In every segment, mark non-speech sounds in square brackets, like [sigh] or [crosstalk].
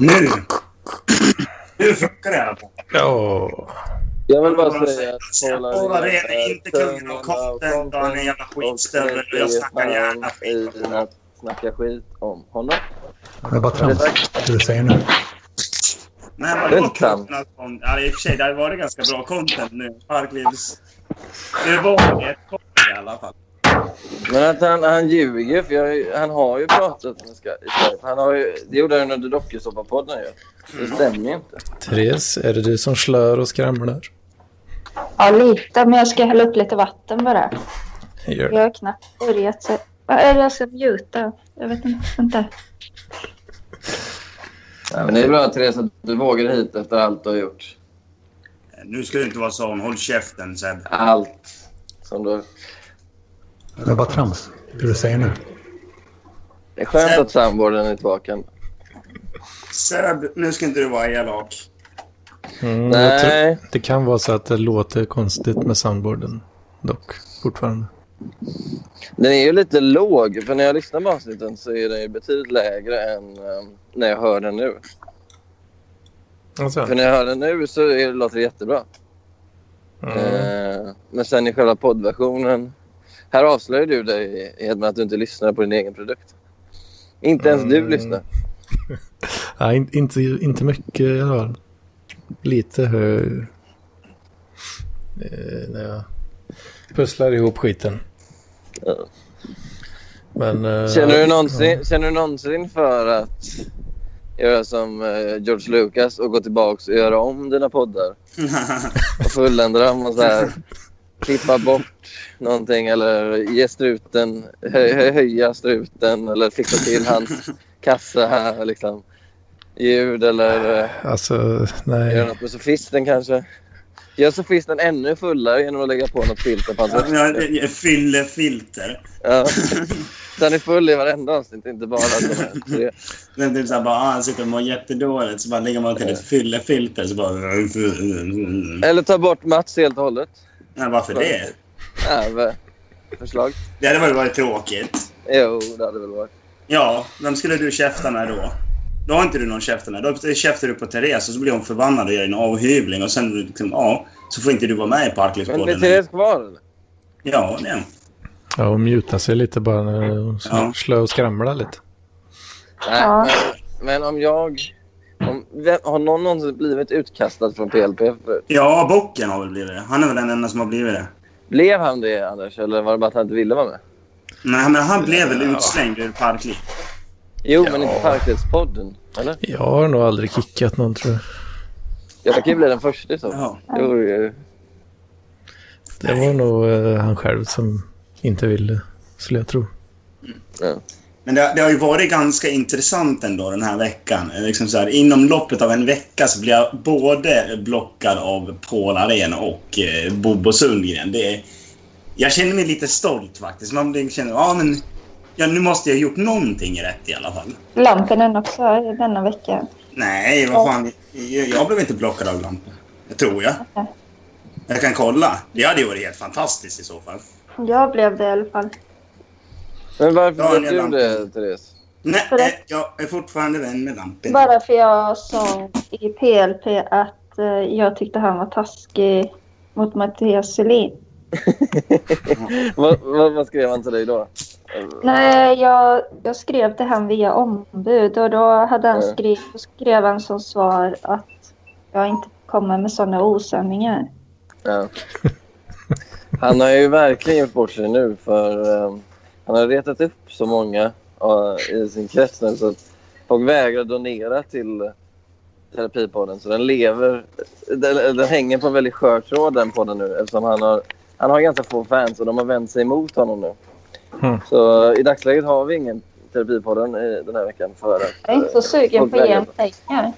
Nu! Nu funkar det i alla fall. Ja. Jag vill Bara bara säga säga att Polarred är inte kungen av konsten, då är han en jävla skitstövel och jag snackar gärna skit om om honom. honom. Snacka skit om honom. Det är bara trams det du säger nu. Nej, men Det är vadå inte sant. content? Ja, i och för sig, det hade varit ganska bra content nu. Parklivs... Det var ett content i alla fall. Men att han, han ljuger, för jag, han har ju pratat med Skype. Han har ju, det gjorde han under dokusåpapodden ju. Mm. Det stämmer ju inte. Therese, är det du som slör och skramlar? Ja, lite. Men jag ska hälla upp lite vatten bara. Gör Jag har knappt börjat. Så... Eller jag ska mjuta. Jag vet inte. Vänta. Ja, men det är bra Therese att du vågar hit efter allt du har gjort. Nu ska du inte vara sån. Håll käften, Seb. Allt som du... Det är bara trams det du säger nu. Det är skönt att samboarden är tillbaka. Seb, nu ska inte du vara elak. Mm, jag tror- Nej, Det kan vara så att det låter konstigt med soundboarden dock fortfarande. den är ju lite låg. För när jag lyssnar på avsnitten så är den ju betydligt lägre än ehm, när jag hör den nu. Alltså, För när jag hör den nu så är det, låter det jättebra. mm. Eh, men sen i själva poddversionen. Här avslöjar du dig i med att du inte lyssnar på din egen produkt. Inte ens du Mm. lyssnar. Nej, in- inte, inte mycket i alla fall. Lite hör... Eh, när jag pusslar ihop skiten. Ja. Men... eh, Känner du ja, någonsin, känner du någonsin för att göra som eh, George Lucas och gå tillbaka och göra om [laughs] dina poddar? Och fullända dem och så här, klippa bort någonting eller ge struten, hö, hö, höja struten eller fixa till hans kassa här liksom. Ljud eller... eh, Alltså, nej. Gör något med sofisten kanske. Gör sofisten ännu fullare genom att lägga på något filter på hans Ja, röst. men jag- jag Fyller filter. Ja. Så han är full i varenda avsnitt, inte bara de här tre. Det är typ såhär bara, ah, han sitter och mår jättedåligt. Så bara lägger man till ett fyllefilter. Så bara... Eller ta bort Mats helt och hållet. Nej, varför det? Ja, va- förslag? Det hade väl varit tråkigt. Jo, det hade väl varit. Ja, vem skulle du käfta med då? Då har inte du någon käfta med. Då käftar du på Therese och så blir hon förbannad och gör en avhyvling. Och sen liksom, ja, så får inte du vara med i Men blir Parklivspodden. Therese kvar eller? Ja, det. Ja, hon mutar sig lite bara när hon Ja. slår och skramlar lite. Nej, Ja. men, men om jag... Om, vem, har någon någonsin blivit utkastad från PLP förut? Ja, bocken har väl blivit det. Han är väl den enda som har blivit det. Blev han det Anders eller var det bara att han inte ville vara med? Nej, men han blev väl utslängd ur Parkliv. Jo, Ja. men inte Parkledspodden. Eller? Jag har nog aldrig kickat någon tror jag. Jag kan ju bli den första i så fall. Ja. Det vore ju- Det var nog eh, han själv som inte ville, skulle jag tro. Men det, det har ju varit ganska intressant ändå den här veckan. Eh, Liksom så här, inom loppet av en vecka så blir jag både blockad av Paul Arén och eh, Bobo Sundgren. Det är, jag känner mig lite stolt faktiskt. Man blir, känner ja, men, ja, nu måste jag ha gjort någonting rätt i alla fall. Lampinen också i denna vecka. Nej, vad fan. Jag, jag blev inte blockad av Lampa. Det tror jag. Okej. Jag kan kolla. Det hade ju varit helt fantastiskt i så fall. Jag blev det i alla fall. Men varför Daniel blev du Lampinen. det Therese? Nej, För det- eh, jag är fortfarande vän med Lampen. Bara för jag sa i PLP att eh, jag tyckte han var taskig mot Mattias Selin. vad, vad, vad skrev han till dig då? Nej, jag, jag skrev till han via ombud och då hade han Mm. skrivit, då skrev han som svar att jag inte kommer med sådana osanningar. Ja. Han har ju verkligen gjort bort sig nu för ehm, han har retat upp så många eh, i sin krets nu så att folk vägrar donera till terapipodden. Så den lever, den, den hänger på en väldigt skör tråd den podden nu eftersom han har, han har ganska få fans och de har vänt sig emot honom nu. Mm. Så eh, i dagsläget har vi ingen terapipodden i den här veckan för att... Jag är inte så eh, sugen folk på att ge vägrar- honom pengar.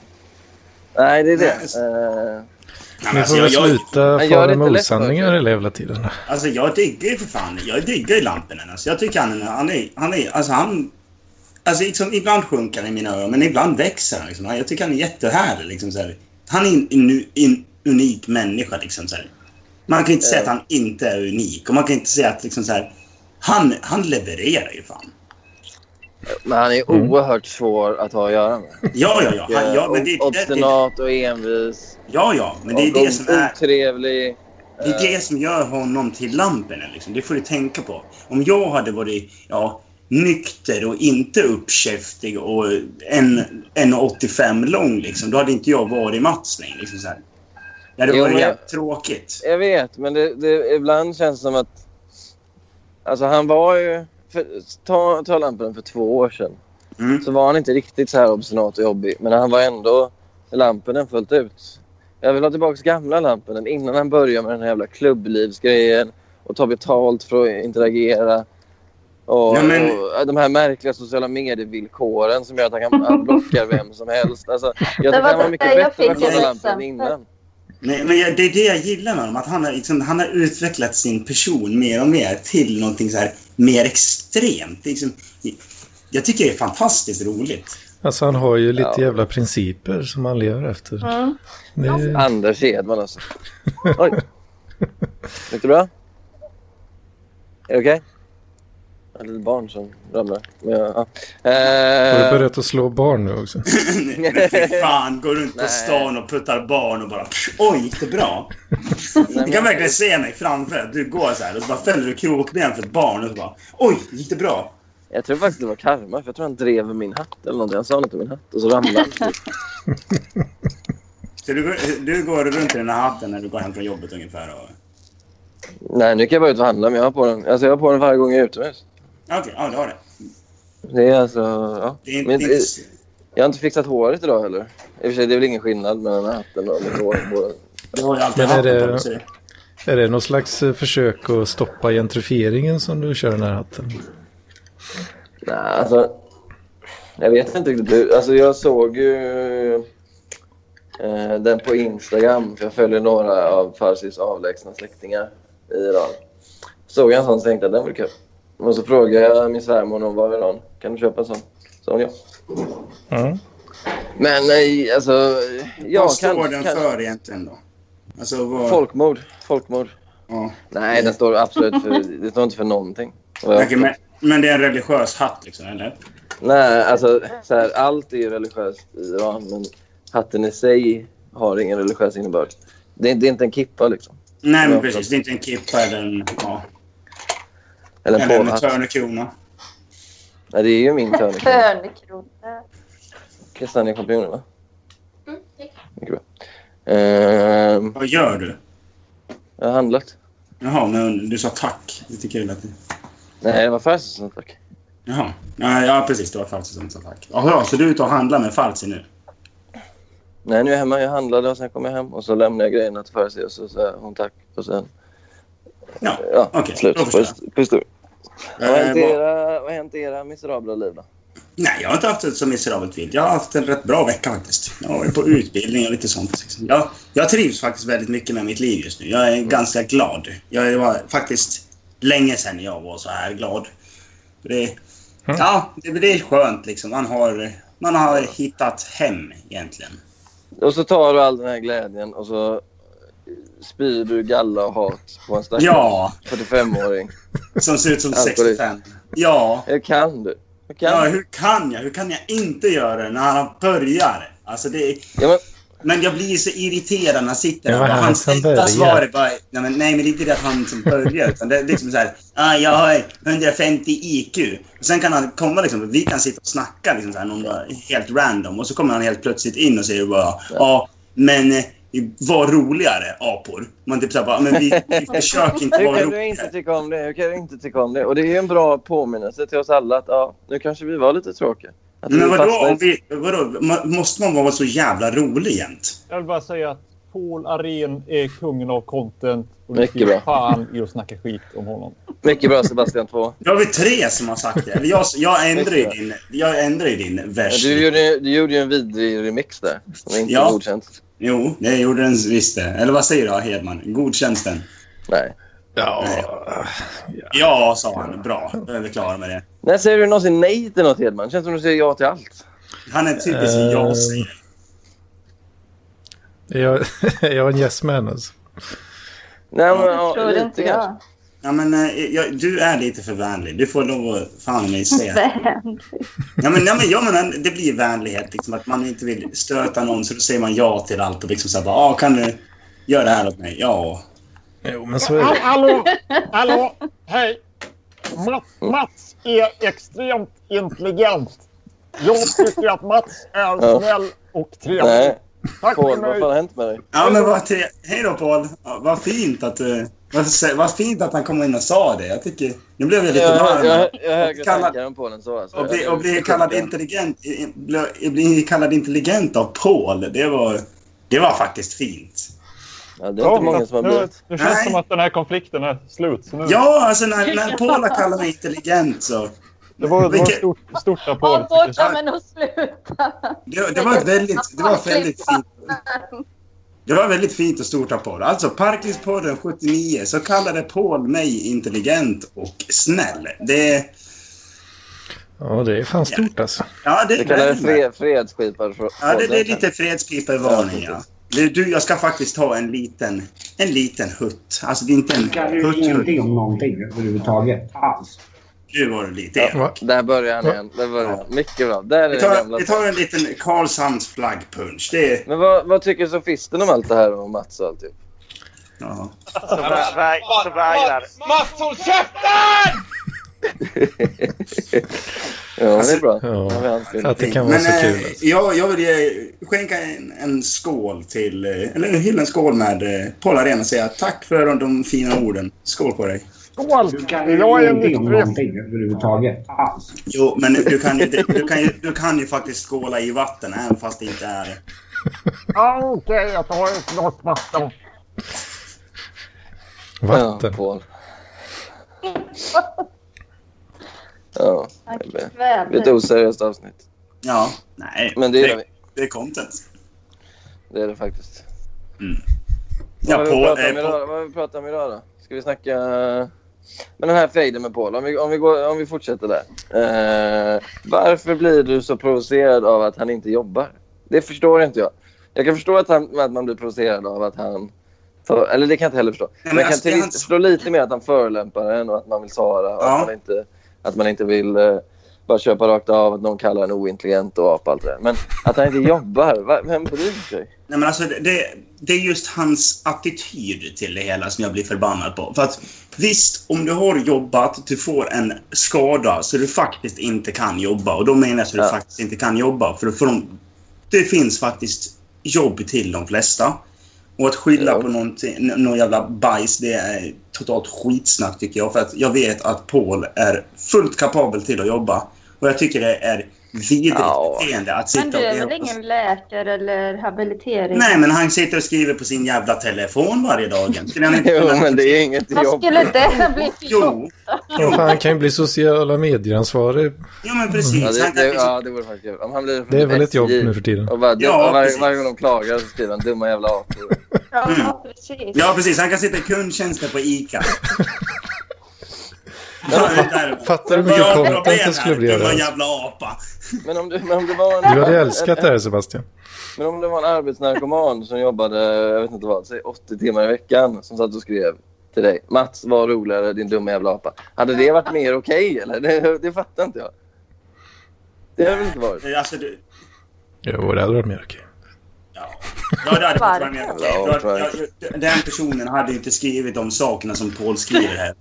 Nej, det är det. Nej. Eh, Nej, men Ni alltså, får väl jag- jag- sluta jag gör fara det med inte lätt för osanningar sig. hela jävla tiden. Alltså jag diggar ju för fan, jag diggar ju Lampinen. Alltså, jag tycker han är, han är, han är, alltså han... Alltså liksom, ibland sjunker han i mina öron, men ibland växer han. Liksom. Jag tycker han är jättehärlig. Liksom, så här. Han är en, en, en unik människa. Liksom, så här. Man kan inte säga att han inte är unik. Och man kan inte säga att liksom, så här, han, han levererar ju fan. Men han är oerhört svår att ha att göra med. Ja, ja, ja. Han, ja, men det, det, det, Eh, Obstinat och envis. ja, ja, men det är och det som är... Otrevlig. Det är det som gör honom till Lampinen. Liksom. Det får du tänka på. Om jag hade varit ja, nykter och inte uppkäftig och en, en 85 lång, liksom, då hade inte jag varit Mats längre. Liksom, så här. det hade Jo, varit men- jävligt tråkigt. Jag vet, men det, det, ibland känns det som att... Alltså han var ju... För, ta, ta lampen för två år sedan. Mm. Så var han inte riktigt så här obstinat och jobbig. Men han var ändå Lampinen fullt ut. Jag vill ha tillbaka gamla Lampinen innan han börjar med den här jävla klubblivsgrejen. Och ta betalt för att interagera. Och, Ja, men- och de här märkliga sociala medievillkoren som gör att han, kan, han blockar vem som helst. Alltså, jag tycker var han var det mycket där jag bättre fick liksom- än ett Lampinen exempel. innan. Nej, men jag, det är det jag gillar med honom. Att han, har, liksom, han har utvecklat sin person mer och mer till någonting så här, mer extremt. Liksom, jag tycker det är fantastiskt roligt. Alltså han har ju lite Ja. jävla principer som han lever efter. Mm. Det är, Anders Hedman alltså. [laughs] Oj. Gick det bra? Är det okej? Jag har ett litet barn som ramlar. Men, ja. ja. har du eh, börjat att slå barn nu också? Men fy fan, går runt på Nej. stan och puttar barn och bara psh, oj, gick det bra? nej, Du kan men- verkligen se mig framför dig. Du går så här och så bara fäller du krokben för ett barn och så bara oj, gick det bra? Eh, jag tror faktiskt det var karma. För jag tror han drev med min hatt eller någonting. Han sa något om min hatt och så ramlade han. Så du, går- du går runt i den här hatten när du går hem från jobbet ungefär? Och... Nej, nu kan jag bara ut och handla. Men jag har på den, alltså, jag har på den varje gång jag är utomhus. Ja, Okej, ja du har det. Det är alltså... Ja. Det är, inte- Men eh, det är inte... Jag har inte fixat håret idag heller. I och för sig, det är väl ingen skillnad mellan hatten och mitt hår. Båda- Du har ju alltid Men är hatten på det- dig, så det... Är det någon slags eh, försök att stoppa gentrifieringen som du kör den här hatten? Nej, alltså... Jag vet inte riktigt hur. Alltså, jag såg ju eh, den på Instagram. För jag följer några av Farsis avlägsna släktingar i Iran. Såg jag en sån så tänkte jag den var kul. Och så frågade jag min svärmor när hon var i Iran. Kan du köpa en sån? Sa hon ja. Mm. Men nej, alltså... Ja, Vad står kan, den kan, för egentligen då? Alltså vad... Folkmord. Folkmord. Ja. Nej, den står absolut för... Det står inte för någonting. Och jag- Okej, men, men det är en religiös hatt liksom, eller? Nej, alltså så här, allt är ju religiöst i Iran, men hatten i sig har ingen religiös innebörd. Det är, det är inte en kippa liksom. Nej, men Ja, precis. Det är inte en kippa eller en, ja, Eller en eller en påhatt. törnekrona. Nej, det är ju min törn. [laughs] Törnekrona. Kristan är kompanjonen va? Mycket bra. Ehm, Vad gör du? jag har handlat. Jaha, men du sa tack. Lite kul att du... Nej, det var färskt som tack. Jaha. Ja, ja, precis. Det var Falsi som sa tack. Jaha, så du är ute och handlar med Falsi nu? Nej, nu är jag hemma. Jag handlade och sen kom jag hem och så lämnade jag grejerna till Farsi och så sa hon tack och sen... Ja, Ja, okej. slut. då förstår jag. Puss, puss du. Vad har hänt i Eh, vad- era- vad har hänt i era miserabla liv då? Nej, jag har inte haft ett så miserabelt vilt. Jag har haft en rätt bra vecka faktiskt. Jag har varit på utbildning och lite sånt. liksom. Jag, jag trivs faktiskt väldigt mycket med mitt liv just nu. Jag är ganska glad. Jag var faktiskt länge sedan jag var så här glad. Det, Ja, det, det är skönt liksom. Man har, man har hittat hem egentligen. Och så tar du all den här glädjen och så spyr du galla och hat på en stackars Ja, 45-åring. som ser ut som Alkoholist. 65. Ja. Hur kan du? Hur kan Ja, du? hur kan jag? Hur kan jag inte göra det när han börjar? Alltså det är... Ja, men, Men jag blir så irriterad när han sitter Det där. var Och han Hans som enda började. svar är bara... Nej men, nej, men det är inte det att han som börjar. Utan det är liksom så här... Ah, jag har 150 IQ. Och sen kan han komma liksom... Vi kan sitta och snacka liksom så här, någon bara, helt random. Och så kommer han helt plötsligt in och säger bara... Ja, men... eh, Var roligare, apor. Man typ så här bara... Men vi, vi försöker inte hur vara kan du inte roligare. tycka om det? Hur kan du inte tycka om det? Och det är ju en bra påminnelse till oss alla att ja, nu kanske vi var lite tråkiga. Att Men vi vadå, fastnade i- om vi, vadå? Ma- Måste man vara så jävla rolig jämt? Jag vill bara säga att Paul Aren är kungen av content. Och det Mycket finns bra. fan i att snacka skit om honom. Mycket bra Sebastian 2. Då har vi tre som har sagt det. Eller jag, jag ändrar ju [laughs] Just din, jag ändrar ju din vers. Du gjorde, du gjorde ju en vidrig remix där. Som inte Ja. ja. godkänt. Jo, det gjorde den visst det. Eller vad säger du Hedman? Godkänns den? Nej. Ja, Ja, sa han. Bra. Då är vi klara med det. När säger du någonsin nej till något Hedman? Känns som du säger ja till allt. Han är typiskt Eh. jag säger. jag, [laughs] jag är en yes man alltså. Nej, men, Det ja, tror lite inte kanske. jag. Ja, men, eh, jag, du är lite för vänlig. Du får lov att fan mig säga. [laughs] Vän. Ja, men, ja, men, ja, men det blir vänlighet. Liksom, att man inte vill stöta någon, så då säger man ja till allt. Och liksom så här, bara, ah, kan du göra det här åt mig? Ja. Jo, men så är det. Hallå! Hallå! Hej! Mats, Mats är extremt intelligent. Jag tycker att Mats är Ja. snäll och trevlig. Nej, Tack för Paul, vad fan mig. har hänt med dig? Ja, men vad tre... Hej då, Paul. Ja, vad fint att du... Vad, sä- vad fint att han kom in och sa det. Jag tycker... Nu blev jag Jag, lite jag, varm. jag, jag har högre Kallad- tankar än Paul än så. Alltså. Och bli, Jag- och bli kallad jag- intelligent, i- i- bli, bli kallad intelligent av Paul, det var, det var faktiskt fint. Ja, det är inte många som har nu, blivit. nu känns det Nej. som att den här konflikten är slut. Så nu, Ja, alltså när, när Paul har kallat mig intelligent så... Det var, det var Vilket- ett stort, stort applåd. Om då kan man nog sluta. Det, det var ett väldigt, det var ett väldigt fint. Det var väldigt fint och stort av Paul. Alltså, Parklivspodden 79 så kallade Paul mig intelligent och snäll. Det... Ja, det är fan stort alltså. Ja, det, Det kallar jag det, fred, fredsskipar. för- ja, det, det är podden. lite fredspipevarning, ja. Du, du, jag ska faktiskt ha en liten, en liten hutt. Alltså, det är inte en kan ju hutt, hutt. ingenting om någonting överhuvudtaget. Alls. Nu var det lite elakt. Va? Där börjar han igen. Där börjar han. Mycket bra. Där är Vi det gamla. tar, vi tar en liten Karlshamns flaggpunch. Det är... Men vad, vad tycker sofisten om allt det här om Mats och allt? typ? Ja. Som vägrar. Mats håll käften! [laughs] Ja, det är bra. Ja. Ja, vi har hans bild. Att det kan vara Men så eh, kul. Alltså. jag, jag vill ge, skänka en, en skål till, eh, eller hylla en skål med eh, Paul Arena och säga tack för de, de fina orden. Skål på dig. Skål! Du kan ju Jag är ingenting om nykterist. någonting överhuvudtaget. Alls. Jo, men du kan ju, du kan ju, du kan ju faktiskt skåla i vatten även fast det inte är... Ja, Okej, jag tar ett glas vatten. Vatten. Ja, Paul. Ja, Tack det blir väl. ett oseriöst avsnitt. Ja, nej. Men det gillar vi. det är content. Det är det faktiskt. Ja, vad, Paul, vill vi prata om eh, Paul, idag, vad vill vi prata om idag då? Ska vi snacka... Men den här fejden med Paul, om vi, om vi, går, om vi fortsätter där. Eh, varför blir du så provocerad av att han inte jobbar? Det förstår inte jag. Jag kan förstå att, han, att man blir provocerad av att han... För, eller det kan jag inte heller förstå. men men jag kan alltså, det är till, hans- förstå lite mer att han förolämpar en och att man vill svara och Ja. att, man inte, att man inte vill eh, bara köpa rakt av att någon kallar en ointelligent och apa och allt det där. Men att han inte jobbar, va, vem bryr sig? nej, men alltså, det, det är just hans attityd till det hela som jag blir förbannad på. För att visst, om du har jobbat, du får en skada så du faktiskt inte kan jobba. Och då menar jag att du Ja. faktiskt inte kan jobba. För, för de, det finns faktiskt jobb till de flesta. Och att skylla Ja. på någonting- nå- någon jävla bajs, det är totalt skitsnack tycker jag. För att jag vet att Paul är fullt kapabel till att jobba. Och jag tycker det är vidrigt Ja. beteende att sitta Men du och är leva- väl ingen läkare eller habilitering? Nej, men han sitter och skriver på sin jävla telefon varje dag. Skulle han inte [laughs] Jo, kunna- men det är inget Vad jobb. skulle det bli för jobb? Jo, Vad fan, han kan ju bli sociala medieransvarig. jo, men precis. Ja, det, Han kan det, liksom- ja, det vore faktiskt jobb. Om han blir Det är väl ett SJ jobb nu för tiden. Och bara, Ja, och varje, precis. varje gång de klagar så skriver han dumma jävla apor. Ja, precis. Mm. ja, precis. Han kan sitta i kundtjänsten på ICA. fattar du hur mycket content det skulle bli av det Det var en här? jävla apa. Men om, du, men om det var en... Du hade älskat det här Sebastian. Men om det var en arbetsnarkoman som jobbade, jag vet inte vad, säg 80 timmar i veckan som satt och skrev till dig. Mats, var roligare, din dumma jävla apa. Hade det varit mer okej eller? Det, det fattar inte jag. Det hade väl inte varit? Alltså, du... Jo, det hade varit mer okej. Ja, Ja, det hade fått vara mer okej. Ja, För tror att- jag- Den personen hade ju inte skrivit de sakerna som Paul skriver här.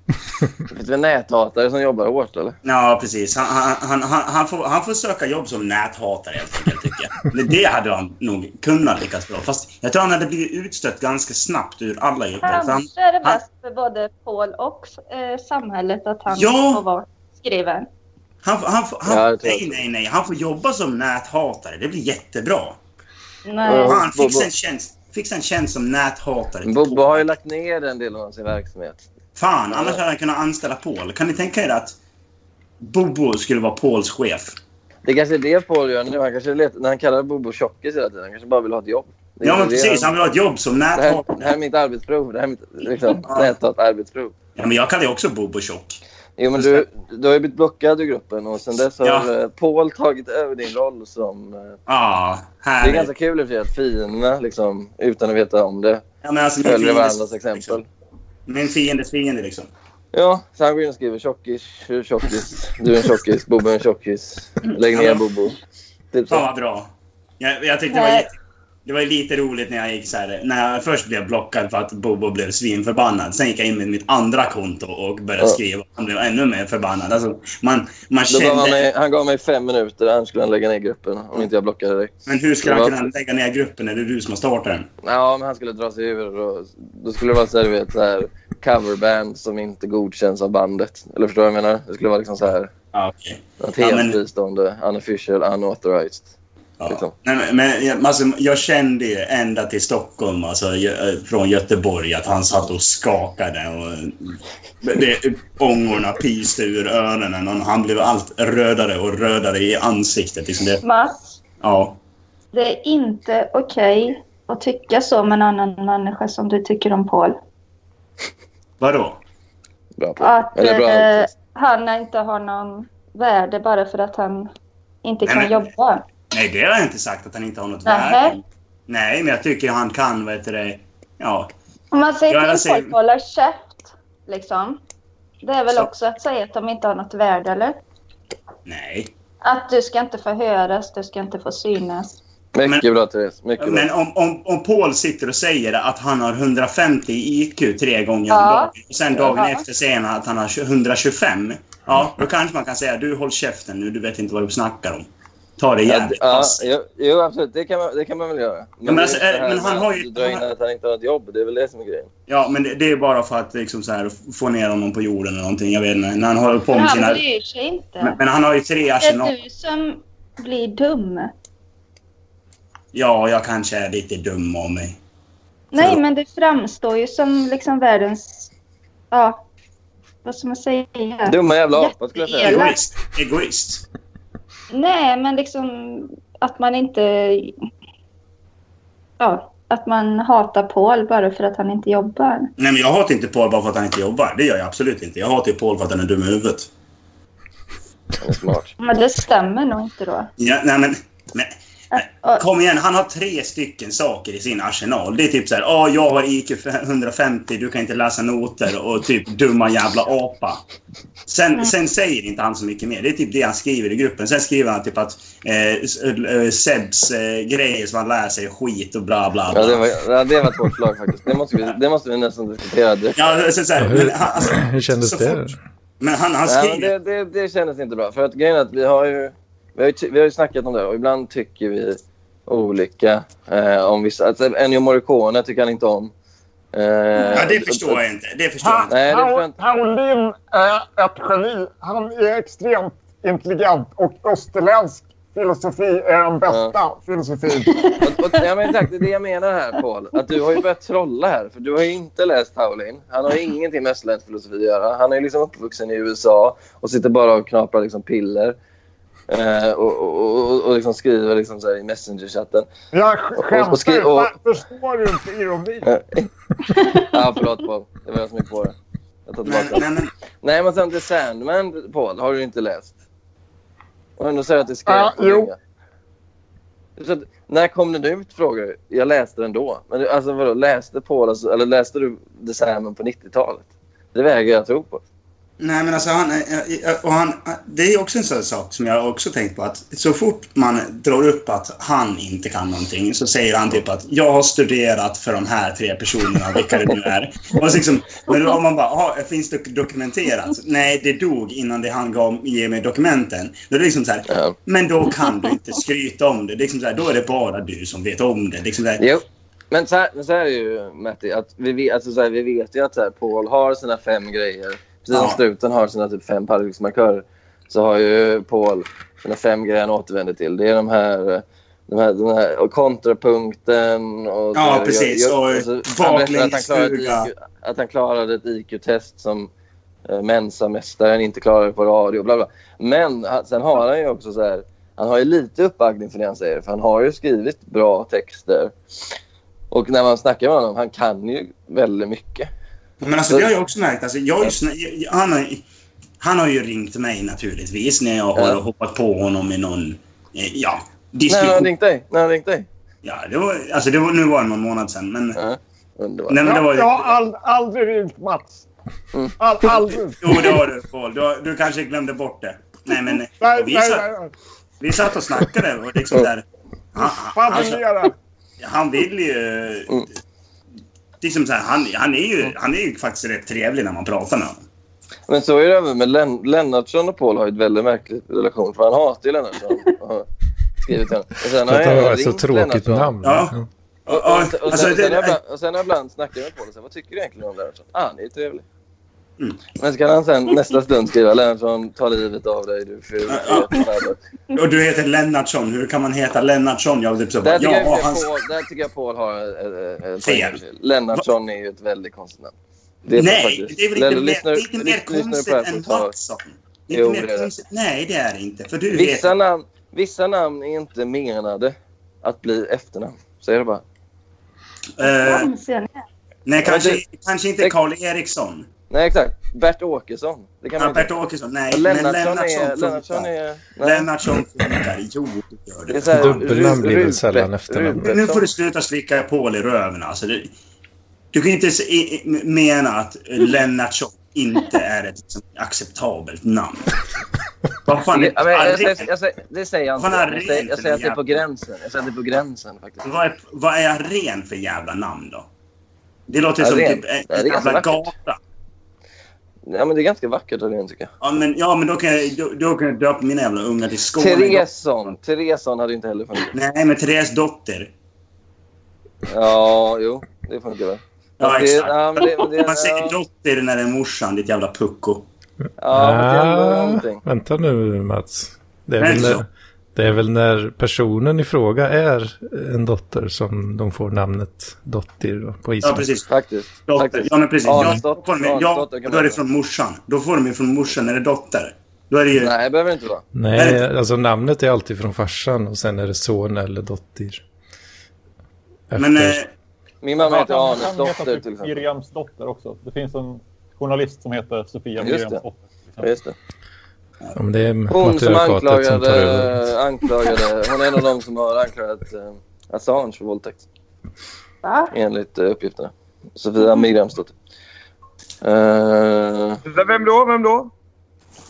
Finns det näthatare som jobbar hårt eller? Ja, precis. Han, han, han, han, han, får, han får söka jobb som näthatare helt enkelt, tycker jag. Men Det hade han nog kunnat lyckas bra. Fast jag tror han hade blivit utstött ganska snabbt ur alla jobb. För han, Kanske är det han- bäst för både Paul och eh, samhället att han Ja. får vara skriven. han, han, får- han, Ja, jag tror nej, det. nej, nej. Han får jobba som näthatare. Det blir jättebra. Nej. Ja. Han fixa en Bobo. tjänst, fixa en tjänst som näthatare. till Bobbo Paul. har ju lagt ner en del av sin verksamhet. Fan, annars hade han kunnat anställa Paul. Kan ni tänka er att Bobo skulle vara Pauls chef? Det kanske är det Paul gör nu. Han kanske letar, när han kallar Bobo tjockis hela tiden. Han kanske bara vill ha ett jobb. Det är Ja, men det precis. Han vill ha ett jobb som Det här, det här näthatare. är mitt arbetsprov. Det här är mitt liksom, Ja. nätat arbetsprov. Ja, men jag kallar ju också Bobo tjock. Jo, men du, du har ju blivit blockad ur gruppen och sen dess har Ja. eh, Paul tagit över din roll som... eh, Ja, Det är härligt. ganska kul i och för sig att fienderna, liksom, utan att veta om det, Ja, men alltså, min följer fiendes- varandras exempel. Liksom, min fiendes fiende, liksom. Ja, så han går in och skriver tjockis, du är tjockis, du är en tjockis, Bobo är en tjockis. Lägg ner Bobo. Typ så. Fan vad bra. Jag, jag tyckte det var, jätte- det var lite roligt när jag gick så här, när jag först blev blockad för att Bobo blev svinförbannad. Sen gick jag in med mitt andra konto och började Ja. skriva. Han blev ännu mer förbannad. Alltså, man, man Då gav han, kände... Mm. mig, han gav mig fem minuter, annars skulle han lägga ner gruppen om inte jag blockade dig. Men hur skulle Det han var- kunna lägga ner gruppen när det är du som har startat den? Ja, men han skulle dra sig ur och då skulle det vara så här, du vet, så här coverband som inte godkänns av bandet. Eller förstår du vad jag menar? Det skulle vara liksom så här, Ja, okej. något Ja, helt men- fristående, unofficial, unauthorized. Ja. Liksom. Nej, men- men jag- alltså, jag kände ju ända till Stockholm, alltså, gö- eh, från Göteborg, att han satt och skakade. Och det, ångorna pyste ur öronen och han blev allt rödare och rödare i ansiktet. Liksom det, Mats, ja. det är inte okej att tycka så om en annan människa som du tycker om Paul. Vadå? Bra på. Att Eller bra. eh, han inte har någon värde bara för att han inte Nej, kan men- jobba. Nej, det har jag inte sagt att han inte har något Nähä. värde. Nej, men jag tycker han kan, vad heter det, ja. Om man Ja, säger jag till ser- folk att hålla käft, liksom. Det är väl Så. också att säga att de inte har något värde, eller? Nej. Att du ska inte få höras, du ska inte få synas. Mycket bra Therese, mycket bra. Men om, om, om Paul sitter och säger att han har 150 i IQ tre gånger om Ja. dagen och sen dagen Ja. efter säger han att han har 125. Ja, då kanske man kan säga du håll käften nu, du vet inte vad du snackar om. Ta det Ja, d- jävligt ja, fast. jo, jo, absolut. Det kan, man, det kan man väl göra. Men, men det är alltså, just det eh, här men han med har att ju- Du drar in att han inte har ett jobb. Det är väl det som är grejen. Ja, men det, det är bara för att liksom, så här, få ner honom på jorden eller någonting. Jag vet inte. När han håller på Men med han sina... bryr sig inte. Men, men han har ju tre det arsenal. är du som blir dum. Ja, jag kanske är lite dum av mig. Nej, men det framstår ju som liksom världens... Ja, vad ska man säga? Dumma jävla apa skulle jag säga. Jätteelak. Egoist. Egoist. Nej, men liksom att man inte... Ja, att man hatar Paul bara för att han inte jobbar. Nej, men jag hatar inte Paul bara för att han inte jobbar. Det gör jag absolut inte. Jag hatar ju Paul för att han är dum i huvudet. Han är smart. Men det stämmer nog inte Eh. då. Ja, nej, men, men, Och, kom igen, han har tre stycken saker i sin arsenal. Det är typ så här, ja, jag har IQ 150, du kan inte läsa noter och typ dumma jävla apa. Sen, sen säger inte han så mycket mer. Det är typ det han skriver i gruppen. Sen skriver han typ att eh, s- eh, Sebs eh, grejer som han lär sig är skit och bla bla bla. Ja, det var, ja, det var ett hårt slag faktiskt. Det måste vi, det måste vi nästan diskutera direkt. Ja, så, så här, men, han, alltså, [clears throat] Hur kändes så det? fort- men han, han Nej, men skriver... det, det, det kändes inte bra. För att grejen är att vi har ju, vi har ju, ty- vi har ju snackat om det och ibland tycker vi olika eh, om vissa. Alltså, Ennio Morricone tycker han inte om. Eh, Ja, det förstår jag inte. Det förstår jag inte. Nej, det tror jag Pa- inte. Paulin är ett geni. Han är extremt intelligent och österländsk filosofi är den bästa filosofin. Och, och, ja, men exakt, det är det jag menar här Paul. Att du har ju börjat trolla här. För du har ju inte läst Howlin. Han har ju ingenting med österländsk filosofi att göra. Han är ju liksom uppvuxen i USA och sitter bara och knaprar liksom piller. Eh, och och, och, och liksom skriver liksom så här i Messenger-chatten. Jag och- och skri- skämtar. och- Fa- Förstår du inte ironi? Ja, ah, förlåt Paul. Det var jag som gick på det. Jag tar Nej, tillbaka nej, det. men, Nej, men sen till Sandman, Paul, har du inte läst. Och ändå säger du att det skrev Ja, jo. Så att, när kom den ut, frågar du. Jag läste den då. Men det- alltså vadå, läste Paul, alltså, eller läste du The Sandman på 90-talet? Det vägrar jag tro på. Nej, men alltså han, och han... eh, Det är också en sån sak som jag också tänkt på att så fort man drar upp att han inte kan någonting så säger han typ att jag har studerat för de här tre personerna, vilka det nu är. Och så liksom, men då har man bara, ah, finns det dokumenterat? Nej, det dog innan det han gav ge mig dokumenten. Då är det liksom så här, Ja. men då kan du inte skryta om det. det är liksom så här, då är det bara du som vet om det. Liksom så här, Jo. Men så här, men så här är ju Matti, att vi, vet- alltså, så här, vi vet ju att så här, Paul har sina fem grejer. Precis som Ja. struten har sina typ fem paradoxmarkörer så har ju Paul sina fem grejer han återvänder till. Det är de här, de här, de här och kontrapunkten och... så Ja, här, alltså, precis. Och han berättar att han klarade ett baklängesfluga. IQ Att han klarade ett IQ-test som eh, Mensamästaren inte klarade på radio. Bla bla. Men han, sen har han ju också så här... Han har ju lite uppbackning för det han säger, för han har ju skrivit bra texter. Och när man snackar med honom, han kan ju väldigt mycket. Men alltså, det har jag också märkt. Alltså, jag har ju, sn- jag- jag- han, har, han har ju ringt mig naturligtvis när jag har Ja. hoppat på honom i någon eh, ja, När har diskussion. han ringt dig? När har han ringt dig? ja, det var, alltså, det var, nu var det någon månad sedan, men, Ja, underbart. nej, men det Jag, var jag ju... har ald- aldrig ringt Mats. All, aldrig. Jo, det har du, Paul. Du, du kanske glömde bort det. Nej, men eh, Nej, vi, nej, satt, nej, nej. vi satt och snackade och liksom där... Han, han, han, Fabulera. han vill ju... Mm. Liksom så här, han, han, är ju, han är ju faktiskt rätt trevlig när man pratar med honom. Men så är det även med Len- Lennartsson och Paul har ju ett väldigt märkligt relation. För han hatar [laughs] ju Lennartsson. och har Skrivit till honom. Och sen För att det jag var ett ringt så tråkigt Lennartsson. namn. Ja. Och, och, Och, och, alltså, sen, sen har jag det, ibland- och sen har jag ibland snackat med Paul och sagt, vad tycker du egentligen om Lennartsson? Ah, han är ju trevlig. Mm. Men så kan han sen nästa stund skriva Lennartsson, ta livet av dig du ful. Ja. och du heter Lennartsson. Hur kan man heta Lennartsson? Jag var typ så bara, Där tycker, jag, ja, jag han... Paul, där tycker jag Paul har en- en- en Fel. poäng. Lennartsson är ju ett väldigt konstigt namn. Det är Nej, faktiskt- det är väl inte, Eller mer- det lyssnar- är inte mer lyssnar du på konstigt det här än så tar- Mattsson? Det är inte Jo, mer det är det. konstigt. Nej, det är det inte. För du Vissa heter... namn, vissa namn är inte menade att bli efternamn. Säger det bara. eh, Ser ni? nej, Ja, kanske, det- kanske inte det- Karl Eriksson. Nej, exakt. Bert Åkesson. Det kan man Ja, inte. Bert Åkesson. Nej, Och men Lennartsson är... Lennartsson Lennartsson funkar. är... nej. Lennartsson funkar. Jo, det gör Det är det. så här, Dubbelnamn Ru- blir väl Rubert- sällan efternamn. Men nu får du Rubertsson. sluta slicka Paul i röven. Alltså, det, du kan inte se- i- i- mena att Lennartsson inte är ett liksom, acceptabelt namn. Vad fan är Ja, men jag arena? säger- jag säger- Det säger jag inte. Fan, Jag säger- arena, Jag säger att det är på jävlar. gränsen. Jag säger att det är på gränsen faktiskt. Vad är, vad är aren för jävla namn då? Det låter som Aren. typ en Ja, det är en ganska jävla vackert. gata. Ja, men det är ganska vackert arena tycker jag. Ja men, ja, men då kan jag, då, då kan jag döpa mina jävla ungar till Skåne. Tereson. Tereson hade inte heller funnits. Nej, men Therese dotter. Ja, jo. Det funkar väl. Ja, Fast det- exakt. Ja, men det, det, Man säger ja, dotter när det är morsan, ditt jävla pucko. ja, men det är ändå Ah, någonting. vänta nu Mats. Det är, Nej, väl så. när, det är väl när personen i fråga är en dotter som de får namnet Dottir då, på Ja, Island. precis. Faktiskt. Dotter. faktiskt. Ja, men precis. Ja, då, får de, ja, Adelsdotter kan då är det man- från morsan. Då får de ju från morsan när det är dotter. Då är det ju... Nej, det behöver det inte vara. Är Nej, det- alltså namnet är alltid från farsan och sen är det son eller dotter. Efter, men, eh, Min mamma heter Ja, Arnes han heter dotter typ till exempel. Miriams dotter också. Det finns en journalist som heter Sofia Just Miriams det. dotter. Ja, till exempel. Just det. eh, om det är Hon som matriarkatet som typ, tar över. anklagade, anklagade... Hon är en av dem som har anklagat eh, Assange för våldtäkt. Va? Enligt eh, uppgifterna. Sofia Miriams dotter. Eh, Vem då? Vem då?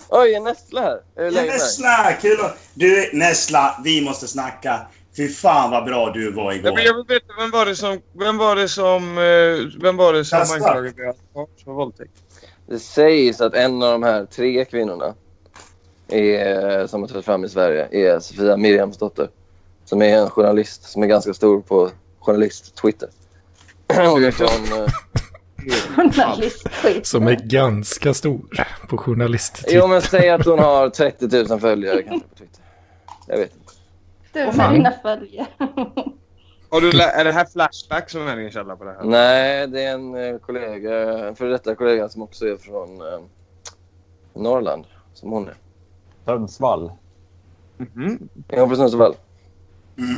oj, en nässla här. Är Ja, det läge med dig? Nessla, kul att... Du, Nessla, vi måste snacka. Fy fan vad bra du var Ja, igår. men jag vill veta, vem var det som... Vem var det som... eh, Vem var det som Jasper. anklagade Assange för våldtäkt? Det sägs att en av de här tre kvinnorna är, eh, som har trätt fram i Sverige är Sofia Miriams dotter. Som är en journalist som är ganska stor på journalist-Twitter. [clears throat] Hon är från... eh, Journalistskit. Som är ganska stor på journalist. Jo, men säg att hon har 30 000 följare kanske på Twitter. Jag vet inte. Du med dina följare. Har du, lä- är det här Flashback som är din källa på det här? Nej, det är en eh, kollega, en före detta kollega som också är från eh, Norrland. Som hon är. Sundsvall. Mm-hmm. Mhm. Jag från Sundsvall. Mm.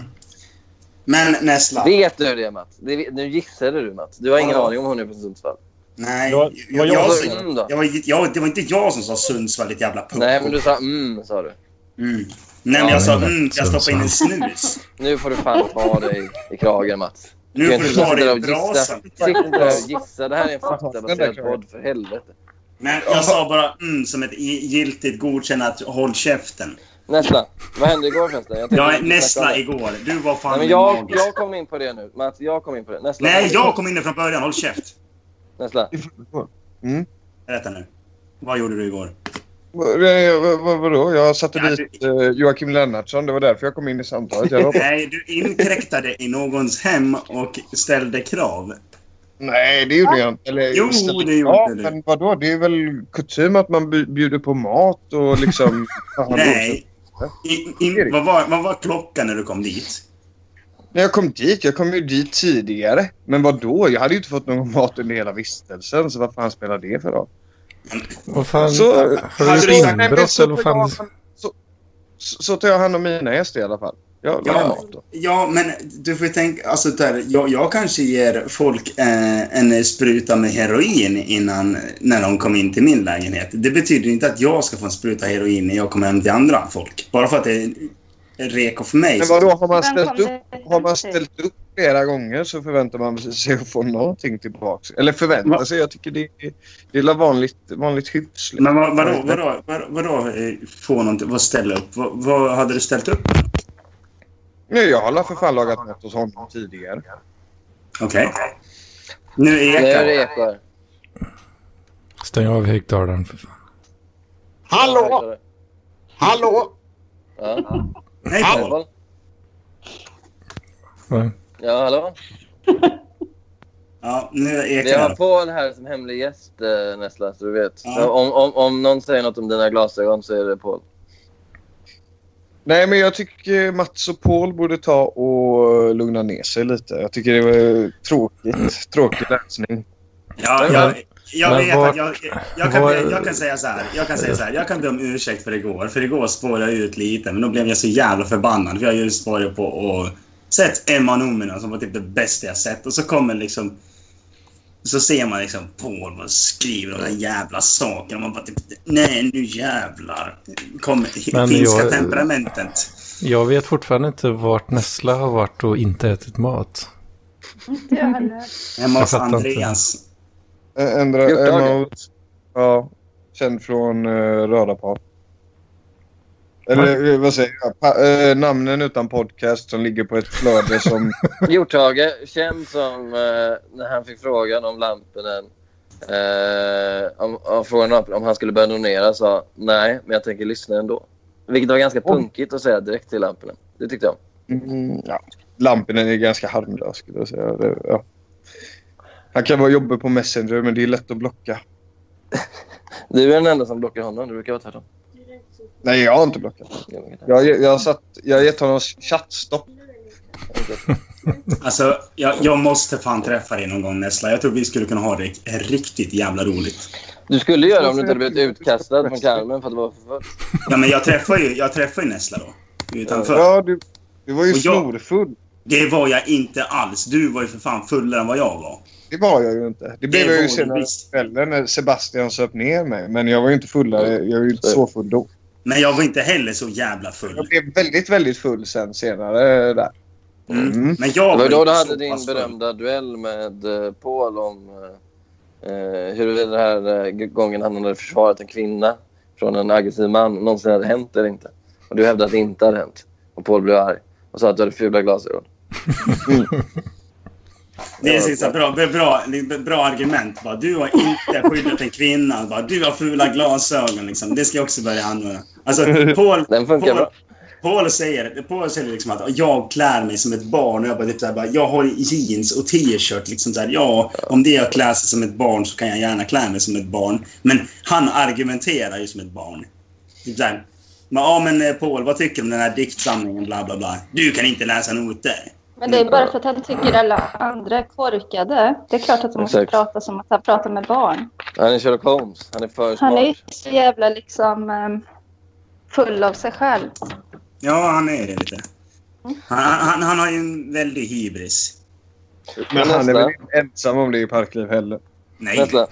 Men Nessla. Vet du det, Matt? Det, vet- nu gissade du, Matt. Du har ingen Ja. aning om hon är från Sundsvall. Nej. Det var- Jag, det var jag, jag jag, som- jag, Mm, då. jag, det var inte jag som sa Sundsvall, ditt jävla pucko. Nej, men du sa mm, sa du. Mm. Nej, Ja, men jag sa men- mm, jag stoppade in en snus. Nu får du fan ta dig i kragen, Mats. Nu kan får du inte ta dig sitta där i och gissa. brasan. Sitt inte där och gissa. Det här är en faktabaserad Ja, det är klart. podd, för helvete. Men jag sa bara mm som ett i- giltigt godkännat håll käften. Nästa. Vad hände igår förresten? Jag [laughs] tänkte Ja, inte snacka Nessla om det. igår. Du var fan Nej, men jag, magisk. jag kom in på det nu. Mats, jag kom in på det. Nästa. Nej, jag kom in där från början. Håll käft. Nästa. Berätta nu. Vad gjorde du igår? Nej, vad- vad- Vadå? Jag satte Ja, dit eh, Joakim Lennartsson. Det var därför jag kom in i samtalet. Jag var... Nej, du inkräktade i någons hem och ställde krav. Nej, det gjorde jag inte. Eller, Jo, ställde- det gjorde Eh, ja, du. Men vadå? Det är väl kutym att man bu- bjuder på mat och liksom... Fan, Nej. In, in, vad, var, vad var klockan när du kom dit? När jag kom dit, jag kom ju dit tidigare. Men vad då? Jag hade ju inte fått någon mat under hela vistelsen, så vad fan spelar det för roll? Vad fan, Så- Alltså, har hade du du- gjort Nej, men inbrott så eller tar vad jag fan? hand- så- så- så tar jag hand om mina gäster i alla fall. Jag lagar Ja. mat då. Ja, men du får ju tänka... Alltså, där, jag, jag kanske ger folk eh, en spruta med heroin innan, när de kommer in till min lägenhet. Det betyder inte att jag ska få en spruta heroin när jag kommer hem till andra folk. Bara för att det är reko för mig. Men vadå, har man Vem ställt kom upp, det har man till? ställt upp flera gånger så förväntar man sig att få någonting tillbaka. Eller förvänta Va? sig, jag tycker det är, det är vanligt, vanligt hyfs. liksom. Men vad, vadå, vadå, vadå, vadå eh, få någonting, vad ställa upp? Vad, vad hade du ställt upp? Nej, jag har för fan lagat mat hos honom tidigare. Okej. Nu Nu är är det jag ekar. Stäng av högtalaren för fan. Hallå! Hallå! Ja, Nej, Paul. hallå? Va? Ja, hallå? Ja, nu är jag Vi har där. Paul här som hemlig gäst eh, Nessla, så du vet. Ja. Om, om, om någon säger något om dina glasögon så är det Paul. Nej, men jag tycker Mats och Paul borde ta och eh, lugna ner sig lite. Jag tycker det var eh, tråkigt. Tråkig läsning. Ja, jag, jag Men vet vad- att jag, jag, kan, vad- jag kan säga så här. Jag kan säga så här. Jag kan be om ursäkt för igår. För igår spårade jag ut lite. Men då blev jag så jävla förbannad. För jag just varit på och sett Emma Nomina som var typ det bästa jag sett. Och så kommer liksom... Så ser man liksom Paul och skriver de där jävla sakerna. Och man bara typ nej nu jävlar. Kommer Men finska jag- temperamentet. Jag vet fortfarande inte vart Nessla har varit och inte ätit mat. Inte jag heller. Hemma jag hos fattar inte. Andreas. Ä- Eh, Ändra... Gjort Emma dagen. och- ja, känd från uh, Röda par. Eller eh, vad säger jag? Pa, eh, namnen utan podcast som ligger på ett flöde som... Hjorthage, känd som eh, när han fick frågan om Lampinen. Eh, om, om, frågan om, om han skulle börja donera sa nej, men jag tänker lyssna ändå. Vilket var ganska punkigt att säga direkt till Lampinen. Det tyckte jag. Mm, ja. Lampinen är ganska harmlös skulle jag säga. Det, ja. Han kan vara jobbig på Messenger men det är lätt att blocka. Du är den enda som blockar honom. Det brukar vara tvärtom. Nej, jag har inte blockat. Jag, jag, jag, har satt, jag har gett honom chattstopp. Alltså, jag, jag måste fan träffa dig någon gång Nessla. Jag tror vi skulle kunna ha det riktigt jävla roligt. Du skulle göra det om du inte hade blivit utkastad från Carmen för att du var för full. Ja, men jag träffar ju, jag träffar ju Nessla då. Utanför. Ja, du, du var ju Och jag- snorfull. Det var jag inte alls. Du var ju för fan fullare än vad jag var. Det var jag ju inte. Det blev Det jag var ju du senare på visst. kvällen när Sebastian söp ner mig. Men jag var ju inte fullare. Jag var ju inte så full då. Men jag var inte heller så jävla Jag full. blev väldigt, väldigt full sen senare där. Mm. Mm. Men jag Det var var inte då du så hade din pass full. berömda duell med eh, Paul om eh, eh, huruvida den här eh, gången han hade försvarat en kvinna från en aggressiv man någonsin hade hänt eller inte. Och du hävdade att det inte hade hänt. Och Paul blev arg och sa att du hade fula glasögon. Det är så bra, bra, bra, bra argument. Bara, du har inte skyddat en kvinna. Bara, du har fula glasögon. Liksom. Det ska jag också börja använda. [laughs] Alltså, Paul, Den funkar Paul, bra. Paul säger, Paul säger liksom att jag klär mig som ett barn. Och jag, bara, typ så här, bara, jag har jeans och t-shirt. Liksom så här, ja, om det är att klä sig som ett barn så kan jag gärna klä mig som ett barn. Men han argumenterar ju som ett barn. Typ så här, men, ja, men eh, Paul, vad tycker du om den här diktsamlingen? Bla, bla, bla. Du kan inte läsa noter. Men det är bara för att han tycker alla andra är korkade. Det är klart att de måste Exakt. prata som att han pratar med barn. Han är Sherlock Holmes. Han är för smart. Han är ju så jävla liksom ehm, full av sig själv. Ja, han är det lite. Han, han, han har ju en väldig hybris. Men han Nästa. är väl inte ensam om det i Parkliv heller. Nej. Vänta.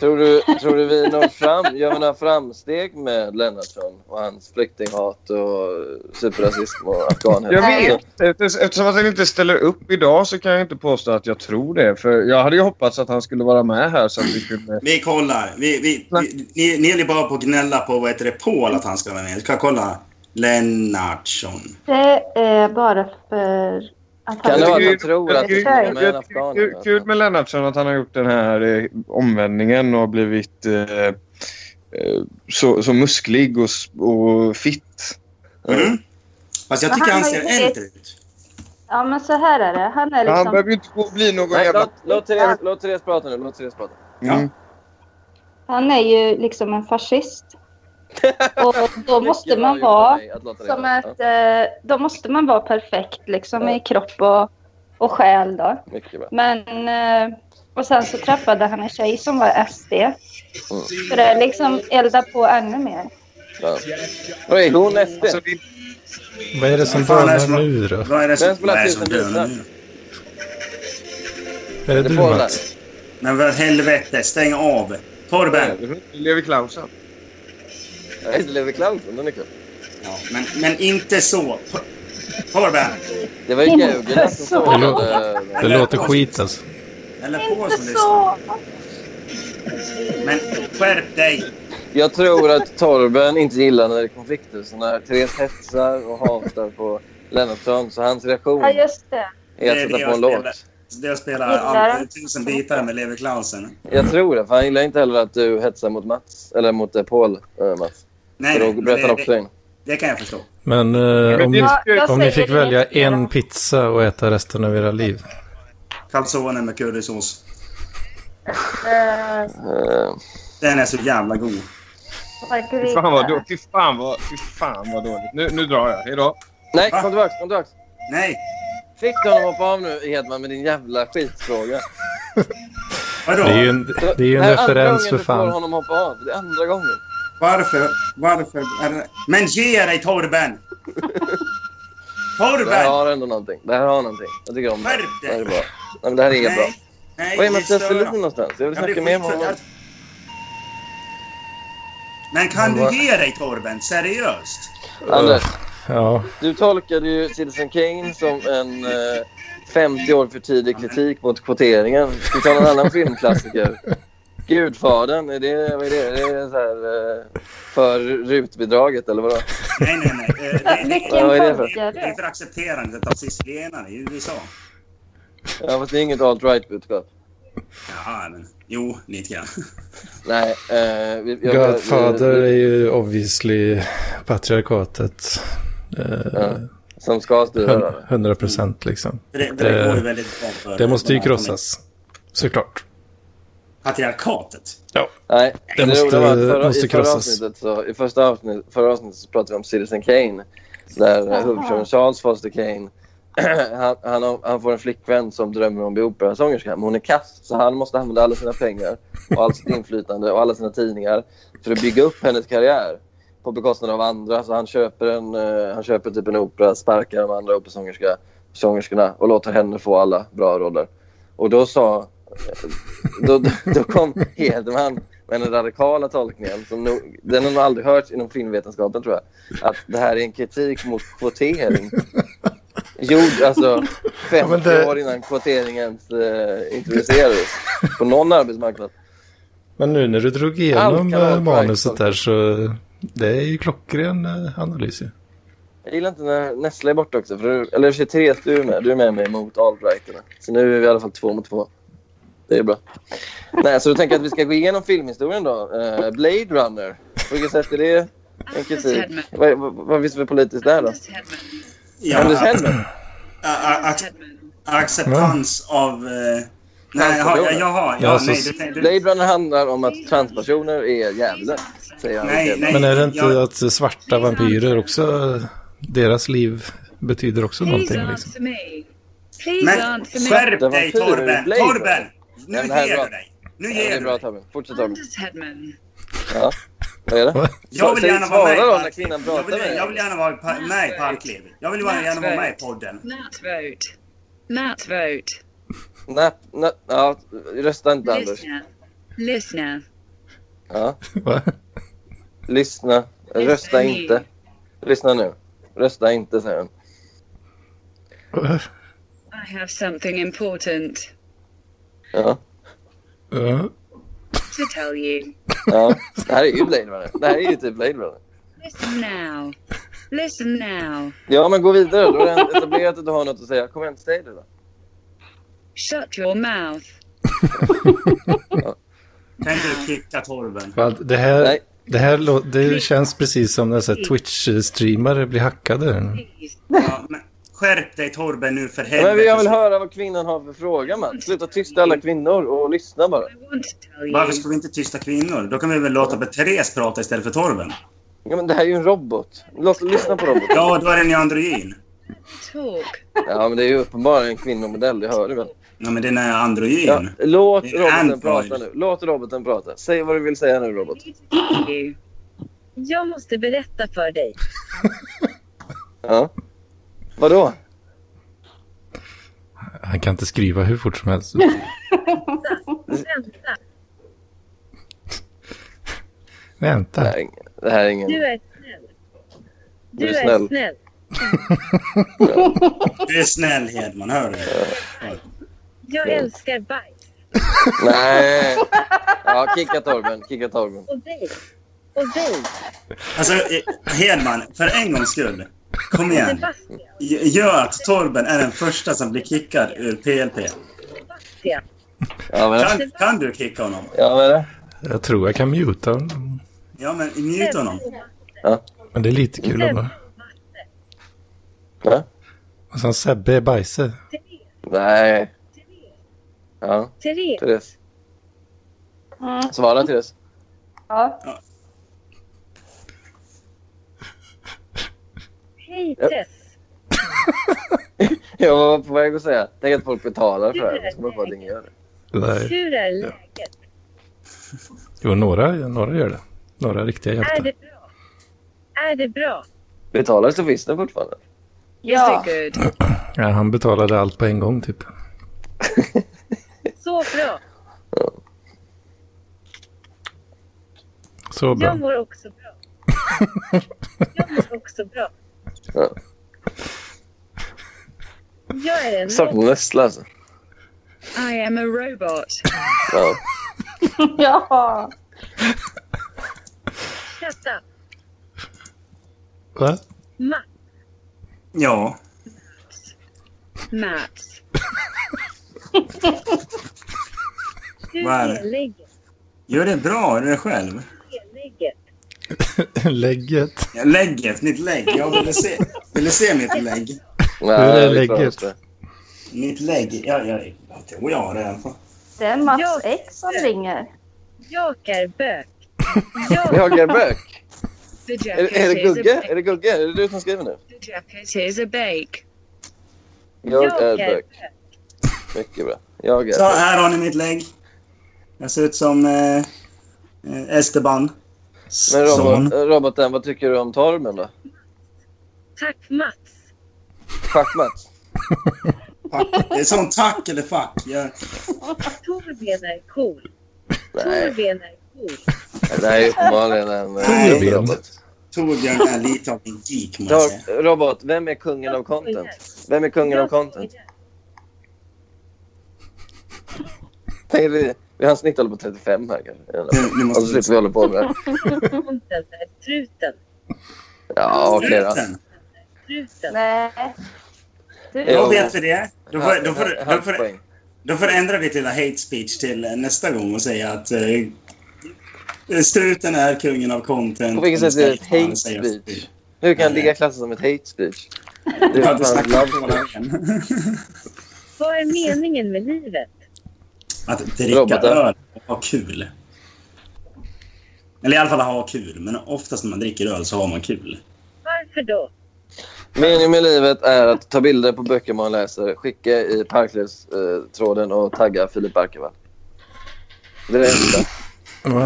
Tror du, tror du vi når fram, gör vi några framsteg med Lennartsson och hans flyktinghat och superrasism och afghanhet? Jag Nej. vet. Efter- Eftersom att han inte ställer upp idag så kan jag inte påstå att jag tror det. För jag hade ju hoppats att han skulle vara med här så att vi kunde... Vi kollar. Vi, vi, vi, ni, ni är ju bara på att gnälla på vad heter det, Paul att han ska vara med. Jag ska kolla. Lennartsson. Det är bara för att Kan han det vara Jag att tycker- han tror att jag det tycker- är med en jag afghan? tycker kul- Kul med Lennartsson att han har gjort den här eh, omvändningen och blivit eh, eh, så, så musklig och, s- och fitt. Mm. Fast jag Men tycker han han har ser ju inte- äldre ut. Ja, men så här är det. Han är Han liksom... behöver ju inte gå och bli någon Nej, jävla... låt, låt, Therese, låt Therese prata nu. Låt Therese prata. Mm. Han är ju liksom en fascist. Och då måste Mycket liksom. bra man gjort av vara... dig att låta det Som vara. att, eh, då måste man vara perfekt liksom i kropp och, och själ då. Ja, mycket bra. Men, eh, och sen så träffade han en tjej som var SD. Så det är liksom elda på ännu mer. Ja. Oj, hon SD. Alltså, det- Vad är det som Vad fan är det dörrar som- nu då? Vad är det Vem som, spelar vad är det som tusen bitar? dör nu? Är det Det du får den Mats? Men för helvete, stäng av. Torben. Levi Clausen. Nej, det lever clownen. Den är kul. Ja, men, men inte så. Porrband. Det var ju Inte Gaugula som så. Det, sågade... lå- det låter skit alltså. Eller på som lyssnar. Men skärp dig! Jag tror att Torben inte gillar när det är konflikter. Så när Therese hetsar och hatar på Lennartsson så hans reaktion Ja, just det. är att sätta på en låt. Det jag spelar Gillar all, tusen bitar med Lever Clausen. Jag tror det, för han gillar inte heller att du hetsar mot Mats. Eller mot eh, Paul, eh, Mats. Nej, För nej, då men berättar det- han också det- in. Det kan jag förstå. Men eh, om, ni, Ja, jag om ni säger fick det. välja en pizza och äta resten av era liv. Calzone med currysås. Eh, Den är så jävla god. Fy fan vad dåligt. Fy fan vad, fy fan vad dåligt. Nu, nu drar jag. Hejdå. Nej, kom tillbaks, kom tillbaks. Nej. Fick du honom att hoppa av nu, Hedman, med din jävla skitfråga? Vadå? Det är ju en, det är ju en här är andra referens för gången du får fan. honom hoppa av. Det är andra gången. Varför? Varför? Är det... Men ge dig Torben! Torben! Det här har ändå någonting. Det här har någonting. Jag tycker om det. Skärp dig! Det här är bra. Nej, men det här är bra. Nej, Var är det Mattias stör Selin dem. någonstans? Jag vill Jag snacka blir mer med honom. skitförbannad. Men kan Vad- du ge dig Torben? Seriöst? Anders, Ja, du tolkade ju Citizen Kane som en eh, 50 år för tidig kritik mot kvoteringen. Ska vi ta någon annan filmklassiker? Gudfadern, är det, vad är det? Är det så här, eh, för rutbidraget eller vadå? Nej, nej, nej. Eh, [laughs] det- det- Vilken Vad är det för- Det är inte accepterandet av sicilienare i USA. Ja, fast det är inget alt-right-budskap. Ja, men jo, lite grann. [laughs] Nej. Eh, vi, jag- Godfather vi- är ju obviously patriarkatet. Eh, Ja, som ska styra hun- det. 100 procent liksom. Det- det går ju väldigt bra för- det måste ju för- krossas. Såklart. Patriarkatet. Ja. Nej, Det måste- roliga var att förra, måste i förra krossas. avsnittet så, I första avsnittet, förra avsnittet så pratade vi om Citizen Kane. Där eh, huvudpersonen Charles Foster Kane [clears throat] han, han, har- han får en flickvän som drömmer om att bli operasångerska. Men hon är kass, så han måste använda alla sina pengar och allt sitt inflytande och alla sina tidningar för att bygga upp hennes karriär på bekostnad av andra. Så han köper, en, eh, han köper typ en opera, sparkar de andra operasångerska, sångerskorna och låter henne få alla bra roller. Och då sa... Då, då, då kom Hedman med den radikala tolkningen. Som nog, den har nog aldrig hört inom filmvetenskapen, tror jag. Att det här är en kritik mot kvotering. Gjord alltså 50 det- år innan kvotering ens eh, introducerades på någon arbetsmarknad. Men nu när du drog Allt igenom kan vara liksom. eh, manuset korrekt. där så det är ju klockren eh, analys ju. Jag gillar inte när Nessla är borta också. För du, eller i och för sig, Therese, du är med. Du är med mig mot Albrighterna. Så nu är vi i alla fall två mot två. Det är bra. Nej, så du tänker jag att vi ska gå igenom filmhistorien då. Eh, Blade Runner. På vilket sätt är det en kritik? Vad, vad, vad finns det för politiskt där då? Ja. Anders Hedman. A- a- ac- acceptans av... eh, Nej, jaha, ja, jaha. Ja, nej, du, tänkte- du, Blade Runner handlar om att transpersoner är djävulen. Säger jag. Nej, nej. Men är det inte jag- att svarta vampyrer också, deras liv betyder också Please någonting liksom? answer me. Please men answer me. skärp Det var dig tur, Torben! Blade. Torben! Nu Ja, men det här är ger bra. du dig. Nu Ja, det ger är du bra dig. Torben. Fortsätt Torben. Anders Hedman. Ja. Vad är det? Jag vill Säg- gärna vara med i svara då när Park- kvinnan jag pratar med vill, dig. jag vill gärna vara pa- med i Parkliv. Jag vill bara gärna vara med i podden. Nat vote. Nat vote. Nej, nej, ja, rösta inte Anders. Listener. Listener. Ja. Va? Lyssna. Rösta inte. Lyssna nu. Rösta inte, säger hon. I have something important Ja. Ja. to tell you. ja. Det här är ju Blade Runner. Det här är ju typ Blade Runner. Listen now. Listen now. Ja, men gå vidare. Då har jag etablerat att du har något att säga. Kom igen, säg det då. Shut your mouth. Kan inte du kicka Torben? Va, Det här, Nej. det här lå- det känns precis som när så här Twitch-streamare blir hackade. Ja, men skärp dig Torben nu för Ja, men helvete. jag vill höra vad kvinnan har för fråga, Mats. Sluta tysta alla kvinnor och lyssna bara. I want to tell you. Varför ska vi inte tysta kvinnor? Då kan vi väl låta Therese prata istället för Torben? Ja, men det här är ju en robot. Låt, lyssna på roboten. Ja, då är den ju androgyn. Talk. Ja, men det är ju uppenbarligen en kvinnomodell. Det hör du väl? Ja, men den är androgyn. Ja, låt Det är roboten Android. prata nu. Låt roboten prata. Säg vad du vill säga nu, robot. You. Jag måste berätta för dig. Ja. Vadå? Han kan inte skriva hur fort som [laughs] helst. Vänta. Vänta. Det här är ingen... Du är snäll. Du är är snäll. snäll. Du är snäll Hedman, hör du? Jag Ja. älskar bajs. Nej. [laughs] Ja, kicka Torben. Kicka Torben. Och dig. Och dig. Alltså, eh, Hedman, för en gångs skull. Kom igen. Sebastian. G- Gör att Torben är den första som blir kickad ur PLP. Sebastian. Ja, men, Kan, kan du kicka honom? ja, men det. Jag tror jag kan muta honom. Ja, men njut honom. Men det är lite kul ändå. Va? Och sen Sebbe är Bajse. Nej. Ja, Therese. Therese. Mm. Svara, Therese. [laughs] Ja. Hej Ja. Tess. Jag var på väg att säga. Tänk att folk betalar för det här. men Så kommer jag på att ingen gör det. Nej. Hur är läget? Jo, några, några gör det. Några riktiga Är hjältar. det bra? Är det bra? Betalar Sofisten fortfarande? ja. Is it good? Ja, han betalade allt på en gång typ. Så bra. Så Jag bra. mår också [laughs] bra. Jag mår också bra. Ja. Jag är en Saknar Nessla alltså. I am a robot. Ja. ja. Shut up. Va? Matt. Ja. Matt. Hur Vad är det? är läget? Gör det bra, är du dig själv? Hur är läget? Lägget. Ja, Lägget, mitt lägg. Jag ville se, ville se mitt lägg. Nej, Hur är det läget? klarar sig. Mitt lägg. Jag, jag, jag tror jag har det i alla fall. Det är Mats Ja. X som ringer. Jag är bök. Jag är bök. The Är, är det Gugge? Är det Gugge? Är det du som skriver nu? The jacket is a bake. Jag är bök. Mycket bra. Jag är Så bök. här har ni mitt lägg. Jag ser ut som eh, eh, Esteban. Men Son. robot, roboten, vad tycker du om Torben då? Tack Mats. Schackmatt? Fuck. Det är som tack eller fuck. Jag, Torben är cool. [laughs] Nej, Torben är cool. det här är uppenbarligen en eh, Torben. robot. Torbjörn är lite av en geek, måste jag säga. Tor- Robot, vem är kungen av Jag content? skojar. Vem är kungen av Jag content? skojar. Tänk vi, vi har en snittalder på 35 här kanske. Nu, nu Och så måste vi... slipper vi hålla på med det. Content är truten. Ja, okej då. Truten. Nej. Då Jo. Du, vet vi det. Då får, då får, då Halv får, poäng. Då får du ändra ditt lilla hate speech till eh, nästa gång och säga att eh, struten är kungen av content. På vilket sätt är det ett hate speech? Hur kan Nej. ligga klassen som ett hate speech? Du Det är hade fan snackat love om speech. det. Vad är meningen med livet? [laughs] Att dricka Robotar. öl och ha kul. Eller i alla fall ha kul, men oftast när man dricker öl så har man kul. Varför då? Meningen med livet är att ta bilder på böcker man läser, skicka i Parklövstråden och tagga Filip Barkervall. Det är det enda. Va?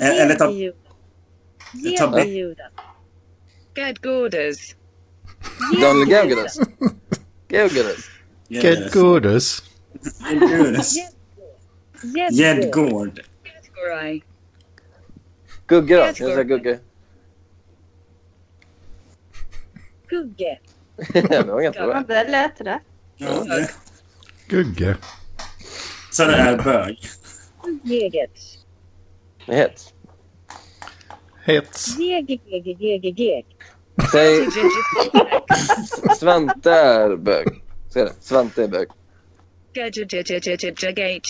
Eh, Eller Ge ta... mig Judas. Ge ta mig Judas. Gad Gordas. Daniel Gaugares. Gaugares. Get godis. Gedgård. Jedgård. Gedgård. Gugge då? Kan jag säga Gugge? [laughs] Gugge. det var jättebra. ja, där lät det. Ja, det- Gugge. Så det är bög. Jägert. Det är hett. Hets. Jägegegegegeg. Säg Svante är bög. Säg det. Svante är bög.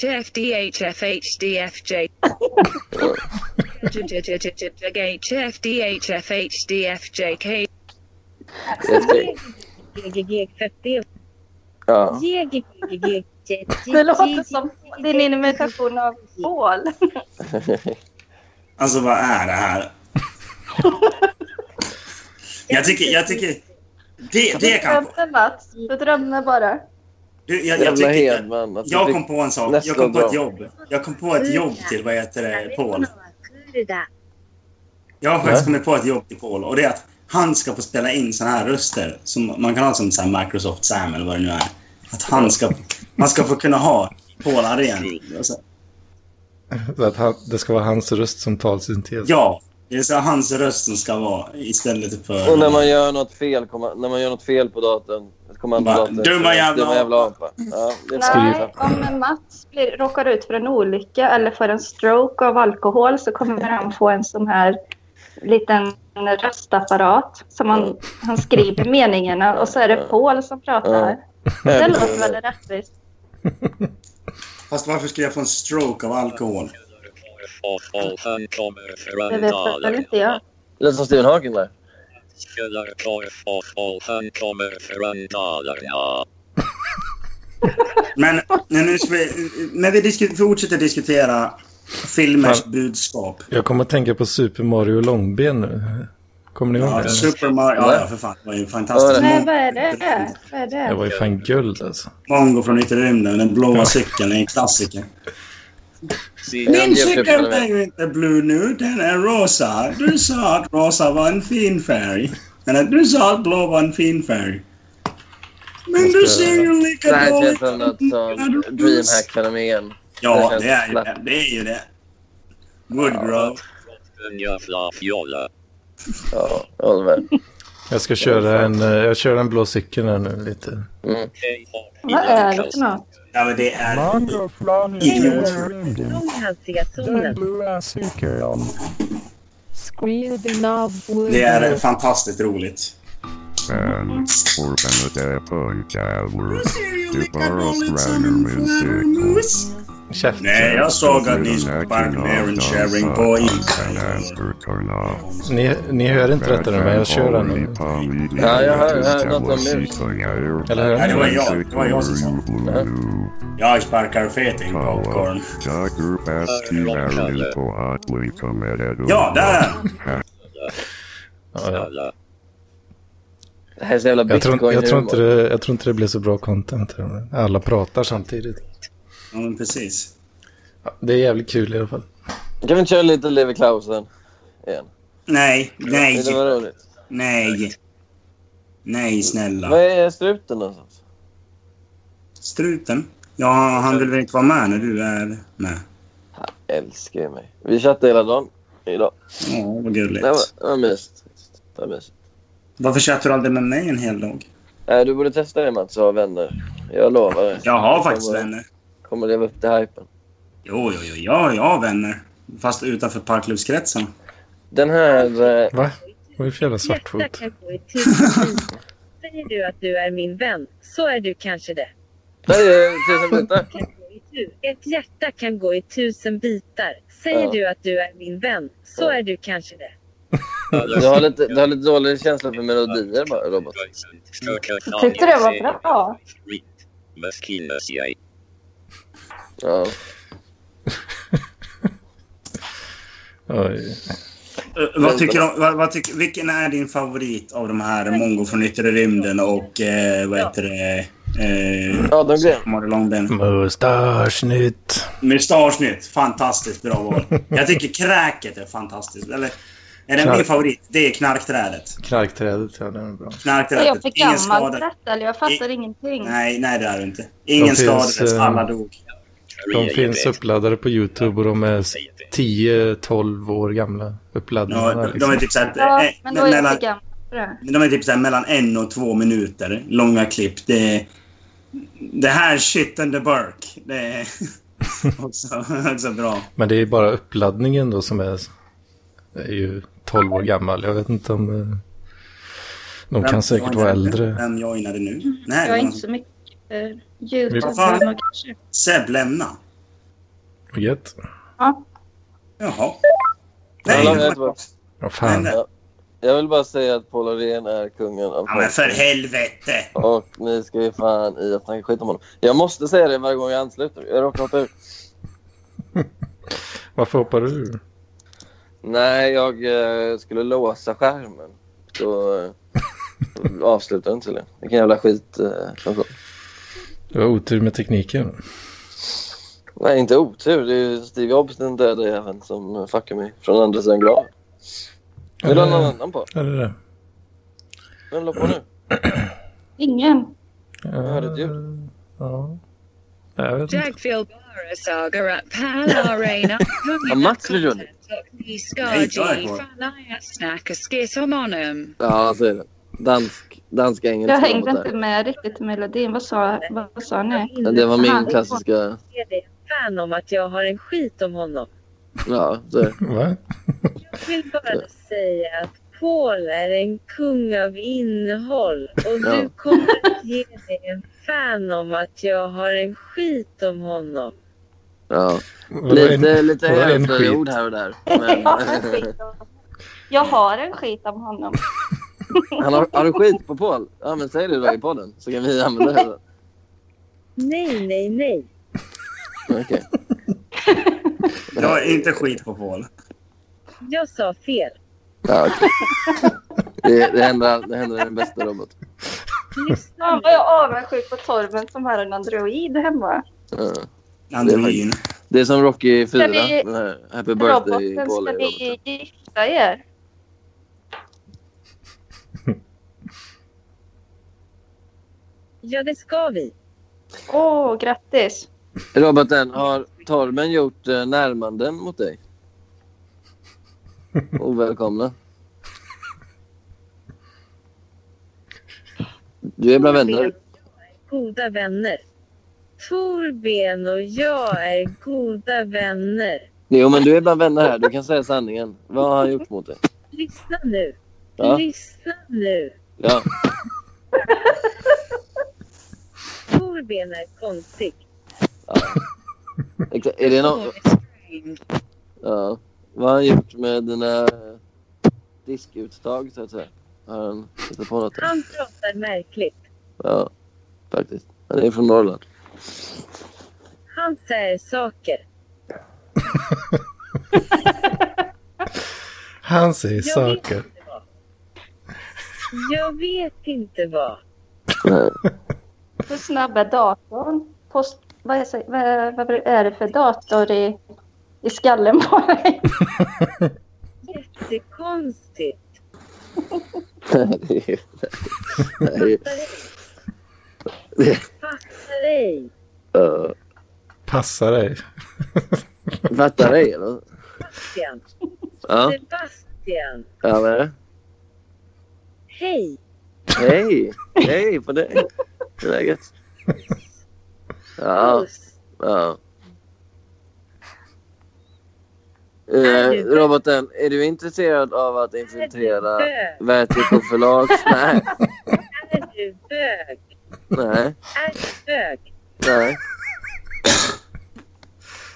HFDHFHDFJ. HFDHFHDFJK. Jättekul. Ja. Det låter som din imitation av Paul. Alltså vad är det här? Jag tycker, jag tycker... Det, det Du kan... drömde Mats. Du drömde bara. Du, jag, jag Jävla tycker... Hedman. Alltså, Jag fick- kom på en sak. Nästa Jag kom på ett dag. jobb. Jag kom på ett jobb till, vad heter det, Paul. Jag har Nej. faktiskt kommit på ett jobb till Paul och det är att han ska få spela in såna här röster som man kan ha som så här Microsoft Sam eller vad det nu är. Att han ska... Man ska få kunna ha Paul Alltså, Arén. Så att han, det ska vara hans röst som talsyntes. Ja, Det är så hans röst som ska vara istället för... Och när man gör något fel, komma, när man gör något fel på datorn, kommando Bara, datorn. "Dumma jävla dumma jävla apa. Ja, det är Nej, om Mats blir, råkar ut för en olycka eller får en stroke av alkohol så kommer han få en sån här liten röstapparat som han, han skriver meningarna och så är det Paul som pratar. Det låter väldigt rättvist. Fast varför skulle jag få en stroke av alkohol? Korvfasen kommer Det från vet väl Dalarna. inte jag. Lät som Stephen Hawking där. Källarkorvfasen kommer från Dalarna. Men när, nu ska vi, när vi disku, fortsätter diskutera filmers budskap. Jag kommer att tänka på Super Mario Långben nu. Kommer ni ihåg Ja, det? Super Mario, ja, ja för fan. Det var ju fantastiskt. Nej, Mon- vad är det? Vad är Det det? var ju fan guld alltså. Mongo från yttre rymden, den blåa cykeln, är en klassiker. Min cykel är ju inte blå nu, den är rosa. Du sa att rosa var en fin färg. Eller du sa att blå var en fin färg. Men du ser ju Det lika här känns dåligt som något som DreamHack-fenomen. Ja, det är ju det. Det är ju det. Woodgrove. Jävla fjolla. Ja, jag håller med. Jag ska köra en, eh, jag kör en blå cykel här nu lite. Mm. Vad är det för något? Ja, men det är... Mangaflan i Idiot. rymden. Den Långhalsdiazonen. blåa cykeln. Skriven av Woody. Det är fantastiskt roligt. Fan, fortfarande pojkar. Du bara spränger min Käften. Nej, jag såg att ni Bugbear Sharing på Ni, ni hör inte detta nu, men jag kör den nu. Ja, jag hör- jag hör något om mus. Eller hör Ja, det var ni? jag. Det var jag som sa. Jag sparkar fet in popcorn. Dagur baski är på att vi kommer att... Ja, där är han. Ja, ja. Det här är så jävla Jag tror, jag, tror inte bitcoin-humor. det, jag tror inte det blir så bra content. här, men Alla pratar samtidigt. Ja, men precis. Det är jävligt kul i alla fall. Kan vi inte köra lite Levi Klausen igen? Nej, nej, Det var roligt. nej. Nej, Vad snälla. är struten någonstans? Struten? Ja, han vill väl inte vara med när du är med? Han älskar ju mig. Vi chattade hela dagen idag. Ja, vad Det gulligt. var, det var mysigt. Det var mysigt. Varför chattar du aldrig med mig en hel dag? Nej, du borde testa det Mats och ha vänner. Jag lovar dig. Jag Du har faktiskt kommer, vänner. Kommer leva upp till hypen. Jo, jo, jo, ja, jag har vänner. Fast utanför parklivskretsen. Den här... eh, Va? Vad är det för jävla Hjärta svartfot? kan gå i [laughs] tusen bitar. Säger du att du är min vän, så är du kanske det. Där är tusen bitar. Kan gå i tu- Ett hjärta kan gå i tusen bitar. Säger Ja. du att du är min vän, så Ja. är du kanske det. Du har lite, du har lite dålig känsla för melodier bara, robot. Jag tyckte det var bra. Beskines jag. Ja. Oj. Eh, Vad tycker du, om- vad, vad tycker, vilken är din favorit av de här Mongo från yttre rymden och eh, vad heter det? Eh, Adam Gren. Mario Långben. Mustaschnytt. Mustaschnytt. Fantastiskt bra val. Jag tycker kräket är fantastiskt. Eller, är det min Knark. favorit? Det är knarkträdet. Knarkträdet, ja den är bra. Är jag Knarkträdet. för Ingen gammal för skada. detta? Eller jag fattar ingenting. Nej, nej det är det inte. Ingen De finns, skadades. eh, Alla dog. De finns uppladdade på YouTube och de är 10-12 år gamla Ja, uppladdningar. de, de är Liksom. typ så att, Ja, eh, men då är jag mellan, för gammal för det. de är typ så här mellan en och två minuter långa klipp. Det, det här shit and the burk. Det är [laughs] också, också bra. Men det är bara uppladdningen då som är, är ju 12 år gammal. Jag vet inte om... eh, De Vem kan säkert joinade vara nu? äldre. Vem joinade nu? Nej, Mm, Jag det var någon är som- inte så mycket eh, för Vad fan? Youtube. kanske. Seb lämna. Vad gött. Ja. Jaha. Ja, Nej, lämna det var... tillbaka. Vad fan. Nej, Ja. Jag vill bara säga att Paul Arén är kungen av Ja, men för helvete! Och ni ska ju fan i att snacka skit om honom. Jag måste säga det varje gång jag ansluter. Jag råkar hoppa ur. Varför hoppar du ur? Nej, jag eh, skulle låsa skärmen. Då eh, avslutade den tydligen. Vilken jävla skit. Eh, funktion. Det var otur med tekniken. Nej, inte otur. Det är ju Steve Jobs, den döda jäveln, som eh, fuckar mig från andra sidan graven. Vill du ha någon annan på? Är det det? Vem la på nu? Ingen. Jag hörde ett ljud. Ja. Jag vet inte. Dagfjäll Barasagar att Palarena Har Mats försvunnit? Nej, jag är Skiskargi kvar. Fanajasnaka skis om honom. Ja, säg det. Dansk, dansk engelska. Jag hängde något där. inte med riktigt i melodin. Vad sa, vad sa ni? Men Det var Aha. min klassiska... Ge dig en fan om att jag har en skit om honom. Ja, så är det. Va? Jag vill bara säga att Paul är en kung av innehåll och Ja. du kommer att ge dig en fan om att jag har en skit om honom. Ja. Vadå Lite, en- lite vadå en överord skit? här och där. [laughs] Men... Jag har en skit om- Jag har en skit om [laughs] honom. [laughs] Han har, har du skit på Paul? Ja, men säg det då i podden så kan vi använda det. Nej, nej, nej. Okej. Jag har inte skit på Paul. Jag sa fel. Ja, okej. det, det, händer, det händer den bästa robot. Fan vad jag är avundsjuk på Torben som har en android hemma. Ja. Android. Det är som Rocky 4. Ska vi- den här Happy birthday Roboten, Paul. ska är roboten. ni gifta er? Ja, det ska vi. Åh, grattis! Roboten, har Torben gjort eh, närmanden mot dig? Ovälkomna. Du är bra vänner. Goda vänner. Torben och jag är goda vänner. Jo, men du är bland vänner här. Du kan säga sanningen. Vad har han gjort mot dig? Lyssna nu. Ja. Lyssna nu. Ja. Torben är konstig. Exa- Är det någon... Ja. Vad har han gjort med dina diskuttag, så att säga? Har han hittat på något? där? Han pratar märkligt. Ja, faktiskt. Han är från Norrland. Han säger saker. Han säger Jag vet saker. inte vad. Jag vet inte vad. Hur snabb är datorn? Post, vad, är, vad, vad är det för dator i, i skallen på dig? Jättekonstigt. det är ju... Det är ju... Det är... Fattar ej. ja. Passa dig. Fattar dig, eller? Sebastian. Ja. Sebastian. Ja, vad är det? Hej. Hej! Hej på dig! Hur är läget? Ja. ja. Eh, roboten, är du intresserad av att infiltrera Vertigo [laughs] förlags... Nej, Är du bög? nej, Är du bög? nej.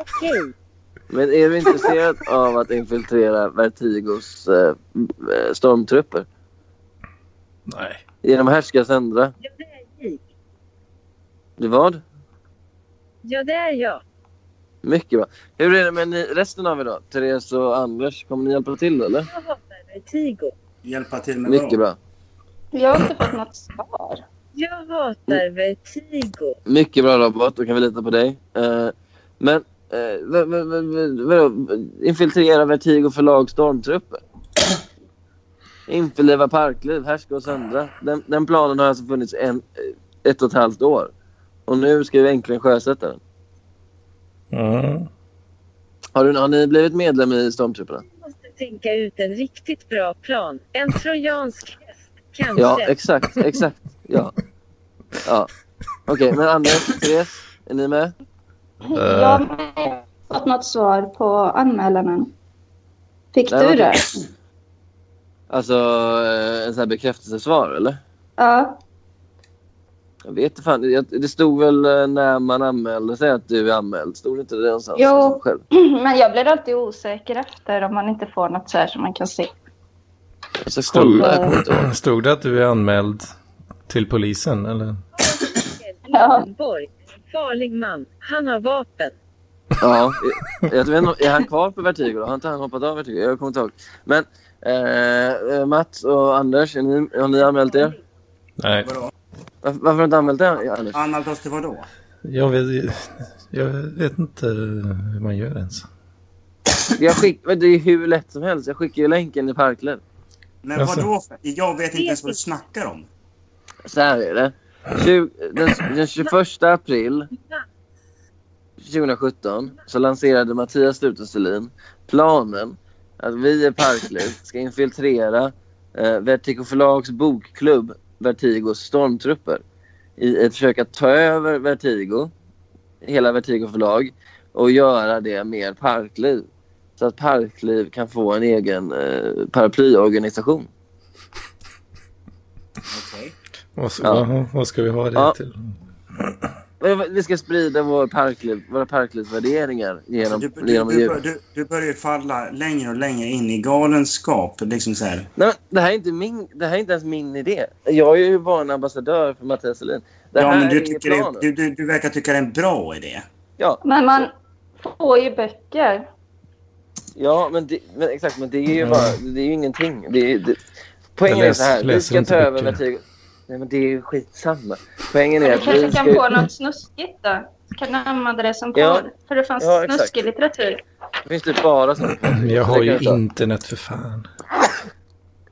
Okej. Men är du intresserad av att infiltrera Vertigos eh, eh, stormtrupper? Nej. Genom härska sändra? gick. Det vad? Ja, det är jag. Mycket bra. Hur är det med ni, resten av er då? Therese och Anders, kommer ni hjälpa till eller? Jag hatar Vertigo. Hjälpa till med Mycket bra. Jag har inte fått något svar. Jag hatar Vertigo. Mycket bra robot, då kan vi lita på dig. Eh, men, eh, vad- vad- vad- vad- vadå? infiltrera Vertigo [clears throat] förlag stormtrupper? Införliva parkliv, härska och söndra. Den, den planen har alltså funnits en, ett och ett halvt år. Och nu ska vi äntligen sjösätta den. Mm. Har, du, har ni blivit medlem i stormtrupperna? Jag måste tänka ut en riktigt bra plan. En trojansk häst, kanske. Ja, exakt. Exakt. Ja. ja. Okej, men Anders, Therese, är ni med? Jag Eh, har inte fått något svar på anmälanen. Fick Nej, du men- det? Alltså, eh, en sån här bekräftelsesvar eller? Ja. [clears throat] Jag vet inte fan. Jag- Det stod väl eh, när man anmälde sig att du är anmäld? Stod det inte det någonstans? Jo, Själv. men jag blir alltid osäker efter om man inte får något så här som man kan se. Jag ska Stod, kolla. Jag kommer inte [clears throat] ihåg. stod det att du är anmäld till polisen? Eller? Ja. Borg, en farlig man. Han har vapen. Ja, jag, jag vet inte, om- är han kvar på Vertigo då? Har inte han hoppat av Vertigo? Jag kommer inte ihåg. Men eh, Mats och Anders, är ni, har ni anmält er? Nej. Varför, varför har du inte anmält er, Anders? Anmält oss till vadå? Jag vet, jag vet inte hur man gör ens. Jag skick, men det är hur lätt som helst. Jag skickar ju länken i Parklöv. Men Jaså. vadå? för- Jag vet inte ens vad du snackar om. Så här är det. Tju- den, den 21 april 2017 så lanserade Mattias Stute Selin planen att vi i Parkliv ska infiltrera eh, Vertigo förlags bokklubb Vertigos stormtrupper i ett försök att ta över Vertigo, hela Vertigo förlag och göra det mer Parkliv. Så att Parkliv kan få en egen eh, paraplyorganisation. Vad, s- Ja. vad- vad ska vi ha det Ja. till? Vi ska sprida vår parkliv, våra parklivsvärderingar genom... Alltså, Du, du, genom du, du, du börjar ju falla längre och längre in i galenskap. Liksom så här. Nej, men det, här är inte min, det här är inte ens min idé. Jag är ju bara en ambassadör för Mattias Selin. Det Ja, här men är du, ju tycker det, planen. du, du, du verkar tycka det är en bra idé. Ja, Men man får ju böcker. ja men, det, men exakt. Men det är ju Mm. bara... Det är ju ingenting. Det är, det, poängen Jag är så här. läs- Vi läser ska inte ta över böcker. Vertigo. Nej, men det är ju skitsamma. Poängen är Du att vi kanske ska... kan få något snuskigt då? Kan du använda det som Ja. porr? För det fanns Ja, exakt. snuskig litteratur. Det finns typ bara sånt. [clears throat] Jag har Det ju kan jag ta. internet för fan.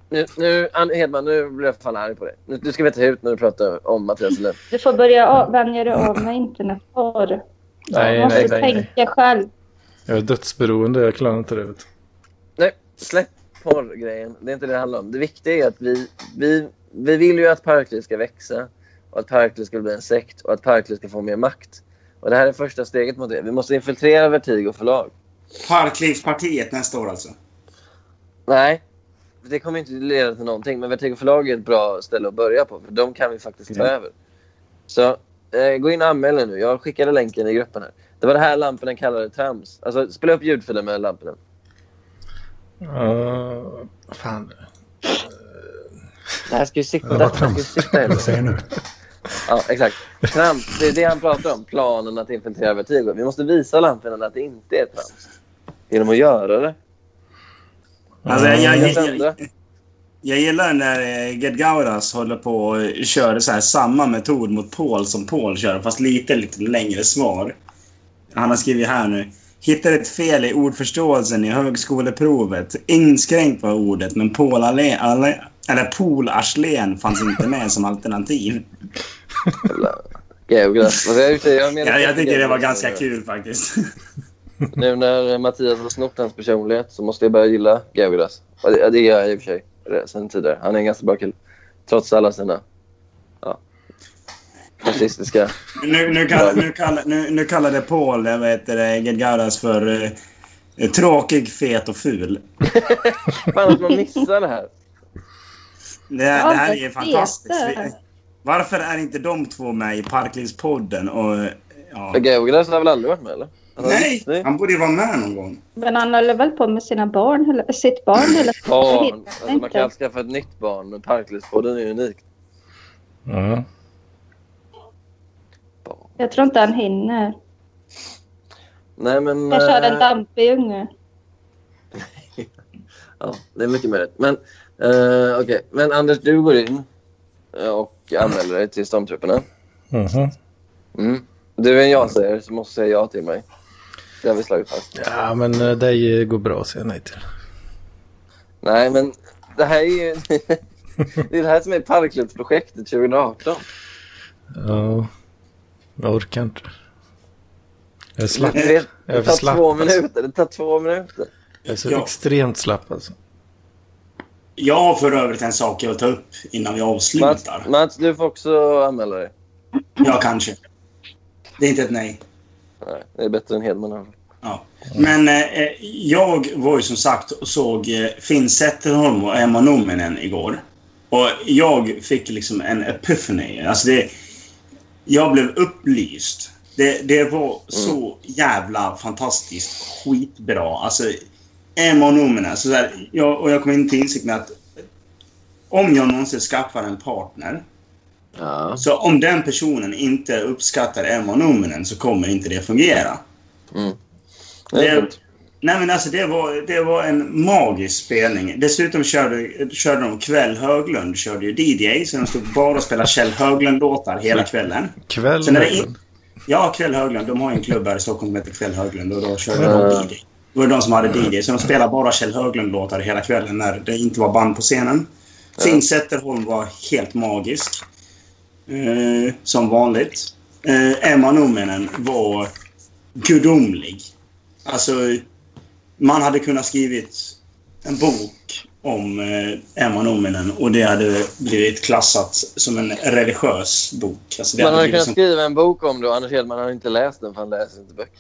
Nu, nu, Ann Hedman, nu blir jag fan arg på dig. Nu, du ska veta ut när du pratar om Mattias Selin. Du får börja av- vänja dig av med internetporr. Nej, Du måste nej, nej, nej. tänka själv. Jag är dödsberoende, jag klarar inte det. Vet. du. Nej, släpp porrgrejen. Det är inte det det handlar om. Det viktiga är att vi, vi, vi vill ju att Parkliv ska växa och att Parkliv ska bli en sekt och att Parkliv ska få mer makt. Och Det här är första steget mot det. Vi måste infiltrera Vertigo förlag. Parklivspartiet nästa år alltså. Nej, det kommer inte leda till någonting. Men Vertigo förlag är ett bra ställe att börja på. För de kan vi faktiskt ta Mm. över. Så eh, gå in och anmäl er nu. Jag skickade länken i gruppen här. Det var det här lamporna kallade trams. Alltså spela upp ljudfilen med lamporna. Ja, fan. Det här ska ju sitta. Ja, det vad här ska ju trams. sitta Vad säger nu? Ja, exakt. Trams, det är det han pratar om. Planen att infiltrera Vertigo. Vi måste visa lamporna att det inte är trams. Genom att göra det. Alltså, jag, jag, Vi kan jag, sända. Jag gillar när eh, Ged Gauras håller på och kör så här samma metod mot Paul som Paul kör, fast lite, lite längre svar. Han har skrivit här nu. Hittade ett fel i ordförståelsen i högskoleprovet. Inskränkt var ordet, men Paul Ale, Ale, eller Paul Arslén fanns inte med som alternativ. Geogras. Vad säger du? Jag menar- Ja, jag tycker det var ganska kul faktiskt. [laughs] Nu när Mattias har snott hans personlighet så måste jag börja gilla Geogras. Och Det, det gör jag i och för sig re- sen tidigare. Han är en ganska bra kille. Trots alla sina ja, fascistiska... Nu, nu, kall, nu, kall, nu, nu kallade Paul eh, vad heter det, Ged Gauras för eh, tråkig, fet och ful. Fan att man missar det här. Det här, det här är Ja, fantastiskt. det är det. Varför är inte de två med i Parklivspodden? Och, ja. För Geogras har väl aldrig varit med eller? Nej, han borde ju vara med någon gång. Men han håller väl på med sina barn, hela- sitt barn hela Barn. hittar Alltså, man kan skaffa ett nytt barn men Parklivspodden är unik. Ja. Jag tror inte han hinner. Nej men... Jag kör en eh, dampig unge. Ja, det är mycket möjligt. Men eh, okej, men Anders du går in eh, och anmäler dig till stormtrupperna. Mhm. Mm. Du är en ja-sägare så måste säga ja till mig. Det har vi slagit fast. ja, men eh, dig eh, går bra att säga nej till. Nej men det här är ju... [laughs] det är det här som är parkklubbsprojektet 2018. Ja, jag orkar inte. Jag är slapp. Det, Jag är det för tar slapp. två alltså. minuter. Det tar två minuter. Jag är så Ja. extremt slapp alltså. Jag har för övrigt en sak jag vill ta upp innan vi avslutar. Mats, du får också anmäla dig. Ja, kanske. Det är inte ett nej. Nej, det är bättre än Hedman i alla fall. Ja. Men eh, jag var ju som sagt och såg eh, Finn Zetterholm och Emma Nominen igår. Och jag fick liksom en epiphany. Alltså det, jag blev upplyst. Det, det var så jävla fantastiskt skitbra. Alltså, Emma Nominen. Så där, jag, och jag kom in till insikt med att om jag någonsin skaffar en partner så om den personen inte uppskattar Emma Nominen så kommer inte det fungera. Det är Det, nej men alltså det var, det var en magisk spelning. Dessutom körde, körde de kväll Höglund körde ju DJ så de stod bara och spelade Kjell Höglund-låtar hela kvällen. Kväll. Sen är det in, ja, Kväll Höglund. De har ju en klubb här i Stockholm som heter Kväll Höglund och då körde de DJ. Det var det de som hade DJ så de spelade bara Kjell Höglund-låtar hela kvällen när det inte var band på scenen. Finn Zetterholm var helt magisk. Eh, som vanligt. Eh, Emma Nominen var gudomlig. Alltså, man hade kunnat skrivit en bok om eh, Emma Nominen och det hade blivit klassat som en religiös bok. Alltså, det Man hade blivit kunnat som- skriva en bok om det och Anders Hedman har inte läst den för han läser inte böcker.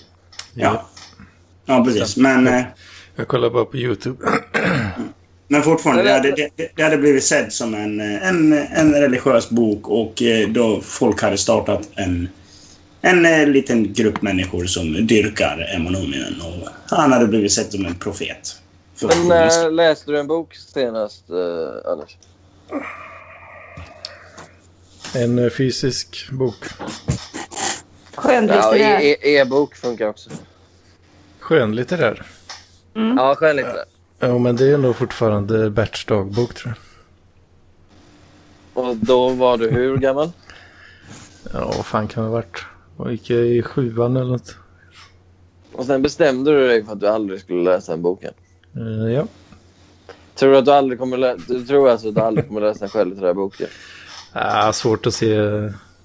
Ja. Ja, precis. Men... eh, Jag kollar bara på YouTube. Men fortfarande, det Men hade, det, det hade blivit sedd som en, eh, en, en religiös bok och eh, då folk hade startat en, en eh, liten grupp människor som dyrkar Emma Nominen och han hade blivit sedd som en profet. För Men eh, när läste du en bok senast, eh, Anders? En eh, fysisk bok. Ja, e- e- e-bok funkar också. Skönlitterär. Ja, skönlitterär. Jo, men det är nog fortfarande Berts dagbok tror jag. Och då var du hur gammal? Ja, vad fan kan det ha varit? Vad Gick jag i sjuan eller något? Och sen bestämde du dig för att du aldrig skulle läsa en boken. Eh, ja. Tror du att du aldrig kommer läsa... Du tror alltså att du aldrig kommer läsa en skönlitterär bok? ja? Ah, svårt att se,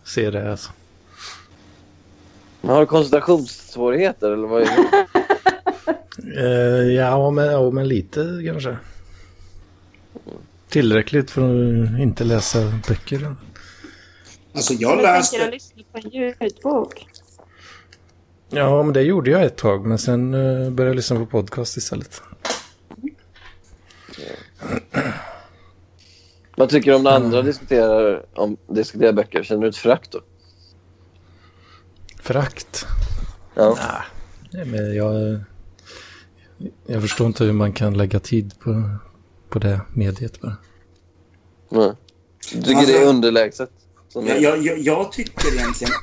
se det alltså. Men Har du koncentrationssvårigheter eller vad är det? Eh, ja, men, ja, men lite kanske. Tillräckligt för att inte läsa böcker. Alltså Jag tänker att lyssna på en ljudbok. Ja, men det gjorde jag ett tag, men sen eh, började jag lyssna på podcast istället. Vad tycker du om när andra diskuterar, om, diskuterar böcker? Känner du ett frakt då? Frakt? Ja. Nej, men jag, jag förstår inte hur man kan lägga tid på, på det mediet bara. Nej. Mm. Du tycker det är underlägset? Som Jag, jag, jag, jag tycker egentligen...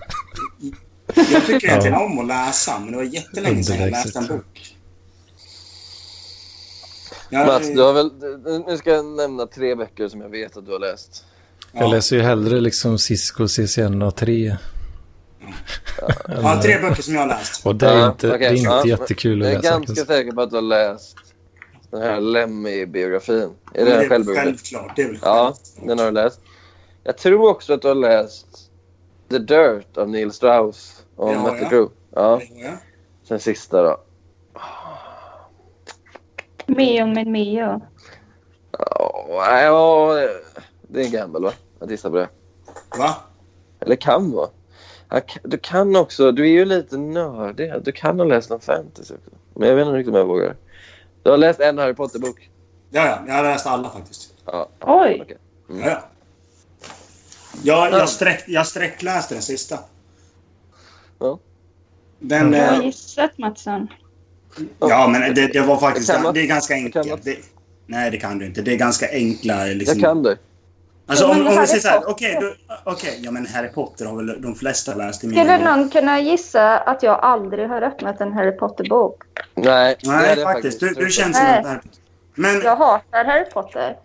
Jag tycker Ja. egentligen om att läsa, men det var jättelänge sedan jag läste en Underlägset. bok. Jag- Mats, du har väl... du- Nu ska jag nämna tre böcker som jag vet att du har läst. Jag läser ju hellre liksom Cisco CCNA 3. Ja, tre böcker som jag har läst. Och det är Ja, inte, det är okej. inte Ja, jättekul att Jag är läsa. ganska säker på att du har läst den här Lemmy-biografin. Är Men det det är en självbiografi? självklart, det är väl Ja, den har du läst. Jag tror också att du har läst The Dirt av Neil Strauss och Det har Mötley jag. Crüe. Ja. jag. Sen sista då. Meon med Meo. Ja, ja, det är en gamble va? Att gissa på det. Va? Eller kan vara. Ja, k- Du kan också, du är ju lite nördig. Du kan ha läst någon fantasy också. Men jag vet inte riktigt om jag vågar. Du har läst en Harry Potter-bok. Ja, ja, jag har läst alla faktiskt. Ja. Oj! Ja, ja. Jag, jag, sträck, jag sträckläste den sista. Ja. Den, Du har eh, gissat Mattsson. ja, men det, det var faktiskt... Det kan man. Det är ganska enkelt. Det, nej, det kan du inte. Det är ganska enkla... Liksom. Jag kan det. Alltså, Ja, om, men om vi Harry säger så här, Potter. okej, då- okej, ja men Harry Potter har väl de flesta läst i min Skulle någon kunna gissa att jag aldrig har öppnat en Harry Potter-bok? Nej, Nej, det är det faktiskt. faktiskt. Du, du känns som Nej. en Harry Potter. Men Jag hatar Harry Potter.